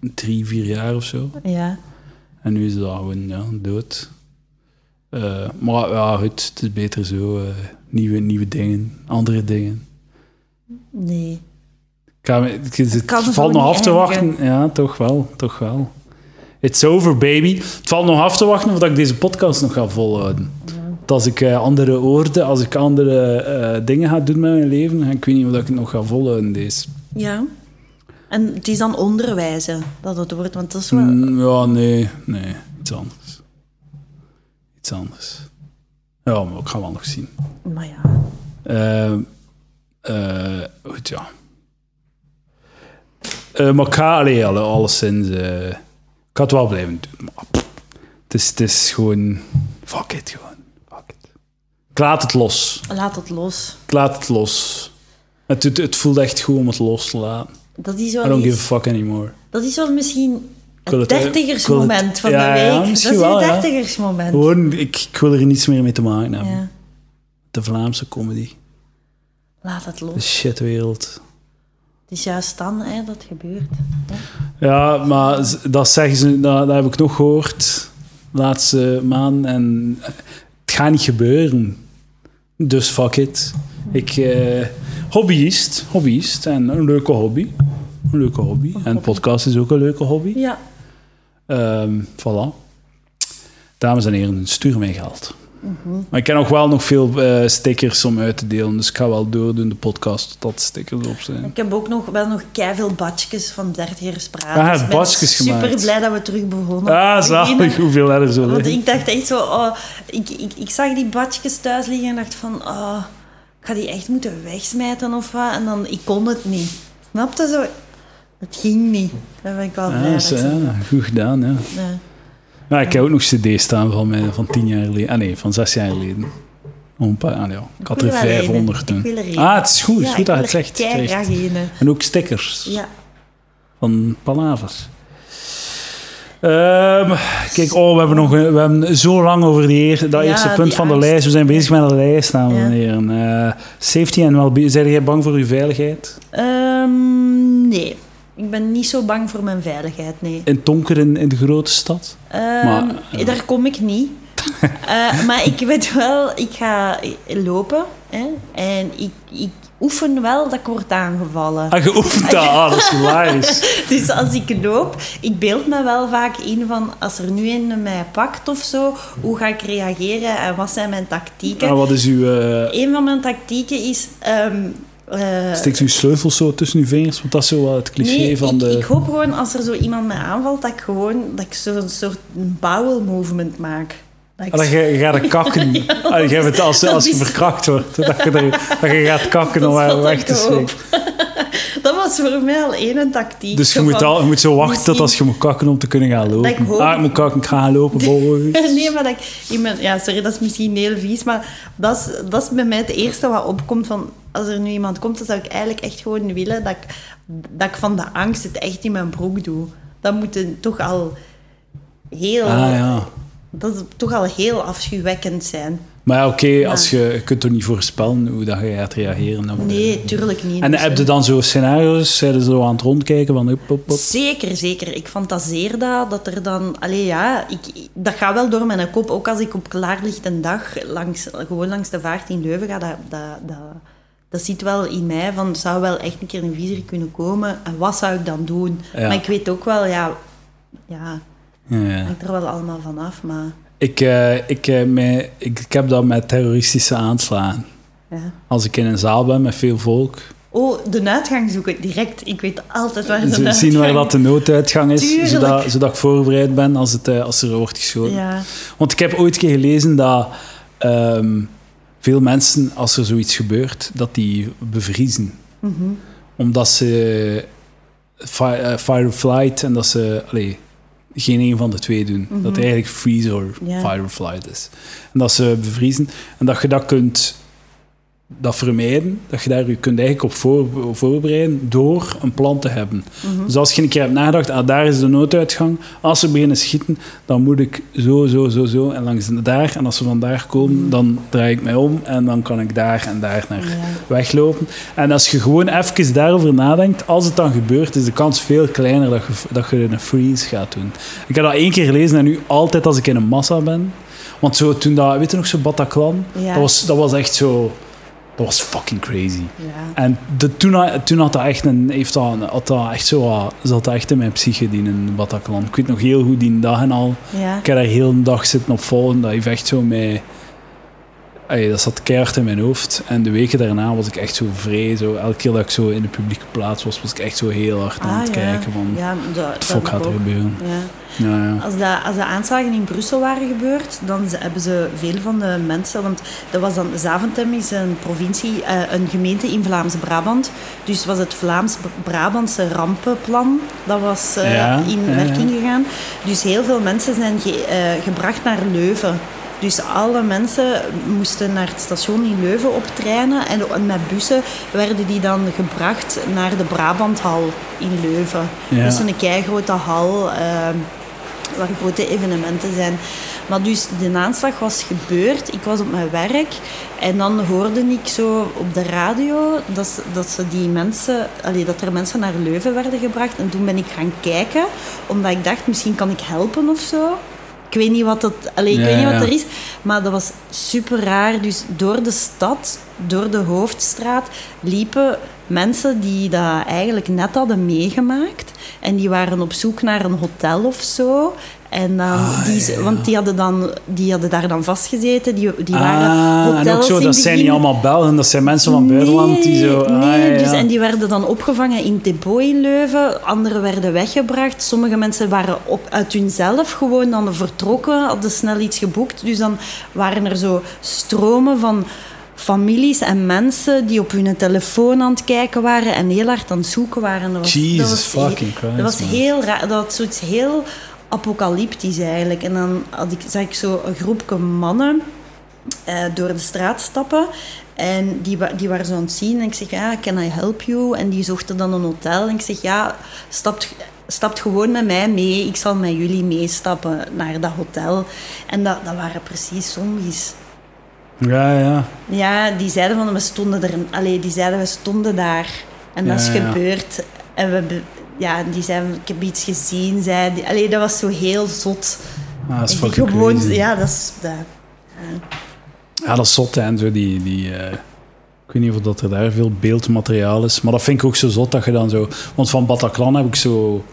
Speaker 1: eh, drie, vier jaar of zo.
Speaker 2: Ja.
Speaker 1: En nu is dat gewoon ja, dood. Eh, maar ja, goed, het is beter zo. eh, nieuwe, nieuwe dingen, andere dingen.
Speaker 2: Nee.
Speaker 1: Ik, ga, me- ik, het
Speaker 2: kan zo
Speaker 1: valt nog
Speaker 2: niet
Speaker 1: af te
Speaker 2: eindigen.
Speaker 1: wachten. Ja, toch wel, toch wel. It's over, baby. Het valt nog af te wachten of dat ik deze podcast nog ga volhouden. Want Als ik eh, andere oorden, als ik andere eh, dingen ga doen met mijn leven, ik weet niet of dat ik het nog ga volhouden, deze.
Speaker 2: Ja. En het is dan onderwijzen dat het wordt, want dat is wel...
Speaker 1: Mm, ja, nee, nee. Iets anders. Iets anders. Ja, maar ik ga wel nog zien.
Speaker 2: Maar ja.
Speaker 1: Eh, eh, goed, ja. Eh maar ik ga allee, alle- alleszins... eh, ik ga het wel blijven doen, maar... pff, het, is, het is gewoon... Fuck it, gewoon. Fuck it. Ik laat het los.
Speaker 2: Laat het los.
Speaker 1: Ik laat het los. Het, het, het voelt echt goed om het los te laten.
Speaker 2: Dat is
Speaker 1: I
Speaker 2: wel
Speaker 1: don't give
Speaker 2: iets...
Speaker 1: a fuck anymore.
Speaker 2: Dat is wel misschien
Speaker 1: Ik wil
Speaker 2: Het
Speaker 1: eh, ik wil
Speaker 2: dertigersmoment
Speaker 1: het-
Speaker 2: van
Speaker 1: ja,
Speaker 2: de
Speaker 1: ja,
Speaker 2: week. dat is
Speaker 1: misschien
Speaker 2: het
Speaker 1: wel, ja.
Speaker 2: dertigersmoment.
Speaker 1: Gewoon, ik, ik wil er niets meer mee te maken hebben.
Speaker 2: Ja.
Speaker 1: De Vlaamse comedy.
Speaker 2: Laat het
Speaker 1: De
Speaker 2: los.
Speaker 1: shitwereld.
Speaker 2: Het is juist dan hè, dat gebeurt.
Speaker 1: Ja, maar z- dat zeggen ze, dat, dat heb ik nog gehoord laatste maand. En het gaat niet gebeuren. Dus fuck it. Ik, eh, hobbyist, hobbyist. En een leuke hobby. Een leuke hobby. En podcast is ook een leuke hobby.
Speaker 2: Ja.
Speaker 1: Ehm, voilà. Dames en heren, stuur mij geld. Maar ik heb nog wel nog veel eh, stickers om uit te delen. Dus ik ga wel doordoen de podcast totdat stickers op zijn.
Speaker 2: Ik heb ook nog, wel nog keiveel badjes van 30 jaar spraak.
Speaker 1: Ah,
Speaker 2: ik ben
Speaker 1: badjes gemaakt.
Speaker 2: super blij dat we terug begonnen.
Speaker 1: Ah, zalig.
Speaker 2: beginnen.
Speaker 1: Hoeveel er zo
Speaker 2: Want
Speaker 1: liggen.
Speaker 2: ik dacht echt zo, oh, ik, ik, ik zag die badjes thuis liggen en dacht van, oh, ik ga die echt moeten wegsmijten of wat. En dan, ik kon het niet. Snapte zo? Het ging niet. Daar ben ik wel blij
Speaker 1: Ah,
Speaker 2: dat
Speaker 1: zo,
Speaker 2: ik zo-
Speaker 1: ja, goed gedaan, ja.
Speaker 2: Ja.
Speaker 1: Maar ik heb ook nog cd's staan van, mij, van tien jaar geleden. Ah nee, van zes jaar geleden. Om een paar, ah, ja. Ik had er
Speaker 2: wil er een.
Speaker 1: 500
Speaker 2: Ik wil
Speaker 1: toen.
Speaker 2: er een.
Speaker 1: Ah, het is goed, het is
Speaker 2: Ja,
Speaker 1: goed dat je
Speaker 2: ik
Speaker 1: het
Speaker 2: wil er
Speaker 1: zegt. het is echt.
Speaker 2: keigraag in.
Speaker 1: En ook stickers
Speaker 2: Ja.
Speaker 1: van Palavers. Ehm, kijk, oh, we hebben, nog, een- we hebben zo lang over die eer- dat
Speaker 2: Ja,
Speaker 1: eerste
Speaker 2: die
Speaker 1: punt van de
Speaker 2: angst.
Speaker 1: lijst. We zijn bezig met de lijst, dames
Speaker 2: Ja.
Speaker 1: en heren. Eh, safety en well-being. Zijn jij bang voor uw veiligheid?
Speaker 2: Ehm, nee. Ik ben niet zo bang voor mijn veiligheid, nee.
Speaker 1: In Tonker, in, in de grote stad?
Speaker 2: Ehm,
Speaker 1: Maar, eh.
Speaker 2: Daar kom ik niet. Eh, maar ik weet wel, ik ga lopen. Hè, en ik, ik oefen wel dat ik word aangevallen.
Speaker 1: Ah, je oefent dat. Ah, dat is hilarisch.
Speaker 2: Dus als ik loop, ik beeld me wel vaak in van... Als er nu een mij pakt of zo, hoe ga ik reageren en wat zijn mijn tactieken?
Speaker 1: En Ah, wat is uw... eh,
Speaker 2: Een van mijn tactieken is... ehm, eh,
Speaker 1: Steekt u sleutels zo tussen uw vingers? Want dat is zo wel het cliché
Speaker 2: nee,
Speaker 1: van
Speaker 2: ik,
Speaker 1: de...
Speaker 2: ik hoop gewoon als er zo iemand mij aanvalt, dat ik gewoon dat ik zo'n soort bowel movement maak. Dat ik
Speaker 1: Ah, dat je, je gaat er kakken. Ah, je hebt het als,
Speaker 2: dat
Speaker 1: als je
Speaker 2: is-
Speaker 1: verkrakt wordt. Dat je, er, dat je gaat kakken
Speaker 2: Dat
Speaker 1: om
Speaker 2: is
Speaker 1: haar
Speaker 2: wat
Speaker 1: weg
Speaker 2: ik
Speaker 1: te
Speaker 2: hoop.
Speaker 1: steken.
Speaker 2: Dat was voor mij al één een tactiek.
Speaker 1: Dus je
Speaker 2: Zo
Speaker 1: moet,
Speaker 2: van-
Speaker 1: al, je moet zo wachten tot
Speaker 2: misschien-
Speaker 1: als je moet kakken om te kunnen gaan
Speaker 2: Dat ik
Speaker 1: lopen.
Speaker 2: hoop-
Speaker 1: Ah, ik moet kakken, ik ga gaan lopen, Ah, boy.
Speaker 2: Nee, maar dat ik... in mijn- ja, sorry, dat is misschien heel vies, maar dat is, dat is bij mij het eerste wat opkomt van... Als er nu iemand komt, dan zou ik eigenlijk echt gewoon willen dat ik, dat ik van de angst het echt in mijn broek doe. Dat moet een- toch al heel...
Speaker 1: Ah ja.
Speaker 2: Dat is toch al heel afschuwwekkend zijn.
Speaker 1: Maar ja, oké, als je, je kunt toch niet voorspellen hoe dat je gaat reageren. Dan
Speaker 2: Nee, tuurlijk niet.
Speaker 1: En
Speaker 2: Dus,
Speaker 1: heb je dan zo scenario's? Zijn ze zo aan het rondkijken van... Hop, hop, hop.
Speaker 2: Zeker, zeker. Ik fantaseer dat, dat er dan... Allee, ja, ik, dat gaat wel door mijn kop. Ook als ik op klaarlicht een dag langs, gewoon langs de vaart in Leuven ga, dat, dat, dat, dat zit wel in mij van, zou wel echt een keer een vizier kunnen komen en wat zou ik dan doen?
Speaker 1: Ja.
Speaker 2: Maar ik weet ook wel, ja, ja,
Speaker 1: Ja, ja.
Speaker 2: hangt er wel allemaal vanaf, maar
Speaker 1: Ik, eh, ik, eh, mij- ik, ik heb dat met terroristische aanslagen.
Speaker 2: ja.
Speaker 1: Als ik in een zaal ben met veel volk...
Speaker 2: Oh, de uitgang zoeken, direct. Ik weet altijd waar de
Speaker 1: Ze
Speaker 2: uitgang...
Speaker 1: zien waar dat de nooduitgang is,
Speaker 2: Tuurlijk.
Speaker 1: zodat, zodat ik voorbereid ben als, het, eh, als er wordt geschoten.
Speaker 2: Ja,
Speaker 1: Want ik heb ooit een keer gelezen dat ehm, veel mensen, als er zoiets gebeurt, dat die bevriezen.
Speaker 2: Mhm.
Speaker 1: Omdat ze fi- eh, fire or flight en dat ze allee, geen een van de twee doen. Dat het eigenlijk freeze or
Speaker 2: Mhm. Ja.
Speaker 1: fire or flight is. En dat ze bevriezen en dat je dat kunt dat vermijden, dat je daar je kunt eigenlijk op voor- voorbereiden door een plan te hebben. Dus als je een keer hebt nagedacht, ah, daar is de nooduitgang, als ze beginnen schieten, dan moet ik zo, zo, zo, zo en langs daar. En als ze vandaar komen, dan draai ik mij om en dan kan ik daar en daar naar weglopen. En als je gewoon even daarover nadenkt, als het dan gebeurt, is de kans veel kleiner dat je, dat je een freeze gaat doen. Ik heb dat één keer gelezen en nu altijd als ik in een massa ben. Want zo, toen dat, weet je nog, zo Bataclan,
Speaker 2: Ja.
Speaker 1: dat, was, dat was echt zo... Dat was fucking crazy.
Speaker 2: ja.
Speaker 1: En de, toen, had- toen had dat echt een, heeft dat, een- had dat echt zo, wat- zat dat echt in mijn psyche, die in Bataclan. Ik weet nog heel goed die dag en al.
Speaker 2: ja.
Speaker 1: Ik heb daar heel een dag zitten op volgen. Dat heeft echt zo mij... Ey, dat zat keihard in mijn hoofd. En de weken daarna was ik echt zo vrij. Zo, elke keer dat ik zo in de publieke plaats was, was ik echt zo heel hard aan
Speaker 2: Ah,
Speaker 1: het
Speaker 2: ja.
Speaker 1: kijken van...
Speaker 2: Ja, dat,
Speaker 1: Wat
Speaker 2: dat
Speaker 1: de fuck
Speaker 2: ik
Speaker 1: gaat er
Speaker 2: ook.
Speaker 1: gebeuren?
Speaker 2: Ja.
Speaker 1: Ja, ja.
Speaker 2: Als, dat, als de aanslagen in Brussel waren gebeurd, dan ze- hebben ze veel van de mensen... Want dat was dan, Zaventem is een provincie, eh, een gemeente in Vlaams-Brabant. Dus was het Vlaams-Brabantse rampenplan, dat was eh,
Speaker 1: Ja,
Speaker 2: in
Speaker 1: ja, ja.
Speaker 2: werking gegaan. Dus heel veel mensen zijn ge- eh, gebracht naar Leuven. Dus alle mensen moesten naar het station in Leuven optreinen. En met bussen werden die dan gebracht naar de Brabanthal in Leuven.
Speaker 1: Ja.
Speaker 2: Dus een keigrote hal eh, waar grote evenementen zijn. Maar dus de aanslag was gebeurd. Ik was op mijn werk en dan hoorde ik zo op de radio dat, ze- dat, ze die mensen, allee, dat er mensen naar Leuven werden gebracht. En toen ben ik gaan kijken, omdat ik dacht misschien kan ik helpen of zo. Ik weet niet wat, dat, allee, ik
Speaker 1: Ja,
Speaker 2: weet niet
Speaker 1: ja.
Speaker 2: wat er is, maar dat was super raar. Dus door de stad, door de hoofdstraat, liepen mensen die dat eigenlijk net hadden meegemaakt. En die waren op zoek naar een hotel of zo. En dan,
Speaker 1: Ah,
Speaker 2: die, ze-
Speaker 1: ja, ja.
Speaker 2: Want die hadden, dan, die hadden daar dan vastgezeten. Die, die waren
Speaker 1: Ah,
Speaker 2: hotels
Speaker 1: en ook zo,
Speaker 2: in
Speaker 1: dat
Speaker 2: het
Speaker 1: zijn
Speaker 2: begin-
Speaker 1: niet allemaal Belgen, dat zijn mensen van buitenland die zo... ah,
Speaker 2: nee,
Speaker 1: ja,
Speaker 2: dus,
Speaker 1: ja.
Speaker 2: en die werden dan opgevangen in depot in Leuven. Anderen werden weggebracht. Sommige mensen waren op, uit hunzelf gewoon dan vertrokken, hadden snel iets geboekt. Dus dan waren er zo stromen van families en mensen die op hun telefoon aan het kijken waren en heel hard aan het zoeken waren. Dat was, dat
Speaker 1: Jesus
Speaker 2: was,
Speaker 1: fucking Christ,
Speaker 2: Dat was
Speaker 1: man.
Speaker 2: heel raar. Dat was zoiets heel apocalyptisch eigenlijk. En dan had ik, zag ik zo een groepje mannen eh, door de straat stappen. En die, wa- die waren zo aan het zien. En ik zeg, ja, can I help you? En die zochten dan een hotel. En ik zeg, ja, stapt, stapt gewoon met mij mee. Ik zal met jullie meestappen naar dat hotel. En dat, dat waren precies zombies.
Speaker 1: Ja, ja.
Speaker 2: Ja, die zeiden van, we stonden er... Allee, die zeiden, we stonden daar. En dat
Speaker 1: Ja,
Speaker 2: is
Speaker 1: ja, ja.
Speaker 2: gebeurd. En we... be- Ja, die zeiden, ik heb iets gezien. Zei die. Allee, dat was zo heel zot.
Speaker 1: Ah, dat is
Speaker 2: En die
Speaker 1: fucking
Speaker 2: gewoon,
Speaker 1: crazy.
Speaker 2: Ja, dat is... Dat,
Speaker 1: Ja, dat is zot, hè. en Zo die, die, eh, ik weet niet of dat er daar veel beeldmateriaal is. Maar dat vind ik ook zo zot dat je dan zo... Want van Bataclan heb ik zo...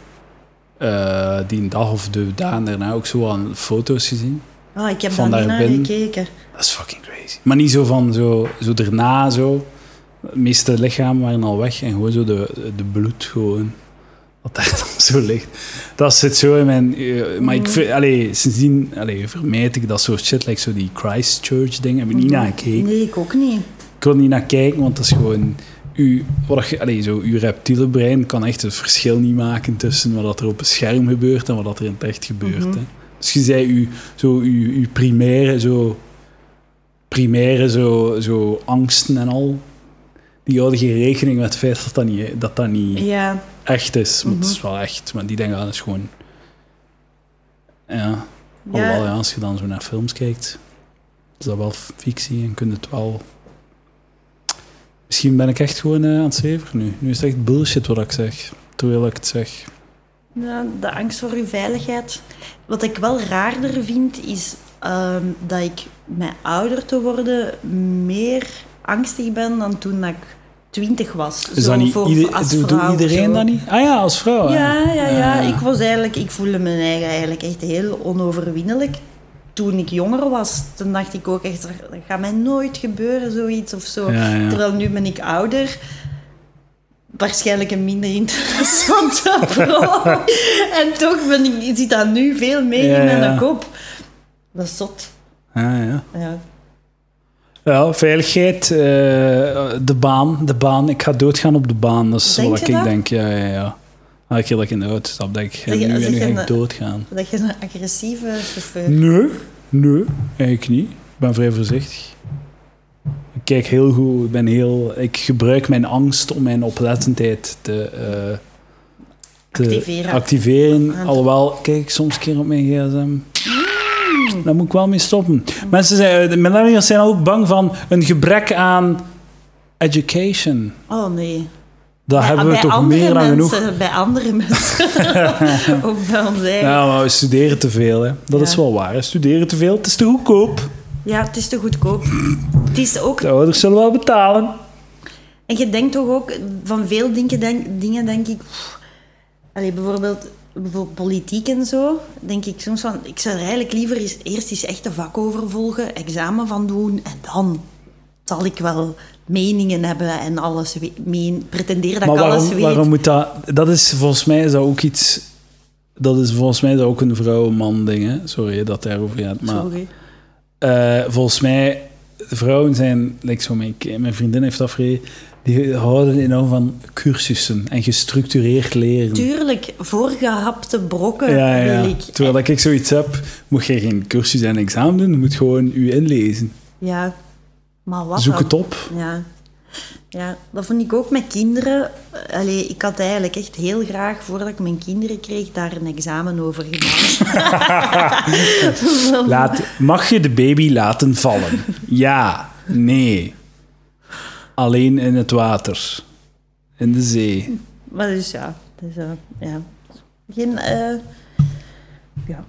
Speaker 1: eh, die een dag of de dagen daarna ook zo aan foto's gezien.
Speaker 2: oh, ik heb
Speaker 1: Van
Speaker 2: daar niet
Speaker 1: daar
Speaker 2: naar
Speaker 1: binnen.
Speaker 2: gekeken.
Speaker 1: Dat is fucking crazy. Maar niet zo van zo, zo daarna zo. De meeste lichamen waren al weg en gewoon zo de, de bloed gewoon. Wat daar dan zo ligt. Dat zit zo in mijn... eh, maar ik vind... Allee, sindsdien allee, vermijd ik dat soort shit. Like zo die Christchurch dingen. Heb ik
Speaker 2: Mm-hmm.
Speaker 1: niet naar gekeken.
Speaker 2: Nee, ik ook niet.
Speaker 1: Ik wil niet naar kijken, want dat is gewoon... Uw, wat je, allee, zo, uw reptiele brein kan echt het verschil niet maken tussen wat dat er op een scherm gebeurt en wat dat er in het echt gebeurt. hè. Dus je zei, uw, zo, uw, uw primaire, zo, primaire zo, zo angsten en al, die houden geen rekening met het feit dat dat niet, dat dat niet
Speaker 2: Ja,
Speaker 1: echt is. Want het is wel echt, maar die denken, ah, dat is gewoon... Ja, Alhoewel, ja, als je dan zo naar films kijkt, is dat wel fictie en kun je het wel. Misschien ben ik echt gewoon eh, aan het zever nu. Nu is het echt bullshit wat ik zeg, terwijl ik het zeg.
Speaker 2: ja, de angst voor uw veiligheid. Wat ik wel raarder vind, is ehm, dat ik met ouder te worden meer angstig ben dan toen dat ik twintig was.
Speaker 1: Is
Speaker 2: Zo
Speaker 1: dat niet
Speaker 2: voor,
Speaker 1: ieder-
Speaker 2: als
Speaker 1: doet- doet
Speaker 2: vrouw of
Speaker 1: iedereen
Speaker 2: zo.
Speaker 1: dat niet? Ah ja, als vrouw. hè?
Speaker 2: Ja, ja, ja.
Speaker 1: Eh,
Speaker 2: Ik was eigenlijk, ik voelde me eigen eigenlijk echt heel onoverwinnelijk. Toen ik jonger was, toen dacht ik ook echt, dat gaat mij nooit gebeuren, zoiets of zo.
Speaker 1: Ja, ja.
Speaker 2: Terwijl nu ben ik ouder. Waarschijnlijk een minder interessante vrouw. en toch ben ik, zit dat nu veel meer
Speaker 1: Ja,
Speaker 2: in mijn
Speaker 1: ja.
Speaker 2: kop. Dat is zot.
Speaker 1: ja, Ah, ja.
Speaker 2: Ja.
Speaker 1: Ja, veiligheid, eh, de baan, de baan. Ik ga doodgaan op de baan, dat is
Speaker 2: Denk
Speaker 1: wat
Speaker 2: je
Speaker 1: ik
Speaker 2: dat?
Speaker 1: denk. Ja, ja, ja. Elke keer dat ik in de auto stap, denk ik,
Speaker 2: Zeg je-
Speaker 1: nu,
Speaker 2: zeg
Speaker 1: nu
Speaker 2: je
Speaker 1: ga
Speaker 2: een-
Speaker 1: ik doodgaan.
Speaker 2: Dat je een agressieve chauffeur
Speaker 1: Nee, nee, eigenlijk niet. Ik ben vrij voorzichtig. Ik kijk heel goed, ik, ben heel, ik gebruik mijn angst om mijn oplettendheid te, eh, te
Speaker 2: Activeren.
Speaker 1: activeren.
Speaker 2: Ah.
Speaker 1: Alhoewel, kijk ik soms een keer op mijn gsm. Daar moet ik wel mee stoppen. Mensen zijn, de millennials zijn ook bang van een gebrek aan education.
Speaker 2: Oh nee.
Speaker 1: Dat
Speaker 2: Bij-
Speaker 1: hebben we
Speaker 2: bij
Speaker 1: toch
Speaker 2: andere
Speaker 1: meer dan genoeg.
Speaker 2: mensen, Bij andere mensen. Ook bij ons eigen.
Speaker 1: Ja, maar we studeren te veel. Hè. Dat
Speaker 2: Ja.
Speaker 1: is wel waar. We studeren te veel. Het is te goedkoop.
Speaker 2: Ja, het is te goedkoop. Het is ook,
Speaker 1: De ouders zullen wel betalen.
Speaker 2: en je denkt toch ook, van veel dingen denk, dingen denk ik, pff, allee, bijvoorbeeld, bijvoorbeeld politiek en zo, denk ik soms van, ik zou er eigenlijk liever eens, eerst eens echt een vak over volgen, examen van doen en dan zal ik wel meningen hebben en alles we- meen, pretendeer dat
Speaker 1: maar
Speaker 2: ik alles
Speaker 1: waarom,
Speaker 2: weet.
Speaker 1: waarom moet dat... Dat is volgens mij is dat ook iets... Dat is volgens mij is dat ook een vrouw-man ding, hè? Sorry hè, dat daarover gaat, maar...
Speaker 2: Sorry.
Speaker 1: eh, volgens mij, de vrouwen zijn... Like zo mijn, ki- mijn vriendin heeft afgereden. die houden enorm van cursussen en gestructureerd leren.
Speaker 2: Tuurlijk, voorgehapte brokken
Speaker 1: ja, ja.
Speaker 2: wil ik.
Speaker 1: Terwijl dat ik zoiets heb, moet je geen cursus en examen doen, je moet gewoon u inlezen.
Speaker 2: Ja, maar wat
Speaker 1: Zoek
Speaker 2: dan?
Speaker 1: het op.
Speaker 2: Ja. ja, dat vond ik ook met kinderen. Allee, ik had eigenlijk echt heel graag, voordat ik mijn kinderen kreeg, daar een examen over gedaan.
Speaker 1: Laat, mag je de baby laten vallen? Ja, nee. Alleen in het water. In de zee.
Speaker 2: Maar dus ja, dus, eh, ja. Geen, eh, ja.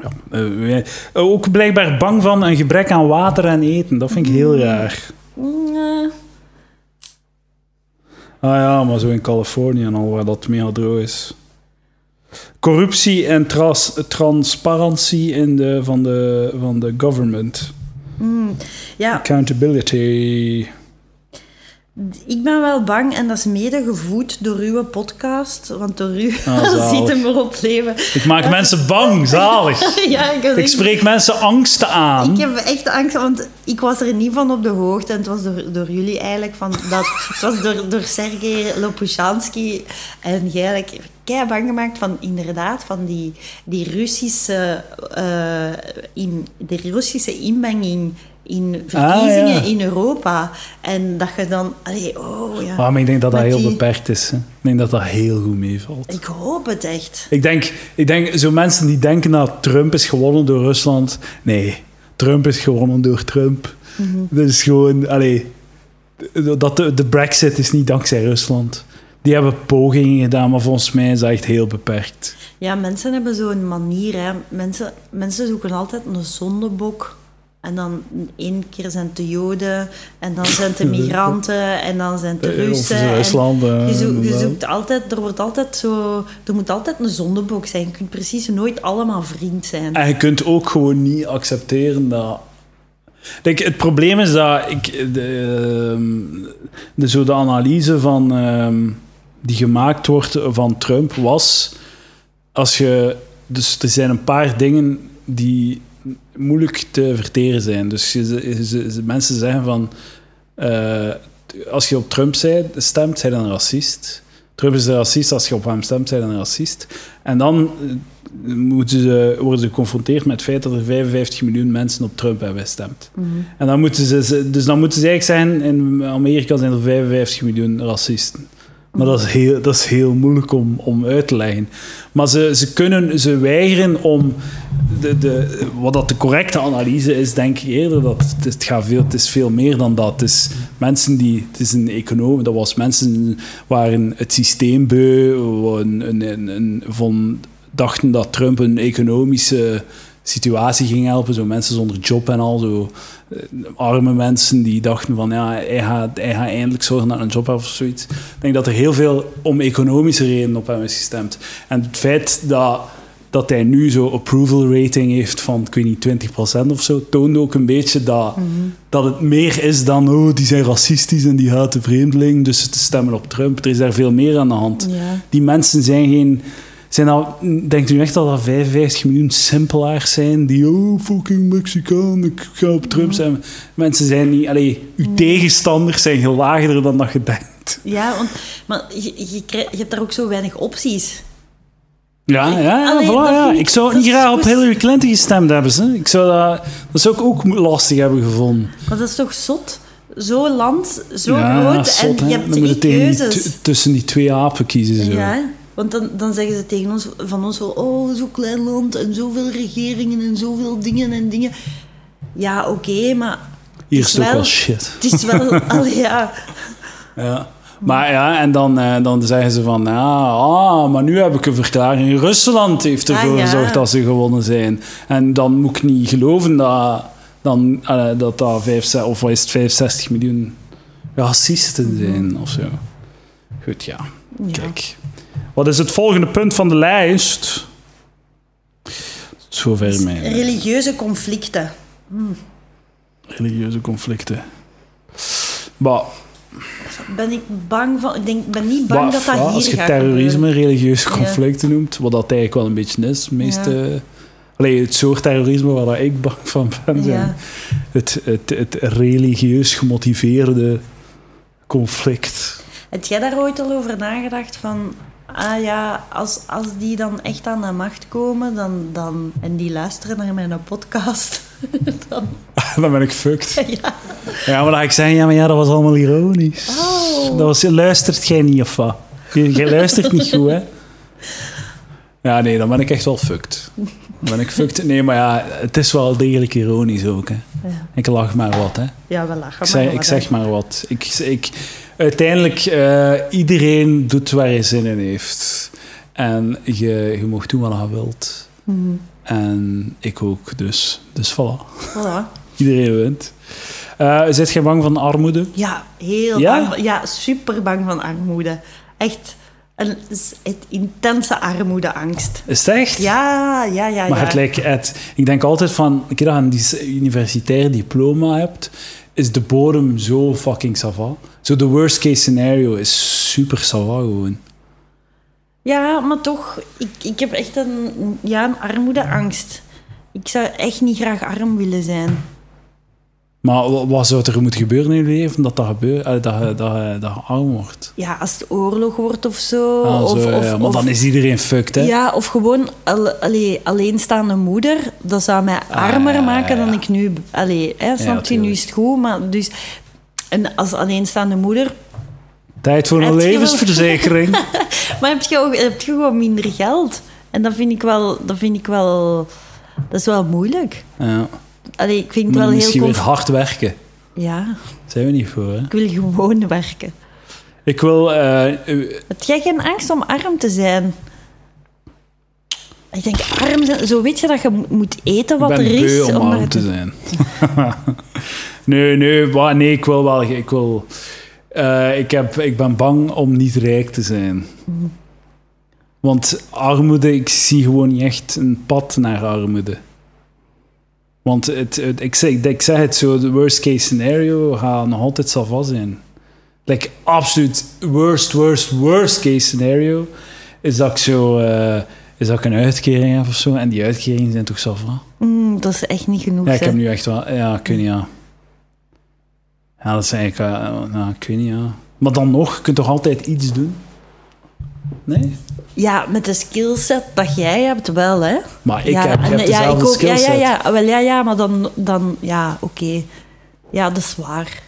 Speaker 1: Ja, eh, wij- ook blijkbaar bang van een gebrek aan water en eten. Dat vind ik heel raar.
Speaker 2: Mm, eh,
Speaker 1: Ah ja, maar zo in Californië en al waar dat meer droog is. Corruptie en tras- transparantie in de, van, de, van de government.
Speaker 2: ja,
Speaker 1: Accountability.
Speaker 2: ik ben wel bang en dat is mede gevoed door uw podcast, want door u
Speaker 1: Ah, zalig.
Speaker 2: ziet hem erop leven.
Speaker 1: Ik maak mensen bang, zalig.
Speaker 2: ja, ik, had
Speaker 1: Ik
Speaker 2: echt-
Speaker 1: spreek mensen angsten
Speaker 2: ik
Speaker 1: aan.
Speaker 2: heb echt angst, want ik was er niet van op de hoogte en het was door, door jullie eigenlijk van dat, het was door, door Sergej Lopushansky en jij eigenlijk kei bang gemaakt van inderdaad van die, die Russische eh, in, de Russische inmenging in verkiezingen
Speaker 1: Ah, ja.
Speaker 2: in Europa en dat je dan allee, oh ja
Speaker 1: Ah, maar ik denk dat dat
Speaker 2: Met
Speaker 1: heel
Speaker 2: die-
Speaker 1: beperkt is. Hè. Ik denk dat dat heel goed meevalt.
Speaker 2: ik hoop het echt
Speaker 1: Ik denk, ik denk zo mensen die denken dat Trump is gewonnen door Rusland. Nee, Trump is gewonnen door Trump.
Speaker 2: Mhm.
Speaker 1: Dat is gewoon, allee, dat de, de Brexit is niet dankzij Rusland. Die hebben pogingen gedaan, maar volgens mij is dat echt heel beperkt.
Speaker 2: Ja, mensen hebben zo'n manier. Hè. Mensen, mensen zoeken altijd een zondebok. En dan één keer zijn het de Joden, en dan zijn het de migranten, en dan zijn het de
Speaker 1: Eh, of
Speaker 2: Russen.
Speaker 1: is
Speaker 2: en
Speaker 1: Rusland, eh,
Speaker 2: je, zoekt, je
Speaker 1: inderdaad.
Speaker 2: zoekt altijd, er wordt altijd zo, er moet altijd een zondebok zijn. Je kunt precies nooit allemaal vriend zijn.
Speaker 1: En je kunt ook gewoon niet accepteren dat. Kijk, het probleem is dat ik. De, ehm, de, zo de analyse van, ehm, die gemaakt wordt van Trump was. Als je, dus er zijn een paar dingen die moeilijk te verteren zijn. Dus je, je- je- je- mensen zeggen van. eh, als je op Trump zij- stemt, zijn een racist. Trump is een racist. Als je op hem stemt, zijn een racist. En dan eh, moeten ze, worden ze geconfronteerd met het feit dat er 55 miljoen mensen op Trump hebben gestemd. En dan moeten ze- ze, dus dan moeten ze eigenlijk zeggen, in Amerika zijn er 55 miljoen racisten. Maar dat is heel, dat is heel moeilijk om, om uit te leggen. Maar ze, ze, kunnen, ze weigeren om... De, de, wat dat de correcte analyse is, denk ik eerder, dat het, het, gaat veel, het is veel meer dan dat. Het is mensen die... Het is een econoom, dat was mensen waren het systeem beu, een, een, een, een- van, dachten dat Trump een economische situatie ging helpen, zo mensen zonder job en al, zo eh, arme mensen die dachten van ja, hij gaat, hij gaat eindelijk zorgen dat hij een job heeft of zoiets. Ik denk dat er heel veel om economische redenen op hem is gestemd. En het feit dat, dat hij nu zo'n approval rating heeft van, ik weet niet, 20% of zo, toonde ook een beetje dat, dat het meer is dan, oh, die zijn racistisch en die haten vreemdeling, dus ze stemmen op Trump. Er is daar veel meer aan de hand.
Speaker 2: Ja.
Speaker 1: Die mensen zijn geen... Zijn al, denkt u echt dat dat 55 miljoen simpelaars zijn? Die, oh, fucking Mexicaan, ik ga op Trump zijn. Mensen zijn niet... Allee, uw tegenstanders zijn gelaagder dan dat je denkt.
Speaker 2: Ja, want, maar je, je, krijg- je hebt daar ook zo weinig opties.
Speaker 1: Ja, ja, ja,
Speaker 2: Allee,
Speaker 1: voilà,
Speaker 2: dat
Speaker 1: ja.
Speaker 2: vind ik-
Speaker 1: Ik zou
Speaker 2: dat
Speaker 1: niet
Speaker 2: is
Speaker 1: graag op
Speaker 2: goed.
Speaker 1: Hillary Clinton gestemd hebben. Ze. Ik zou dat, dat zou ik ook mo- lastig hebben gevonden.
Speaker 2: Maar dat is toch zot? Zo'n land, zo
Speaker 1: ja,
Speaker 2: groot,
Speaker 1: zot,
Speaker 2: en
Speaker 1: hè.
Speaker 2: je
Speaker 1: Dan moet
Speaker 2: hebt
Speaker 1: je
Speaker 2: twee
Speaker 1: tegen die
Speaker 2: keuzes.
Speaker 1: t- tussen die twee apen kiezen. Zo.
Speaker 2: Ja, want dan, dan zeggen ze tegen ons, van ons wel, oh, zo'n klein land en zoveel regeringen en zoveel dingen en dingen. Ja, oké, maar
Speaker 1: Hier
Speaker 2: Het
Speaker 1: is
Speaker 2: is
Speaker 1: het ook
Speaker 2: wel-
Speaker 1: wel shit.
Speaker 2: het is wel, allee, ja,
Speaker 1: Ja. Maar ja, en dan, eh, dan zeggen ze van, ja, ah, maar nu heb ik een verklaring. Rusland heeft ervoor
Speaker 2: Ah, ja.
Speaker 1: gezorgd dat ze gewonnen zijn. En dan moet ik niet geloven dat dan, eh, dat, dat vijf, zes- of wat is het, 65 miljoen racisten zijn of zo. Goed, ja.
Speaker 2: Mhm. Ja.
Speaker 1: Kijk. Wat is het volgende punt van de lijst? Tot Zover
Speaker 2: Dus
Speaker 1: mijn
Speaker 2: religieuze conflicten.
Speaker 1: religieuze conflicten. Maar,
Speaker 2: Ben ik bang van, ik denk, ben niet bang
Speaker 1: Maar
Speaker 2: dat dat
Speaker 1: ja,
Speaker 2: hier
Speaker 1: als je
Speaker 2: gaat
Speaker 1: terrorisme
Speaker 2: gebeuren.
Speaker 1: religieuze conflicten noemt, wat dat eigenlijk wel een beetje is, meeste, allee, het soort terrorisme waar dat ik bang van ben, zijn
Speaker 2: Ja.
Speaker 1: het, het, het religieus gemotiveerde conflict.
Speaker 2: Heb jij daar ooit al over nagedacht van... Ah ja, als, als die dan echt aan de macht komen dan, dan, en die luisteren naar mijn podcast, dan...
Speaker 1: Dan ben ik fucked.
Speaker 2: Ja.
Speaker 1: Ja, maar dan ga ik zeggen, ja, maar ja, dat was allemaal ironisch.
Speaker 2: Oh.
Speaker 1: Dat was, luistert jij niet of wat? Je- Jij luistert niet goed, hè? Ja, nee, dan ben ik echt wel fucked. Dan ben ik fucked. Nee, maar ja, het is wel degelijk ironisch ook, hè.
Speaker 2: Ja,
Speaker 1: Ik lach maar wat, hè.
Speaker 2: ja we lachen
Speaker 1: Ik zeg,
Speaker 2: maar.
Speaker 1: ik
Speaker 2: wat,
Speaker 1: zeg
Speaker 2: hè.
Speaker 1: maar wat. Ik, ik, uiteindelijk, eh, iedereen doet waar hij zin in heeft. En je, je mag doen wat je wilt.
Speaker 2: Mhm.
Speaker 1: En ik ook, dus. Dus voilà.
Speaker 2: Voilà.
Speaker 1: Iedereen wint. Eh zit jij bang van armoede?
Speaker 2: Ja, heel
Speaker 1: Ja?
Speaker 2: bang. Ja, super bang van armoede. Echt een s- het intense armoedeangst.
Speaker 1: Is het echt?
Speaker 2: Ja, ja, ja.
Speaker 1: Maar
Speaker 2: ja.
Speaker 1: het lijkt het, ik denk altijd van, een keer dat je een dis- universitair diploma hebt, is de bodem zo fucking sava. Zo de worst case scenario is super sava gewoon.
Speaker 2: Ja, maar toch, ik, ik heb echt een, ja, een armoedeangst. Ik zou echt niet graag arm willen zijn.
Speaker 1: Maar wa- wat zou er moeten gebeuren in je leven dat dat gebeurt, eh, dat, je- dat, je- dat je arm wordt?
Speaker 2: Ja, als het oorlog wordt of zo.
Speaker 1: Ah,
Speaker 2: Oh, of,
Speaker 1: zo,
Speaker 2: of,
Speaker 1: ja,
Speaker 2: of-
Speaker 1: want dan is iedereen fucked, hè?
Speaker 2: Ja, of gewoon al, allee, alleenstaande moeder. Dat zou mij armer
Speaker 1: Ah, ja, ja,
Speaker 2: maken dan
Speaker 1: ja.
Speaker 2: ik nu... Allee, hè, snap je, nu
Speaker 1: tuurlijk.
Speaker 2: is het goed, maar dus... En als alleenstaande moeder...
Speaker 1: Tijd voor een
Speaker 2: Heb je wel-
Speaker 1: levensverzekering.
Speaker 2: Maar heb je, ook, heb je gewoon minder geld? En dat vind ik wel... Dat vind ik wel... Dat is wel moeilijk.
Speaker 1: ja.
Speaker 2: Allee, ik vind het wel
Speaker 1: Moet
Speaker 2: heel...
Speaker 1: misschien weer
Speaker 2: comf-
Speaker 1: hard werken.
Speaker 2: Ja,
Speaker 1: Zijn we niet voor, hè?
Speaker 2: ik wil gewoon werken.
Speaker 1: Ik wil... eh, eh,
Speaker 2: Heb jij geen angst om arm te zijn? Ik denk, arm zijn... Zo weet je dat je mo- moet eten wat
Speaker 1: ik ben
Speaker 2: er is.
Speaker 1: beu om
Speaker 2: maar
Speaker 1: arm
Speaker 2: het-
Speaker 1: te zijn. nee, nee, wa- nee, ik wil wel... Ik, wil, eh, ik, heb, ik ben bang om niet rijk te zijn. Want armoede, ik zie gewoon niet echt een pad naar armoede. Want het, het- ik, zeg, ik zeg het zo, de worst case scenario gaat nog altijd Sava zijn. Like, absoluut worst, worst, worst case scenario is dat ik zo... eh, is dat ik een uitkering heb of zo. En die uitkeringen zijn toch Sava?
Speaker 2: Mm, dat is echt niet genoeg.
Speaker 1: Ja, ik
Speaker 2: hè.
Speaker 1: heb nu echt wel... Ja, ik weet niet, ja. Ja, dat is eigenlijk... eh, nou, ik weet niet, ja. Maar dan nog, je kunt toch altijd iets doen? Nee?
Speaker 2: Ja, met de skillset dat jij hebt wel, hè?
Speaker 1: Maar ik
Speaker 2: ja,
Speaker 1: heb, je
Speaker 2: en,
Speaker 1: hebt
Speaker 2: ja,
Speaker 1: dezelfde
Speaker 2: ik ook. Ja,
Speaker 1: skillset.
Speaker 2: ja, ja, Ah, wel, ja, ja, maar dan, dan ja, oké. Ja, dat is waar.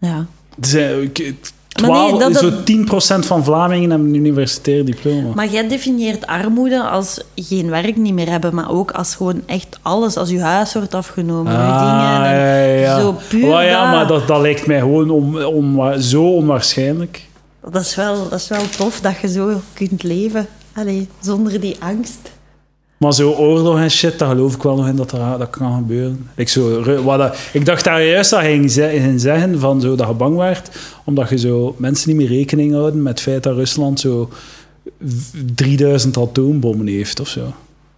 Speaker 2: Ja.
Speaker 1: Het is, eh, ik- het-
Speaker 2: Maar nee,
Speaker 1: twaalf-
Speaker 2: dat- dat-
Speaker 1: Zo 10% van Vlamingen hebben een universitair diploma.
Speaker 2: Maar jij definieert armoede als geen werk niet meer hebben, maar ook als gewoon echt alles, als je huis wordt afgenomen, je
Speaker 1: Ah,
Speaker 2: dingen. en-
Speaker 1: ja, ja.
Speaker 2: zo puur
Speaker 1: Oh, ja,
Speaker 2: dat.
Speaker 1: maar dat, dat lijkt mij gewoon on, onwa- zo onwaarschijnlijk.
Speaker 2: Dat, is wel, dat is wel tof dat je zo kunt leven. Allee, zonder die angst.
Speaker 1: Maar zo oorlog en shit, daar geloof ik wel nog in dat er- dat kan gebeuren. Ik, zo, ru- wat dat- ik dacht daar juist dat hij ging ze- ging zeggen van zo, dat je bang werd, omdat je zo mensen niet meer rekening houden met het feit dat Rusland zo v- 3000 atoombommen heeft of zo.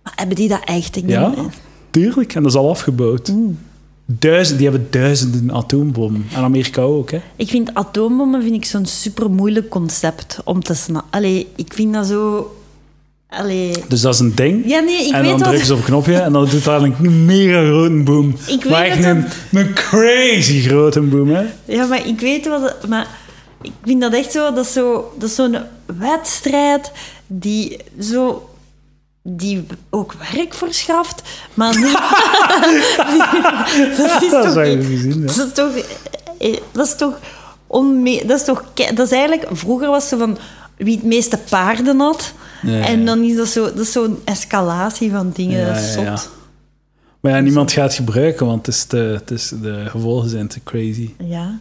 Speaker 2: Maar hebben die dat echt? Ik
Speaker 1: Ja,
Speaker 2: denk-
Speaker 1: tuurlijk. En dat is al afgebouwd.
Speaker 2: Mm.
Speaker 1: Duizend, die hebben duizenden atoombommen. En Amerika ook, hè.
Speaker 2: Ik vind atoombommen vind ik zo'n super moeilijk concept om te snappen. Allee, ik vind dat zo. Allee.
Speaker 1: Dus dat is een ding.
Speaker 2: Ja, nee, ik
Speaker 1: en
Speaker 2: weet
Speaker 1: dan
Speaker 2: wat.
Speaker 1: drukken ze op een knopje en dan doet daar een mega grote boom.
Speaker 2: Ik weet
Speaker 1: maar echt
Speaker 2: dat
Speaker 1: een, een crazy grote boom, hè.
Speaker 2: Ja, maar ik weet wat. Maar ik vind dat echt zo. Dat is zo- dat is zo'n wedstrijd die zo. Die ook werk verschaft, maar niet- dat is
Speaker 1: Dat
Speaker 2: toch,
Speaker 1: zou je
Speaker 2: niet-
Speaker 1: gezien, hè.
Speaker 2: dat is toch, eh, dat is toch, onme- dat is toch, ke- dat is eigenlijk, vroeger was ze van wie het meeste paarden had,
Speaker 1: Ja, ja,
Speaker 2: en
Speaker 1: ja.
Speaker 2: dan is dat zo, dat is zo'n escalatie van dingen, dat is zot.
Speaker 1: Maar ja, niemand gaat het gebruiken, want het is te, het is, de gevolgen zijn te crazy.
Speaker 2: Ja.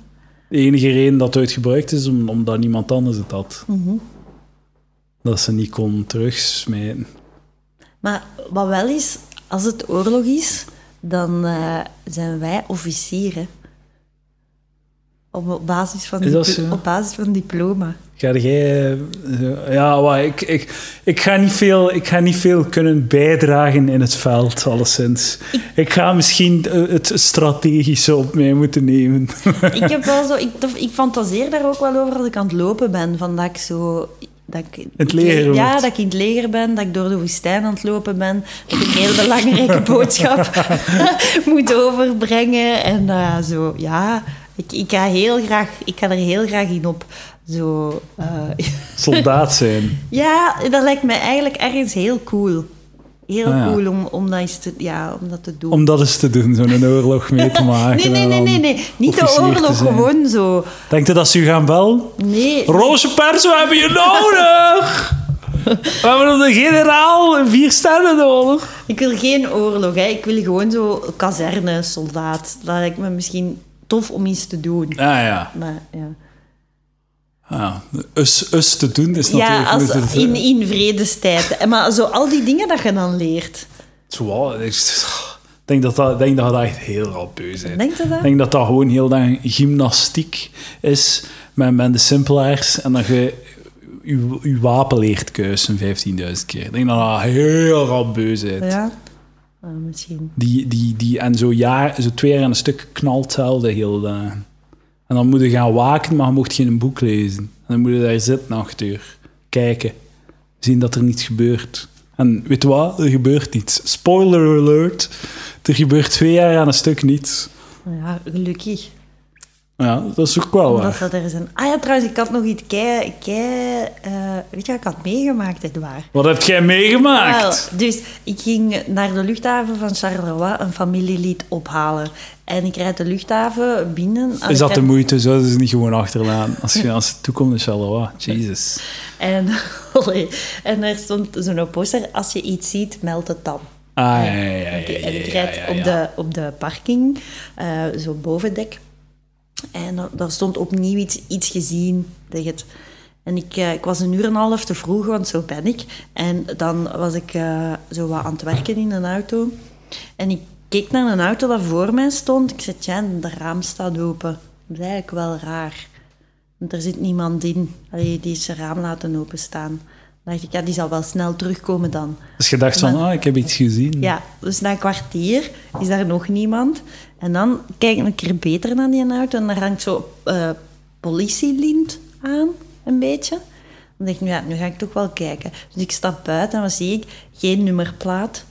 Speaker 1: De enige reden dat het ooit gebruikt is om, omdat niemand anders het had.
Speaker 2: Mhm.
Speaker 1: Dat ze niet kon terugsmijten.
Speaker 2: Maar wat wel is, als het oorlog is, dan eh, zijn wij officieren. Op, op basis van
Speaker 1: Is dat
Speaker 2: diplo-
Speaker 1: zo?
Speaker 2: op basis van diploma.
Speaker 1: Ga jij... eh, zo- Ja, wa, ik, ik, ik, ga niet veel, ik ga niet veel kunnen bijdragen in het veld, alleszins. Ik ga misschien eh, het strategische op mij moeten nemen.
Speaker 2: ik heb wel zo, ik, dat- ik fantaseer daar ook wel over als ik aan het lopen ben. Van dat ik zo. Dat ik,
Speaker 1: Het leger wordt.
Speaker 2: Ja, dat ik in het leger ben, dat ik door de woestijn aan het lopen ben. Dat ik een heel belangrijke boodschap moet overbrengen. En eh, zo, ja. Ik, ik, ga heel graag, ik ga er heel graag in op. Zo, eh,
Speaker 1: Soldaat zijn.
Speaker 2: ja, dat lijkt me eigenlijk ergens heel cool. Heel
Speaker 1: Ah, ja.
Speaker 2: cool om, om, dat eens te, ja, om dat te doen.
Speaker 1: Om dat eens te doen, zo'n oorlog mee te maken.
Speaker 2: nee, nee,
Speaker 1: en
Speaker 2: nee,
Speaker 1: dan
Speaker 2: nee, nee. Niet de
Speaker 1: officier te
Speaker 2: oorlog,
Speaker 1: zijn.
Speaker 2: gewoon zo.
Speaker 1: Denkt u dat ze u gaan bellen?
Speaker 2: Nee.
Speaker 1: Roze pers, we hebben je nodig! We hebben een generaal in vier sterren nodig.
Speaker 2: Ik wil geen oorlog, hè. ik wil gewoon zo kazerne, soldaat. Dat lijkt me misschien tof om iets te doen.
Speaker 1: Ah ja.
Speaker 2: Maar, ja.
Speaker 1: Ah, us, us te doen is
Speaker 2: Ja,
Speaker 1: natuurlijk...
Speaker 2: als,
Speaker 1: met het-
Speaker 2: in, in vredestijd. En Maar zo al die dingen dat je dan leert.
Speaker 1: Zowel, ik denk dat dat, denk dat, je daar echt heel rap beu bent.
Speaker 2: Denk je dat?
Speaker 1: Ik denk dat dat gewoon heel lang gymnastiek is met, met de simpelaars en dat je je, je wapen leert keuzen 15.000 keer. Ik denk dat dat heel rap beu bent.
Speaker 2: Ja. Ah, misschien.
Speaker 1: Die, die, die, en zo, jaar, zo twee jaar aan een stuk knalt hetzelfde heel dagen. En dan moet je gaan waken, maar je mocht geen boek lezen. En dan moet je daar zitten acht uur. Kijken. Zien dat er niets gebeurt. En weet je wat? Er gebeurt niets. Spoiler alert. Er gebeurt twee jaar aan een stuk niets.
Speaker 2: Ja, gelukkig.
Speaker 1: Ja, dat is ook wel
Speaker 2: Omdat
Speaker 1: waar.
Speaker 2: dat er zijn. Ah ja, trouwens, ik had nog iets kei... kei eh, weet je wat ik had meegemaakt, echt waar?
Speaker 1: Wat heb jij meegemaakt?
Speaker 2: Wel, dus ik ging naar de luchthaven van Charleroi een familielid ophalen. En ik rijd de luchthaven binnen.
Speaker 1: Is
Speaker 2: Ah, ik
Speaker 1: dat de
Speaker 2: rijd-
Speaker 1: moeite? Zouden ze het niet gewoon achterlaten? Als je als het toekomt, is Shalom. Jezus.
Speaker 2: En, allee, en er stond zo'n poster, als je iets ziet, meld het dan.
Speaker 1: Ah, ja, ja, ja. ja,
Speaker 2: En ik
Speaker 1: ja,
Speaker 2: rijd
Speaker 1: ja,
Speaker 2: Op,
Speaker 1: ja.
Speaker 2: de, op de parking, eh, zo bovendek. En da- daar stond opnieuw iets, iets gezien. Zeg het. En ik, eh, ik was een uur en een half te vroeg, want zo ben ik. En dan was ik eh, zo wat aan het werken in een auto. En ik keek naar een auto dat voor mij stond. Ik zei, ja, de raam staat open. Dat is eigenlijk wel raar. Want er zit niemand in. Allee, die is zijn raam laten openstaan. Dan dacht ik, ja, die zal wel snel terugkomen dan.
Speaker 1: Dus je dacht van, ah, ik heb iets gezien.
Speaker 2: Ja, dus na een kwartier is daar nog niemand. En dan kijk ik een keer beter naar die auto en daar hangt zo eh politielint aan, een beetje. Dan denk ik, nou ja, nu ga ik toch wel kijken. Dus ik stap buiten en wat zie ik? Geen nummerplaat.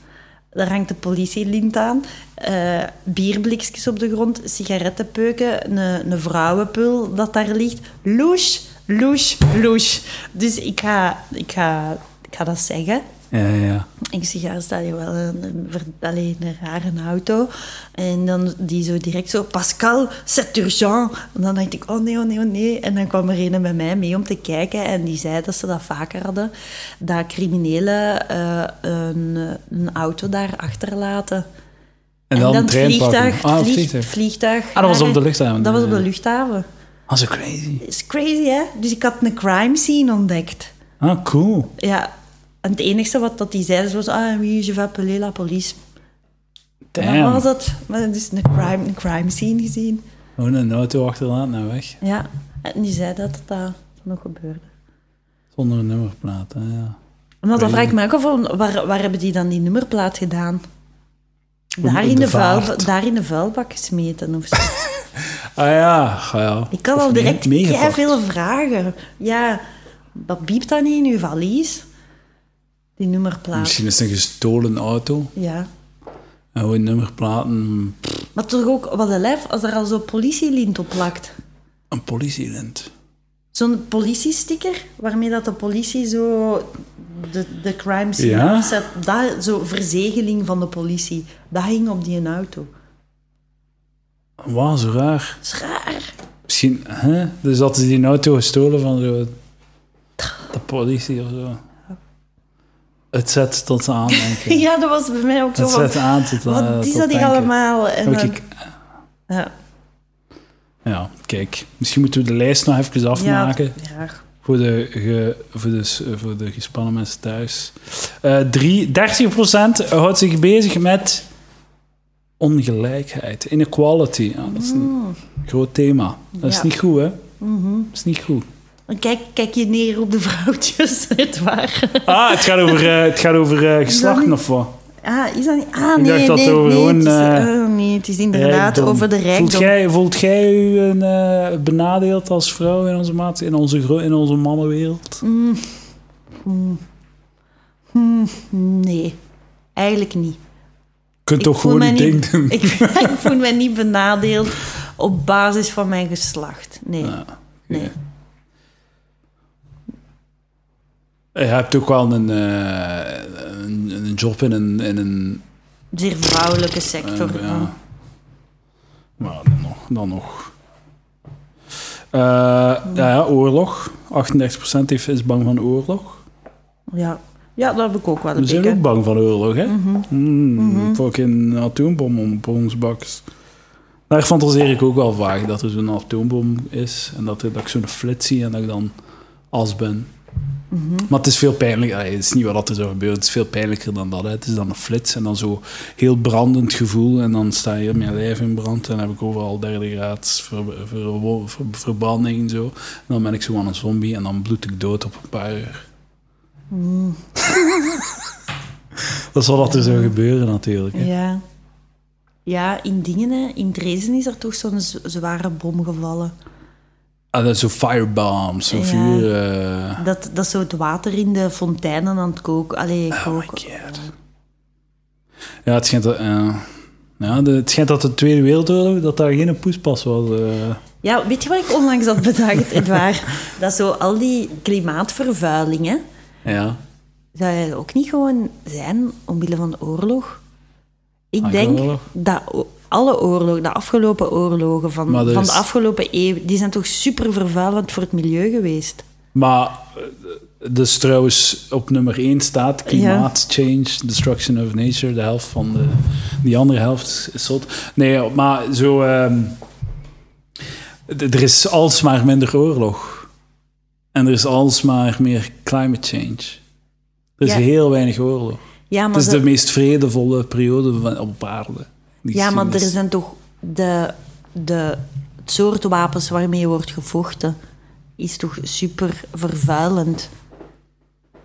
Speaker 2: Daar hangt de politielint aan. eh bierblikjes op de grond, sigarettenpeuken, een, een vrouwenpul dat daar ligt. Loes, loes, loes. Dus ik ga, ik ga, ik ga dat zeggen.
Speaker 1: Ja, ja.
Speaker 2: Ik zeg, ja, staat hier wel een, een, ver- allee, een rare auto. En dan die zo direct zo, Pascal, c'est urgent. En dan dacht ik, oh nee, oh nee, oh nee. En dan kwam er een bij mij mee om te kijken. En die zei dat ze dat vaker hadden. Dat criminelen eh, een, een auto daar achterlaten.
Speaker 1: En dan, een
Speaker 2: het
Speaker 1: trein pakken.
Speaker 2: vliegtuig,
Speaker 1: Ah, het
Speaker 2: vlieg-
Speaker 1: vliegtuig.
Speaker 2: vliegtuig.
Speaker 1: Ah, dat was op de
Speaker 2: naar-
Speaker 1: luchthaven.
Speaker 2: Dat was op de luchthaven.
Speaker 1: Ah, zo crazy.
Speaker 2: is crazy, hè? Dus ik had een crime scene ontdekt.
Speaker 1: Ah, cool.
Speaker 2: Ja. En het enige wat dat die zeiden was, ah, wie je va appeler la police. En
Speaker 1: Damn.
Speaker 2: dan was dat. Maar dat is een crime, een crime scene gezien.
Speaker 1: Gewoon Oh, een auto achterlaten en weg.
Speaker 2: Ja. En die zei dat dat, dat nog gebeurde.
Speaker 1: Zonder een nummerplaat, hè, ja.
Speaker 2: Maar dan vraag ik me ook af, van, waar, waar hebben die dan die nummerplaat gedaan? Daar
Speaker 1: in
Speaker 2: in,
Speaker 1: de
Speaker 2: de vuil,
Speaker 1: vaart.
Speaker 2: daar in de vuilbak gesmeten of zo.
Speaker 1: Ah ja, ah, ja.
Speaker 2: Ik kan
Speaker 1: Of
Speaker 2: al
Speaker 1: mee-
Speaker 2: direct
Speaker 1: meegepakt.
Speaker 2: veel vragen. Ja, wat biept dan in uw valies? Die nummerplaat.
Speaker 1: Misschien is het een gestolen auto.
Speaker 2: Ja.
Speaker 1: En gewoon nummerplaten, pff,
Speaker 2: Maar toch ook, wat een lijf als er al zo'n politielint op plakt.
Speaker 1: een politielint.
Speaker 2: Zo'n politiesticker, waarmee dat de politie zo de, de crime scene
Speaker 1: Ja.
Speaker 2: afzet. Dat, zo verzegeling van de politie. Dat hing op die auto.
Speaker 1: Wauw, zo raar.
Speaker 2: Dat is raar.
Speaker 1: Misschien, hè? Dus hadden ze die auto gestolen van zo... De politie of zo. Het zet tot ze aandenken.
Speaker 2: Ja, dat was bij mij ook zo
Speaker 1: Het
Speaker 2: van...
Speaker 1: zet aan tot eh,
Speaker 2: Wat is
Speaker 1: tot
Speaker 2: dat hier
Speaker 1: denken.
Speaker 2: allemaal? En
Speaker 1: Heb
Speaker 2: dan-
Speaker 1: ik-
Speaker 2: ja,
Speaker 1: Ja, kijk. Misschien moeten we de lijst nog even afmaken.
Speaker 2: Ja, raar.
Speaker 1: Voor de, ge- voor, de, s- voor de gespannen mensen thuis. Eh drie, 30% houdt zich bezig met ongelijkheid, inequality. Ja, dat is een groot thema. Dat is
Speaker 2: Mm. Ja. Mm-hmm.
Speaker 1: niet goed, hè? Dat is niet goed.
Speaker 2: Dan Kijk, kijk je neer op de vrouwtjes, het waar.
Speaker 1: Ah, het gaat over, eh, het gaat over eh, geslachten of wat?
Speaker 2: Ah, is dat niet... Ah,
Speaker 1: Ik
Speaker 2: nee,
Speaker 1: dacht dat
Speaker 2: nee,
Speaker 1: het over
Speaker 2: nee,
Speaker 1: gewoon,
Speaker 2: het is,
Speaker 1: eh,
Speaker 2: ah, nee, het is inderdaad
Speaker 1: Rijkdom.
Speaker 2: over de rijkdom.
Speaker 1: Voelt jij, voelt jij u een, eh, benadeeld als vrouw in onze maat, in onze, gro- in onze mannenwereld?
Speaker 2: Mm. Nee, eigenlijk niet.
Speaker 1: Je kunt toch
Speaker 2: voel
Speaker 1: gewoon
Speaker 2: mij
Speaker 1: je ding
Speaker 2: niet-
Speaker 1: doen?
Speaker 2: Ik, ik voel me niet benadeeld op basis van mijn geslacht. Nee.
Speaker 1: Ja.
Speaker 2: nee.
Speaker 1: Je hebt ook wel een, eh, een, een job in een... In een
Speaker 2: Zeer vrouwelijke sector.
Speaker 1: eh,
Speaker 2: ja.
Speaker 1: ja. Maar nou, dan nog. Dan nog. Eh, ja, ja, oorlog. 38% heeft, is bang van oorlog.
Speaker 2: Ja. ja, dat heb ik Mhm. ook wel een
Speaker 1: We zijn
Speaker 2: beetje.
Speaker 1: ook bang van oorlog, hè? Mm, Fucking atoombom op ons baks. Daar fantaseer ik ook wel vaak, dat er zo'n atoombom is en dat, er- dat ik zo'n flits zie en dat ik dan as ben. Maar het is veel pijnlijker, allee, het is niet wat dat er zou gebeuren, het is veel pijnlijker dan dat. Hè. Het is dan een flits en dan zo heel brandend gevoel en dan sta je heel mijn lijf in brand en dan heb ik overal derde graads ver, ver- ver- verbranding en zo. En dan ben ik zo aan een zombie en dan bloed ik dood op een paar uur.
Speaker 2: Hmm.
Speaker 1: Dat is wat dat er zou gebeuren natuurlijk. hè.
Speaker 2: Ja. Ja, in dingen, hè. in Dresden is er toch zo'n z- zware bom gevallen.
Speaker 1: Ah, dat is zo'n firebombs, zo'n
Speaker 2: Ja.
Speaker 1: vuur... eh,
Speaker 2: Dat, dat zo het water in de fonteinen aan het koken. Allee,
Speaker 1: Oh my
Speaker 2: koken.
Speaker 1: god. Ja, het schijnt dat... eh, ja, de- het schijnt dat de Tweede Wereldoorlog, dat daar geen poespas was. eh.
Speaker 2: Ja, weet je wat ik onlangs had bedacht, Edouard? Dat zo al die klimaatvervuilingen,
Speaker 1: ja.
Speaker 2: zou je ook niet gewoon zijn omwille van de oorlog? Ik
Speaker 1: Ah,
Speaker 2: denk
Speaker 1: oorlog.
Speaker 2: dat o- alle oorlogen, de afgelopen oorlogen van,
Speaker 1: Maar er
Speaker 2: van
Speaker 1: is-
Speaker 2: de afgelopen eeuw, die zijn toch super vervuilend voor het milieu geweest?
Speaker 1: Maar, eh, dus trouwens, op nummer 1 staat klimaat, change, destruction of nature. De helft van de... Die andere helft is zot. Nee, maar zo... ehm, d- er is alsmaar minder oorlog. En er is alsmaar meer climate change. Er is
Speaker 2: Ja.
Speaker 1: heel weinig oorlog.
Speaker 2: Ja, maar
Speaker 1: Het is
Speaker 2: ze-
Speaker 1: de meest vredevolle periode van, op aarde. Die
Speaker 2: Ja, maar er
Speaker 1: geschiedenis.
Speaker 2: zijn toch de, de, het soort wapens waarmee wordt gevochten, is toch super vervuilend.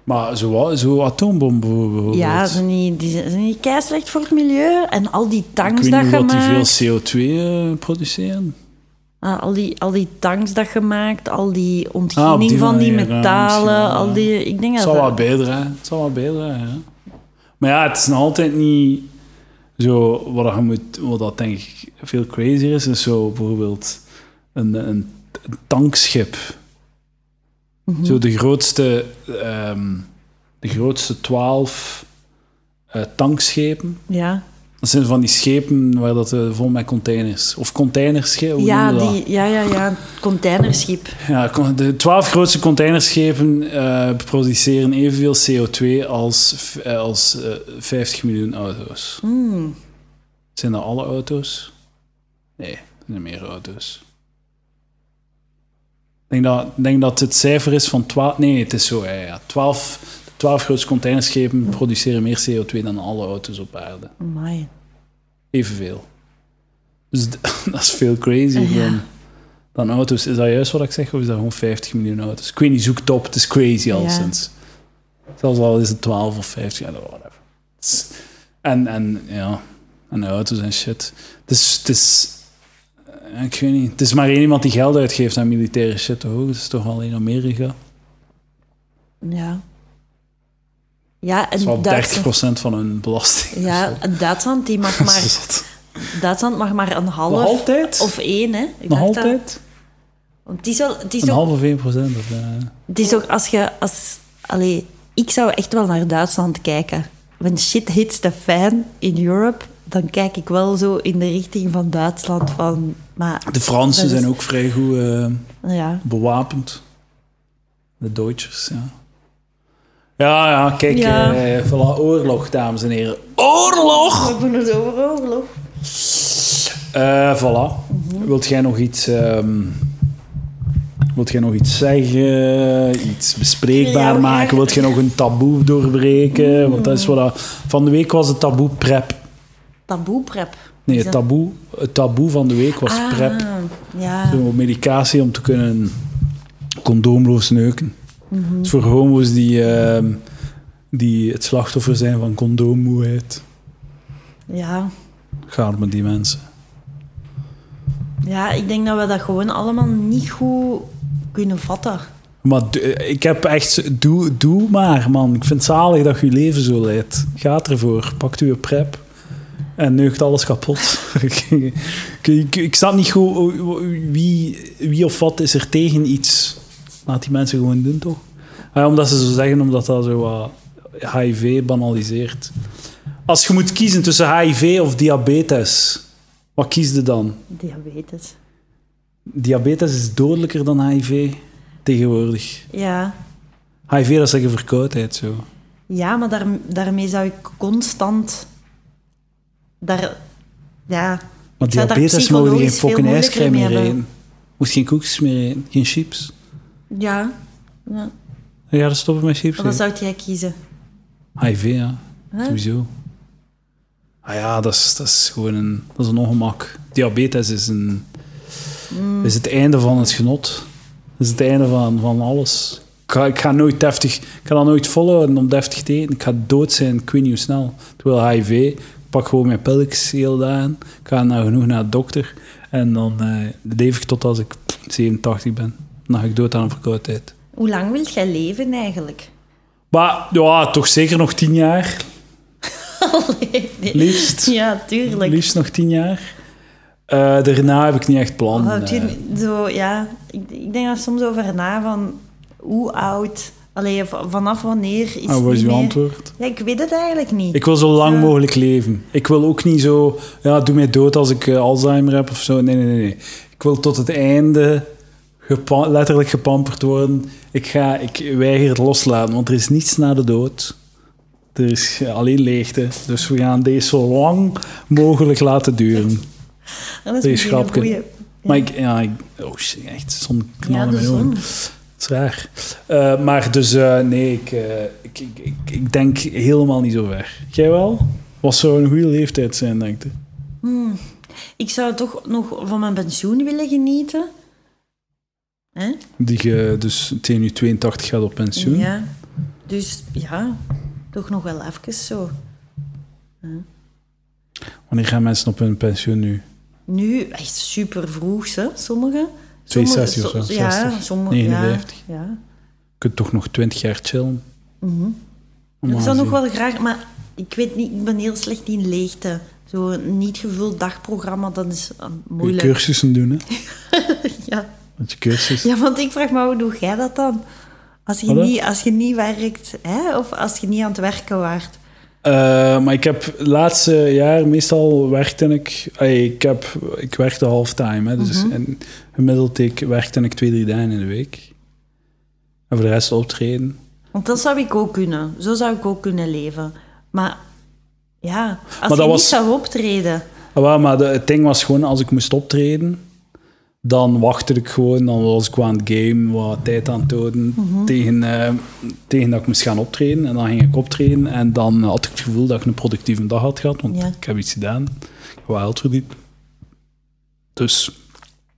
Speaker 1: Maar zo'n zo atoombom bijvoorbeeld.
Speaker 2: Ja, zijn die, die zijn zijn die keislecht voor het milieu en al die
Speaker 1: Ik
Speaker 2: tanks
Speaker 1: weet
Speaker 2: dat
Speaker 1: niet
Speaker 2: je
Speaker 1: wat die veel
Speaker 2: maakt,
Speaker 1: CO2 eh, produceren.
Speaker 2: ah, al die, al die tanks dat je maakt, al die ontginning
Speaker 1: Ah, op die
Speaker 2: van die
Speaker 1: manier, ja,
Speaker 2: metalen,
Speaker 1: misschien,
Speaker 2: al die, ik denk
Speaker 1: Het zal
Speaker 2: dat dat-
Speaker 1: wel bijdragen. Het zal wel bijdragen, ja. Maar ja, het is nog altijd niet zo... Wat, je moet, wat dat denk ik veel crazier is, is zo bijvoorbeeld een, een, een tankschip.
Speaker 2: Mhm.
Speaker 1: Zo de grootste... ehm, de grootste twaalf eh, tankschepen.
Speaker 2: ja,
Speaker 1: Dat zijn van die schepen waar dat eh, vol met containers. Of containerschepen. hoe
Speaker 2: ja,
Speaker 1: noemen we dat?
Speaker 2: die, ja, ja, ja, containerschip.
Speaker 1: Ja, con- de twaalf grootste containerschepen eh, produceren evenveel CO2 als, v- eh, als eh, 50 miljoen auto's. Zijn dat alle auto's? Nee, er zijn meer auto's. Ik denk dat, ik denk dat het cijfer is van 12. Nee, het is zo. Ja, ja, 12, de 12 grootste containerschepen produceren meer CO2 dan alle auto's op aarde.
Speaker 2: Amai.
Speaker 1: Evenveel. Dus d- dat is veel crazier
Speaker 2: Ja.
Speaker 1: dan, dan auto's. Is dat juist wat ik zeg? Of is dat gewoon 50 miljoen auto's? Ik weet niet, zoek het op. Het is crazy alleszins. Zelfs al is het 12 of 50, I don't know, whatever. Het is- En, en ja, en auto's en shit. Het is, het is, eh, ik weet niet. Het is maar één iemand die geld uitgeeft aan militaire shit, toch? Het is toch alleen Amerika?
Speaker 2: Ja. Ja,
Speaker 1: Dat is
Speaker 2: en
Speaker 1: wel 30%
Speaker 2: Duitsland,
Speaker 1: van hun belasting.
Speaker 2: ja, en Duitsland die mag
Speaker 1: Dat
Speaker 2: maar
Speaker 1: is zot.
Speaker 2: Duitsland mag maar een half
Speaker 1: Nog altijd?
Speaker 2: of één, hè? Ik
Speaker 1: Nog
Speaker 2: dacht dat.
Speaker 1: altijd?
Speaker 2: Want het is wel, het is
Speaker 1: Een
Speaker 2: ook,
Speaker 1: half of 1%? Of, eh,
Speaker 2: het is ook als je, als, allee, ik zou echt wel naar Duitsland kijken. When shit hits the fan in Europe, dan kijk ik wel zo in de richting van Duitsland van, maar
Speaker 1: De Fransen
Speaker 2: Dat is-
Speaker 1: zijn ook vrij goed eh,
Speaker 2: ja,
Speaker 1: bewapend. De Duitsers, ja. Ja, ja, kijk,
Speaker 2: Ja.
Speaker 1: eh, voilà, oorlog, dames en heren. Oorlog!
Speaker 2: we doen het over oorlog.
Speaker 1: Eh voilà.
Speaker 2: Mhm.
Speaker 1: Wilt jij nog iets... ehm, wilt jij nog iets zeggen? Iets bespreekbaar
Speaker 2: Ja, we
Speaker 1: maken?
Speaker 2: gaan-
Speaker 1: Wilt jij nog een taboe doorbreken?
Speaker 2: Mm.
Speaker 1: Want dat is wat... dat- Van de week was het taboe prep.
Speaker 2: Taboeprep.
Speaker 1: Nee,
Speaker 2: Is
Speaker 1: het
Speaker 2: dat-
Speaker 1: taboe, het taboe van de week was
Speaker 2: Ah,
Speaker 1: prep.
Speaker 2: Ja.
Speaker 1: Zo, medicatie om te kunnen condoomloos neuken. Dat is voor homo's die, ehm, die het slachtoffer zijn van condoommoeheid.
Speaker 2: ja.
Speaker 1: Ga er met die mensen.
Speaker 2: Ja, ik denk dat we dat gewoon allemaal niet goed kunnen vatten.
Speaker 1: Maar d- eh, ik heb echt... z- Doe, doe maar, man. Ik vind het zalig dat je je leven zo leidt. Gaat ervoor. Pakt uw prep. En neugt alles kapot. ik, ik, ik snap niet goed wie, wie of wat is er tegen iets. Laat die mensen gewoon doen, toch? Ah ja, omdat ze zo zeggen, omdat dat zo wat HIV banaliseert. Als je moet kiezen tussen HIV of diabetes, wat kies je dan?
Speaker 2: Diabetes.
Speaker 1: Diabetes is dodelijker dan HIV tegenwoordig.
Speaker 2: Ja.
Speaker 1: HIV, dat is zeggen verkoudheid, zo.
Speaker 2: Ja, maar daar, daarmee zou ik constant... Daar... Ja.
Speaker 1: Maar
Speaker 2: Ik zou daar
Speaker 1: diabetes mogen geen
Speaker 2: psychologisch veel
Speaker 1: fucking
Speaker 2: moeilijker
Speaker 1: ijscrème
Speaker 2: mee
Speaker 1: meer
Speaker 2: hebben.
Speaker 1: eten. Moest geen koekjes meer eten, geen chips.
Speaker 2: Ja. ja.
Speaker 1: Ja, dan stoppen met chips.
Speaker 2: Wat
Speaker 1: eten.
Speaker 2: zou jij kiezen?
Speaker 1: HIV, ja. Sowieso. Ah ja, dat is, dat is gewoon een, dat is een ongemak. Diabetes is, een, is het einde van het genot. Dat is het einde van, van alles. Ik ga, ik ga nooit heftig... Ik ga dat nooit volhouden om deftig te eten. Ik ga dood zijn, ik weet niet hoe snel. Terwijl HIV, ik pak gewoon mijn pilletjes heel dagen. Ik ga nou genoeg naar de dokter. En dan eh, leef ik tot als ik 87 ben. Dan ga ik dood aan een verkoudheid.
Speaker 2: Hoe lang wilt jij leven eigenlijk?
Speaker 1: Maar ja, toch zeker nog 10 jaar,
Speaker 2: Allee, nee.
Speaker 1: liefst.
Speaker 2: Ja, tuurlijk.
Speaker 1: Liefst nog tien jaar. Eh, daarna heb ik niet echt plannen.
Speaker 2: Houdt je
Speaker 1: eh.
Speaker 2: Oh, niet- zo, ja, ik, ik denk daar soms over na van hoe oud, allee, v- vanaf wanneer is
Speaker 1: Ah,
Speaker 2: het
Speaker 1: wat is
Speaker 2: niet
Speaker 1: uw
Speaker 2: meer-
Speaker 1: antwoord?
Speaker 2: Ja, ik weet het eigenlijk niet.
Speaker 1: Ik wil zo lang mogelijk leven. Ik wil ook niet zo, ja, doe mij dood als ik eh, Alzheimer heb of zo. Nee, nee, nee. nee. Ik wil tot het einde gepa- letterlijk gepamperd worden. Ik, ga, ik weiger het loslaten, want er is niets na de dood. Er is eh, alleen leegte. Dus we gaan deze zo lang mogelijk laten duren.
Speaker 2: dat is
Speaker 1: deze
Speaker 2: misschien een
Speaker 1: grapje.
Speaker 2: goeie.
Speaker 1: Maar ik, ja, ik, oh shit, echt, zon
Speaker 2: Ja,
Speaker 1: knallen
Speaker 2: de
Speaker 1: mijn
Speaker 2: zon.
Speaker 1: ogen. Dat is raar. Eh, maar dus, eh, nee, ik, eh, ik, ik, ik, ik denk helemaal niet zo ver. Jij wel? Wat zou een goede leeftijd zijn, denk ik.
Speaker 2: Ik zou toch nog van mijn pensioen willen genieten. Hè?
Speaker 1: Die je dus tegen je 82 gaat op pensioen.
Speaker 2: Ja. Dus ja, toch nog wel even zo.
Speaker 1: Wanneer gaan mensen op hun pensioen nu?
Speaker 2: Nu echt super vroeg, hè, sommigen. Sommigen-
Speaker 1: 62 of zo,
Speaker 2: Ja,
Speaker 1: 60,
Speaker 2: sommigen.
Speaker 1: 59.
Speaker 2: Ja, ja.
Speaker 1: Je kunt toch nog 20 jaar chillen?
Speaker 2: Mhm. Ik
Speaker 1: Normaal
Speaker 2: zou nog
Speaker 1: gezien.
Speaker 2: wel graag, maar ik weet niet, ik ben heel slecht in leegte. Zo'n niet gevuld dagprogramma, dat is eh,
Speaker 1: Je
Speaker 2: moeilijk.
Speaker 1: cursussen doen, hè?
Speaker 2: Ja.
Speaker 1: Want je cursus.
Speaker 2: ja, want ik vraag me, hoe doe jij dat dan? Als je,
Speaker 1: Wat?
Speaker 2: niet, als je niet werkt, hè? of als je niet aan het werken waart.
Speaker 1: Eh, maar ik heb laatste jaar meestal werkte ik. ey, ik, heb, ik werkte halftime. Hè, dus en gemiddeld ik, werkte ik twee, drie dagen in de week. En voor de rest optreden.
Speaker 2: Want dat zou ik ook kunnen. Zo zou ik ook kunnen leven. Maar ja, als
Speaker 1: dat
Speaker 2: je
Speaker 1: was-
Speaker 2: niet zou optreden...
Speaker 1: Ah, wel, maar de- het ding was gewoon, als ik moest optreden, dan wachtte ik gewoon. Dan was ik wel aan het game, wat tijd aan het doden. tegen, eh, tegen dat ik moest gaan optreden. En dan ging ik optreden. En dan had ik het gevoel dat ik een productieve dag had gehad. Want
Speaker 2: Ja.
Speaker 1: ik heb iets gedaan. Ik heb wel geld verdiend. Dus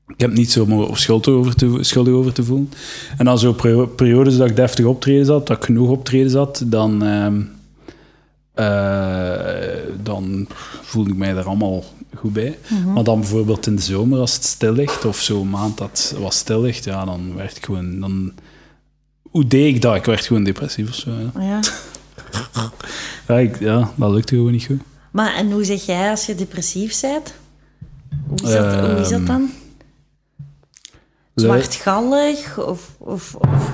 Speaker 1: ik heb niet zo mo- schuld over te, schuldig over te voelen. En dan zo perio- periodes dat ik deftig optreden zat, dat ik genoeg optreden zat, dan... ehm, eh, dan voel ik mij er allemaal goed bij. Maar dan bijvoorbeeld in de zomer, als het stil ligt, of zo'n maand dat was stil ligt, ja, dan werd ik gewoon... Dan, hoe deed ik dat? Ik werd gewoon depressief of zo. Ja,
Speaker 2: Ja.
Speaker 1: ja, ik- ja dat lukte gewoon niet goed.
Speaker 2: Maar en hoe zeg jij als je depressief bent? Hoe is dat, hoe is
Speaker 1: Ehm,
Speaker 2: dat dan? Zwartgallig? Of, of, of...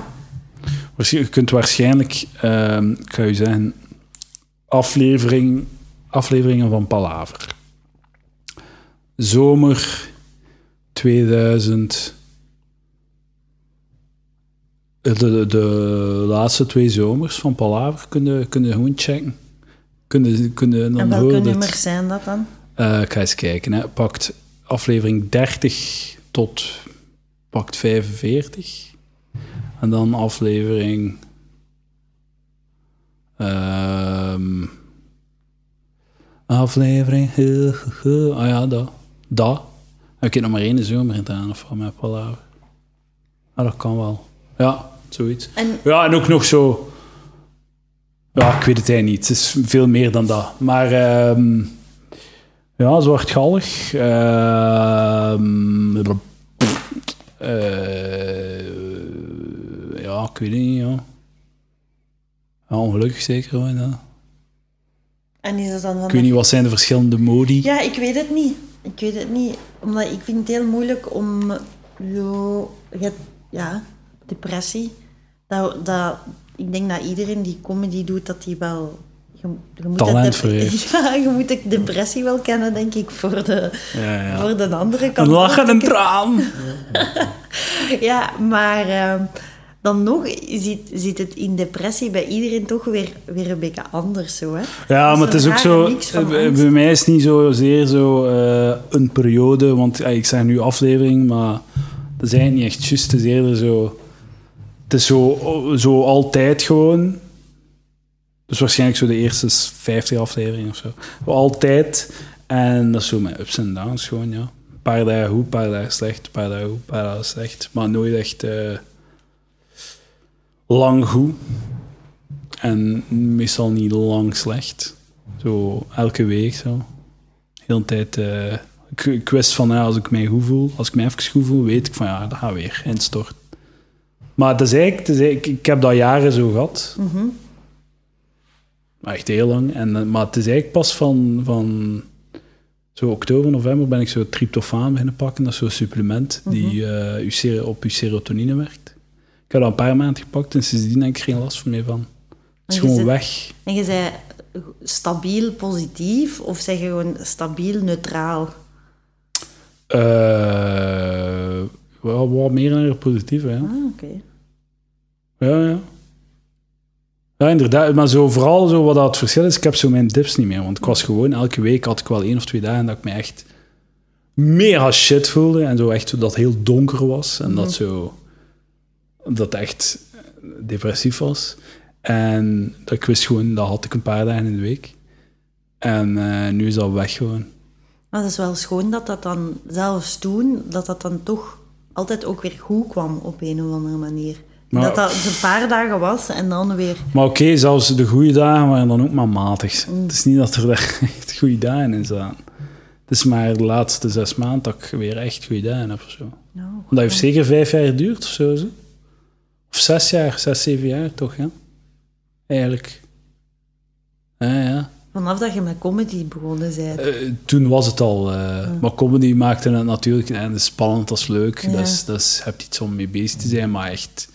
Speaker 1: Waarsch- Je kunt waarschijnlijk, ehm, ik ga u zeggen, aflevering, afleveringen van Palaver. Zomer 2000. De, de, de laatste twee zomers van Palaver kunnen kunnen gewoon checken. Kunnen kunnen dan
Speaker 2: En
Speaker 1: hoor je
Speaker 2: welke
Speaker 1: het.
Speaker 2: nummers zijn dat dan?
Speaker 1: Eh, ik ga eens kijken. Hè. Pakt aflevering 30 tot pakt 45. En dan aflevering. ehm, aflevering. Ah ja, dat. Dat. Ik heb nog maar één zomer gedaan of van mijn palaver. Ah, dat kan wel. Ja, zoiets.
Speaker 2: En-
Speaker 1: Ja, en ook nog zo. Ja, ik weet het eigenlijk niet. Het is veel meer dan dat. Maar ehm, ja, zwartgallig. Ehm, pff, eh, ja, ik weet het niet. Ja. Ja, ongelukkig zeker. Hoor, ja.
Speaker 2: En is dat dan van
Speaker 1: Ik weet niet, wat zijn de verschillende modi?
Speaker 2: Ja, ik weet het niet. Ik weet het niet. Omdat ik vind het heel moeilijk om zo... je hebt- Ja, depressie. Dat, dat, ik denk dat iedereen die comedy doet, dat die wel... Je, je moet
Speaker 1: Talent
Speaker 2: het-
Speaker 1: voor heeft.
Speaker 2: Ja, je moet de depressie wel kennen, denk ik, voor de,
Speaker 1: Ja, ja.
Speaker 2: Voor de andere kant.
Speaker 1: Eh, Een lach en een traan.
Speaker 2: Ja, maar ehm, dan nog zit, zit het in depressie bij iedereen toch weer, weer een beetje anders zo, hè?
Speaker 1: Ja,
Speaker 2: Dus
Speaker 1: maar het
Speaker 2: een
Speaker 1: is ook
Speaker 2: rare
Speaker 1: zo. eh,
Speaker 2: mix van
Speaker 1: bij-
Speaker 2: angst.
Speaker 1: Bij mij is het niet zozeer zo eh, een periode, want eh, ik zeg nu aflevering, maar dat is eigenlijk niet echt juist. Het is eerder zo. Het is zo, zo altijd gewoon. Dus waarschijnlijk zo de eerste 50 afleveringen of zo. Altijd. En dat is zo met ups en downs gewoon, ja. Een paar dagen goed, een paar dagen slecht, een paar dagen goed, een paar dagen slecht. Maar nooit echt eh, lang goed. En meestal niet lang slecht. Zo elke week zo. Heel de tijd. eh, ik, ik wist van ja, als ik mij goed voel, als ik mij even goed voel, weet ik van ja, dat gaat weer instorten. Maar dat is eigenlijk, het is eigenlijk- ik heb dat jaren zo gehad.
Speaker 2: Mhm.
Speaker 1: Maar Echt heel lang. En, eh, maar het is eigenlijk pas van, van zo oktober, november ben ik zo tryptofaan beginnen pakken. Dat is zo'n supplement die
Speaker 2: Mhm.
Speaker 1: eh, uw sero- op uw serotonine werkt. Ik heb dat een paar maanden gepakt en sindsdien heb ik geen last meer van. Het is
Speaker 2: Maar je
Speaker 1: gewoon
Speaker 2: zit-
Speaker 1: weg.
Speaker 2: En je zei stabiel positief of zeg je gewoon stabiel neutraal?
Speaker 1: eh wel wat meer naar het positieve, ja.
Speaker 2: Ah, oké.
Speaker 1: Ja, ja. Ja, inderdaad. Maar zo, vooral zo wat dat het verschil is, ik heb zo mijn dips niet meer. Want ik was gewoon, elke week had ik wel één of twee dagen dat ik me echt mega shit voelde. En zo echt zo dat het heel donker was. En dat zo... Dat echt depressief was. En dat ik wist gewoon, dat had ik een paar dagen in de week. En eh, nu is dat weg gewoon.
Speaker 2: Maar dat is wel schoon dat dat dan zelfs toen, dat dat dan toch altijd ook weer goed kwam op een of andere manier.
Speaker 1: Maar-
Speaker 2: dat dat een paar dagen was en dan weer...
Speaker 1: Maar oké, zelfs de goede dagen waren dan ook maar matig. Het is niet dat er daar echt goede dagen in staan. Het is maar de laatste zes maanden dat ik weer echt goede dagen heb of zo. Want
Speaker 2: Nou, goed.
Speaker 1: dat heeft zeker vijf jaar geduurd of zo. zo. Of zes jaar, zes, zeven jaar toch, ja? Eigenlijk. Ja, ja.
Speaker 2: Vanaf dat je met comedy begonnen bent.
Speaker 1: Eh, toen was het al. eh, Maar comedy maakte het natuurlijk en dat is spannend, dat is leuk.
Speaker 2: Ja.
Speaker 1: Dat is, dat is, je hebt iets om mee bezig te zijn, maar echt.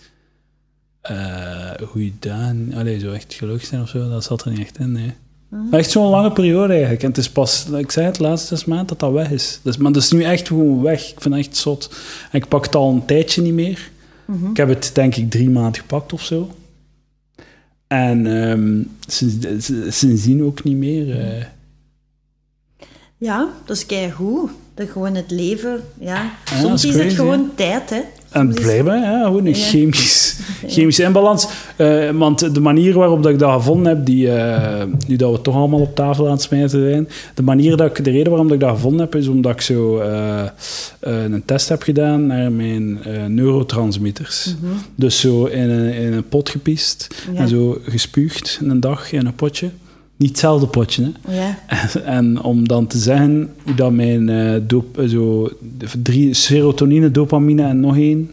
Speaker 1: eh goeie dagen, allee, zo echt gelukkig zijn of zo, dat zat er niet echt in. Nee. Maar Echt zo'n lange periode eigenlijk. En het is pas, ik zei het, de laatste zes maanden dat dat weg is. Dus, maar dat is nu echt gewoon weg. Ik vind het echt zot. En ik pak het al een tijdje niet meer. Ik heb het denk ik drie maanden gepakt of zo. En ehm, sinds, sindsdien ook niet meer. eh.
Speaker 2: Ja, dat is keigoed. Dat gewoon het leven, ja. Soms
Speaker 1: dat
Speaker 2: is,
Speaker 1: is
Speaker 2: het
Speaker 1: crazy,
Speaker 2: gewoon tijd, hè.
Speaker 1: En
Speaker 2: Soms is-
Speaker 1: blijkbaar, ja, gewoon een
Speaker 2: Ja.
Speaker 1: chemisch, chemische inbalans. Eh, want de manier waarop dat ik dat gevonden heb, die, eh, nu dat we toch allemaal op tafel aan het smijten zijn, de, manier dat ik, de reden waarom dat ik dat gevonden heb, is omdat ik zo eh, eh, een test heb gedaan naar mijn eh, neurotransmitters. Dus zo in een, in een pot gepiest
Speaker 2: Mhm. Ja.
Speaker 1: en zo gespuugd in een dag in een potje. Niet hetzelfde potje, hè?
Speaker 2: Ja.
Speaker 1: En om dan te zeggen hoe dat mijn eh, dop- eh, zo, de drie serotonine, dopamine en nog één,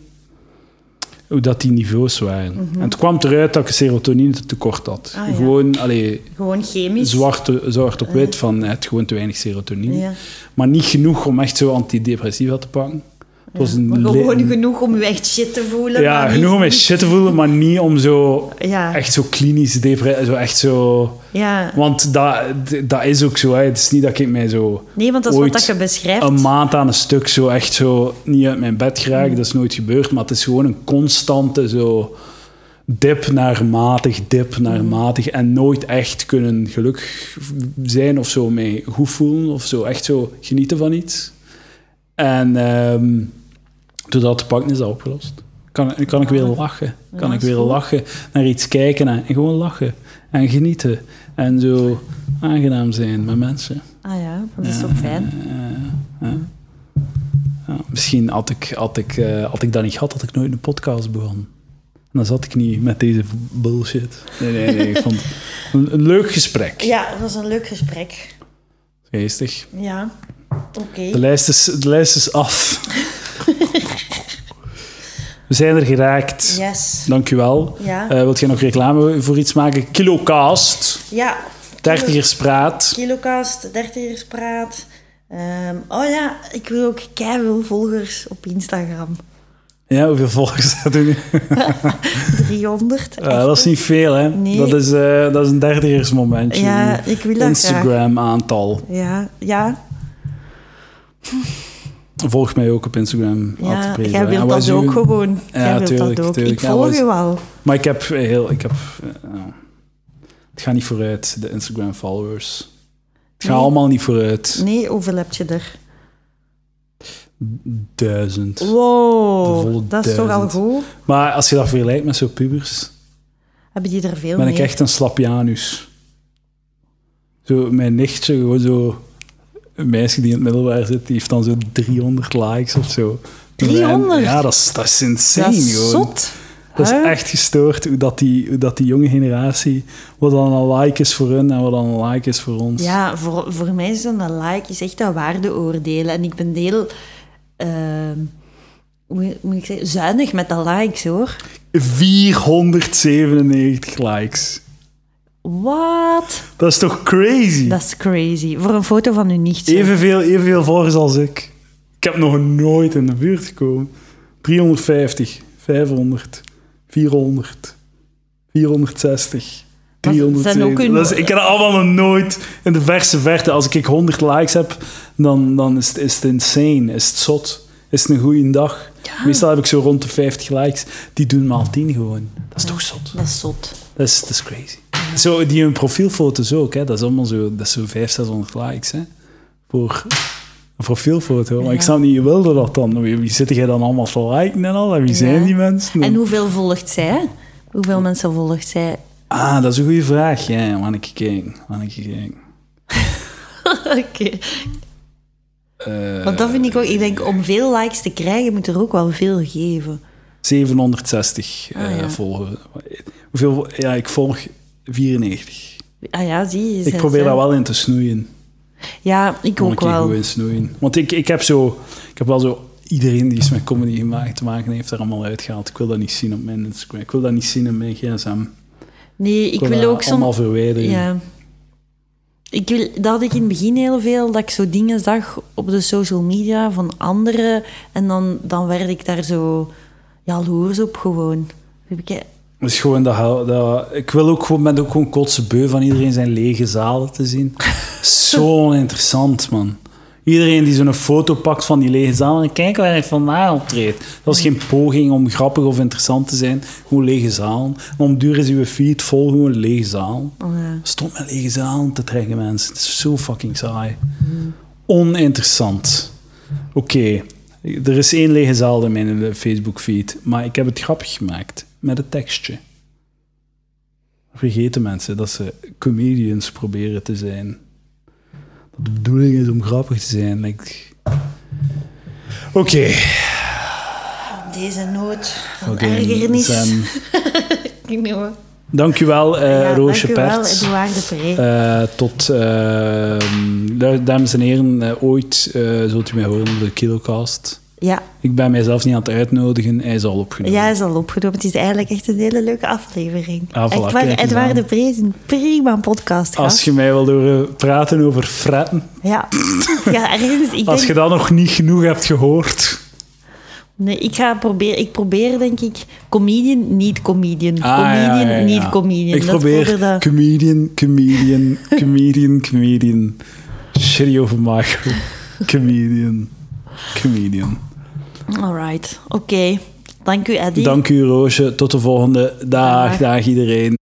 Speaker 1: hoe dat die niveaus waren. En het kwam eruit dat ik serotonine tekort had.
Speaker 2: Mhm. Ah, ja.
Speaker 1: Gewoon allee,
Speaker 2: Gewoon chemisch.
Speaker 1: zwart, zwart op wit van eh, het had gewoon te weinig serotonine.
Speaker 2: Ja.
Speaker 1: Maar niet genoeg om echt zo antidepressiva te pakken. Het was een
Speaker 2: Maar
Speaker 1: le-
Speaker 2: gewoon
Speaker 1: een-
Speaker 2: genoeg om je echt shit te voelen.
Speaker 1: ja,
Speaker 2: maar niet-
Speaker 1: genoeg om mij shit te voelen, maar niet om zo
Speaker 2: Ja.
Speaker 1: echt zo klinisch depressief, zo echt zo...
Speaker 2: Ja.
Speaker 1: Want dat, d- dat is ook zo. Hè. Het is niet dat ik mij zo
Speaker 2: Nee, want dat is
Speaker 1: ooit
Speaker 2: wat dat je beschrijft. Mm.
Speaker 1: een maand aan een stuk zo echt zo niet uit mijn bed geraak. Dat is nooit gebeurd. Maar het is gewoon een constante zo dip naar matig, dip
Speaker 2: Mm.
Speaker 1: naar matig. En nooit echt kunnen gelukkig zijn of zo mee goed voelen. Of zo echt zo genieten van iets. En ehm toen dat te pakken is dat opgelost. Kan, kan ik weer lachen. Kan
Speaker 2: Ja,
Speaker 1: ik
Speaker 2: Ah, is
Speaker 1: weer
Speaker 2: goed.
Speaker 1: lachen. Naar iets kijken en en gewoon lachen. En genieten. En zo aangenaam zijn met mensen.
Speaker 2: Ah ja, dat is ook fijn.
Speaker 1: Eh, eh. Ja, misschien had ik, had, ik, eh, had ik dat niet gehad, had ik nooit een podcast begonnen. En dan zat ik niet met deze bullshit. Nee, nee, nee. Ik vond het een, een leuk gesprek.
Speaker 2: Ja, dat was een leuk gesprek.
Speaker 1: Geestig.
Speaker 2: Ja. Oké.
Speaker 1: De lijst, is, de lijst is af. We zijn er geraakt.
Speaker 2: Yes.
Speaker 1: Dank u wel.
Speaker 2: Ja.
Speaker 1: Eh, wilt jij nog reclame voor iets maken? Kilocast.
Speaker 2: Ja.
Speaker 1: Dertigers praat.
Speaker 2: Kilocast, dertigerspraat. Ehm oh ja, ik wil ook veel volgers op Instagram.
Speaker 1: Ja, hoeveel volgers dat doen?
Speaker 2: 300.
Speaker 1: Ja, dat is niet veel, hè?
Speaker 2: Nee.
Speaker 1: Dat, is, eh, dat is een dertigersmomentje.
Speaker 2: Ja, ik wil dat
Speaker 1: Instagram-aantal.
Speaker 2: Ja, ja.
Speaker 1: Volg mij ook op Instagram.
Speaker 2: ja.
Speaker 1: Adpreza.
Speaker 2: Jij
Speaker 1: En
Speaker 2: wilt
Speaker 1: wij
Speaker 2: dat
Speaker 1: zoeken-
Speaker 2: ook gewoon. Jij wilt
Speaker 1: tuurlijk,
Speaker 2: dat ook.
Speaker 1: tuurlijk.
Speaker 2: Ik
Speaker 1: Ja,
Speaker 2: volg
Speaker 1: wat-
Speaker 2: je wel.
Speaker 1: Maar ik heb heel... Ik heb, eh, nou, het gaat niet vooruit, de Instagram-followers. Het gaat
Speaker 2: Nee.
Speaker 1: allemaal niet vooruit.
Speaker 2: Nee, hoeveel heb je er?
Speaker 1: Duizend.
Speaker 2: Oh.
Speaker 1: De volle
Speaker 2: Wow, dat is toch al
Speaker 1: duizend.
Speaker 2: goed?
Speaker 1: Maar als je dat vergelijkt met zo'n
Speaker 2: Oh,
Speaker 1: pubers,
Speaker 2: Hebben die er veel
Speaker 1: ben
Speaker 2: mee?
Speaker 1: ik echt een slapjanus. Zo, mijn nichtje, gewoon zo... Een meisje die in het middelbaar zit, die heeft dan zo 300 likes of zo. Terwijl-
Speaker 2: 300?
Speaker 1: Ja, dat is, dat is insane,
Speaker 2: dat is
Speaker 1: gewoon.
Speaker 2: zot.
Speaker 1: Dat is
Speaker 2: Huh?
Speaker 1: echt gestoord hoe dat, die, hoe dat die jonge generatie, wat dan een like is voor hun en wat dan een like is voor ons.
Speaker 2: Ja, voor, voor mij is dan een like is echt dat waardeoordelen. En ik ben heel, ehm, hoe moet ik zeggen, zuinig met de likes hoor.
Speaker 1: 497 likes.
Speaker 2: Wat?
Speaker 1: Dat is toch crazy?
Speaker 2: Dat is crazy. Voor een foto van u niet.
Speaker 1: Evenveel, evenveel volgers als ik. Ik heb nog nooit in de buurt gekomen. 350, 500, 400, 460,
Speaker 2: Maar ze zijn ook
Speaker 1: 370.
Speaker 2: hun-
Speaker 1: Dat is- ik heb dat allemaal nog nooit in de verse verte. Als ik 100 likes heb, dan, dan is, het, is het insane. Is het zot. Is het een goede dag. Meestal heb ik zo rond de 50 likes. Die doen maal 10 gewoon. Dat is toch zot.
Speaker 2: Dat is zot.
Speaker 1: Dat is, dat is crazy. Zo, die hun profielfoto's ook, hè. Dat is allemaal zo, dat is zo 500, 600 likes, hè. Voor een profielfoto. Maar ik snap niet, je wilde dat dan? Wie, wie zit jij dan allemaal te liken en al? En wie zijn die mensen?
Speaker 2: En hoeveel volgt zij? Hoeveel mensen volgt zij?
Speaker 1: Ah, dat is een goede vraag. Ja, wanneer ik kijk. Wanneer ik kijk.
Speaker 2: Oké.
Speaker 1: Eh,
Speaker 2: Want dat vind ik ook... Ik denk, om veel likes te krijgen, moet er ook wel veel geven.
Speaker 1: 760 eh
Speaker 2: Ah, ja.
Speaker 1: volgen. Hoeveel, ja, ik volg 94.
Speaker 2: Ah ja, zie je.
Speaker 1: Ik
Speaker 2: zij-
Speaker 1: probeer
Speaker 2: zij-
Speaker 1: daar wel in te snoeien.
Speaker 2: Ja, ik
Speaker 1: Kon
Speaker 2: ook
Speaker 1: ik hier
Speaker 2: wel.
Speaker 1: goed in snoeien. Want ik, ik heb zo... Ik heb wel zo... Iedereen die iets met comedy gemaakt te maken heeft, er allemaal uitgehaald. Ik wil dat niet zien op mijn Instagram. Ik wil dat niet zien in mijn gsm.
Speaker 2: Nee, ik,
Speaker 1: Ik wil
Speaker 2: wil
Speaker 1: dat
Speaker 2: ook soms...
Speaker 1: allemaal verwijderen.
Speaker 2: Ja. Ik wil, dat had ik in het begin heel veel, dat ik zo dingen zag op de social media van anderen. En dan, dan werd ik daar zo jaloers op gewoon. Heb ik, eh,
Speaker 1: Het is gewoon dat, hel- dat... Ik wil ook gewoon, ben ook gewoon kotsebeu van iedereen zijn lege zalen te zien. zo interessant, man. Iedereen die zo'n foto pakt van die lege zaal en kijk waar ik vandaan optreed. Dat is geen poging om grappig of interessant te zijn. Gewoon lege zalen. En om duur is uw feed vol gewoon lege zaal.
Speaker 2: ja.
Speaker 1: Stop met lege zalen te trekken, mensen. Het is zo fucking saai. Oninteressant. Oké, er is één lege zaal in mijn Facebook-feed, maar ik heb het grappig gemaakt met het tekstje. Vergeten mensen dat ze comedians proberen te zijn. Dat de bedoeling is om grappig te zijn. denk ik. Oké.
Speaker 2: Deze noot van
Speaker 1: Oké,
Speaker 2: ergernis.
Speaker 1: Sam.
Speaker 2: Ik noem het.
Speaker 1: Dankjewel, eh
Speaker 2: Ja,
Speaker 1: Roosje
Speaker 2: dankjewel,
Speaker 1: Pert.
Speaker 2: Edouard de Pre.
Speaker 1: Eh, tot, eh, daar- dames en heren, eh, ooit eh, zult u mij horen op de Kilocast.
Speaker 2: ja,
Speaker 1: Ik ben mijzelf niet aan het uitnodigen, hij is al opgenomen.
Speaker 2: jij is al opgenomen. Het is eigenlijk echt een hele leuke aflevering.
Speaker 1: Ah, voilà,
Speaker 2: Echt waar,
Speaker 1: kijk eens
Speaker 2: Edouard
Speaker 1: aan.
Speaker 2: de Pre is een prima podcast.
Speaker 1: Als je mij wil horen praten over fretten,
Speaker 2: Ja, ja ergens, ik denk
Speaker 1: als je dat nog niet genoeg hebt gehoord.
Speaker 2: Nee, ik ga proberen. Ik probeer denk ik comedian, niet comedian,
Speaker 1: Ah, ja,
Speaker 2: comedian,
Speaker 1: ja, ja.
Speaker 2: niet comedian.
Speaker 1: Ik
Speaker 2: Dat
Speaker 1: probeer
Speaker 2: probeer dat-
Speaker 1: comedian, comedian, comedian, comedian. Shitty over Michael. Comedian, comedian.
Speaker 2: Alright, oké. Dank u, Eddie.
Speaker 1: Dank u, Roosje. Tot de volgende. Dag,
Speaker 2: Dag.
Speaker 1: dag iedereen.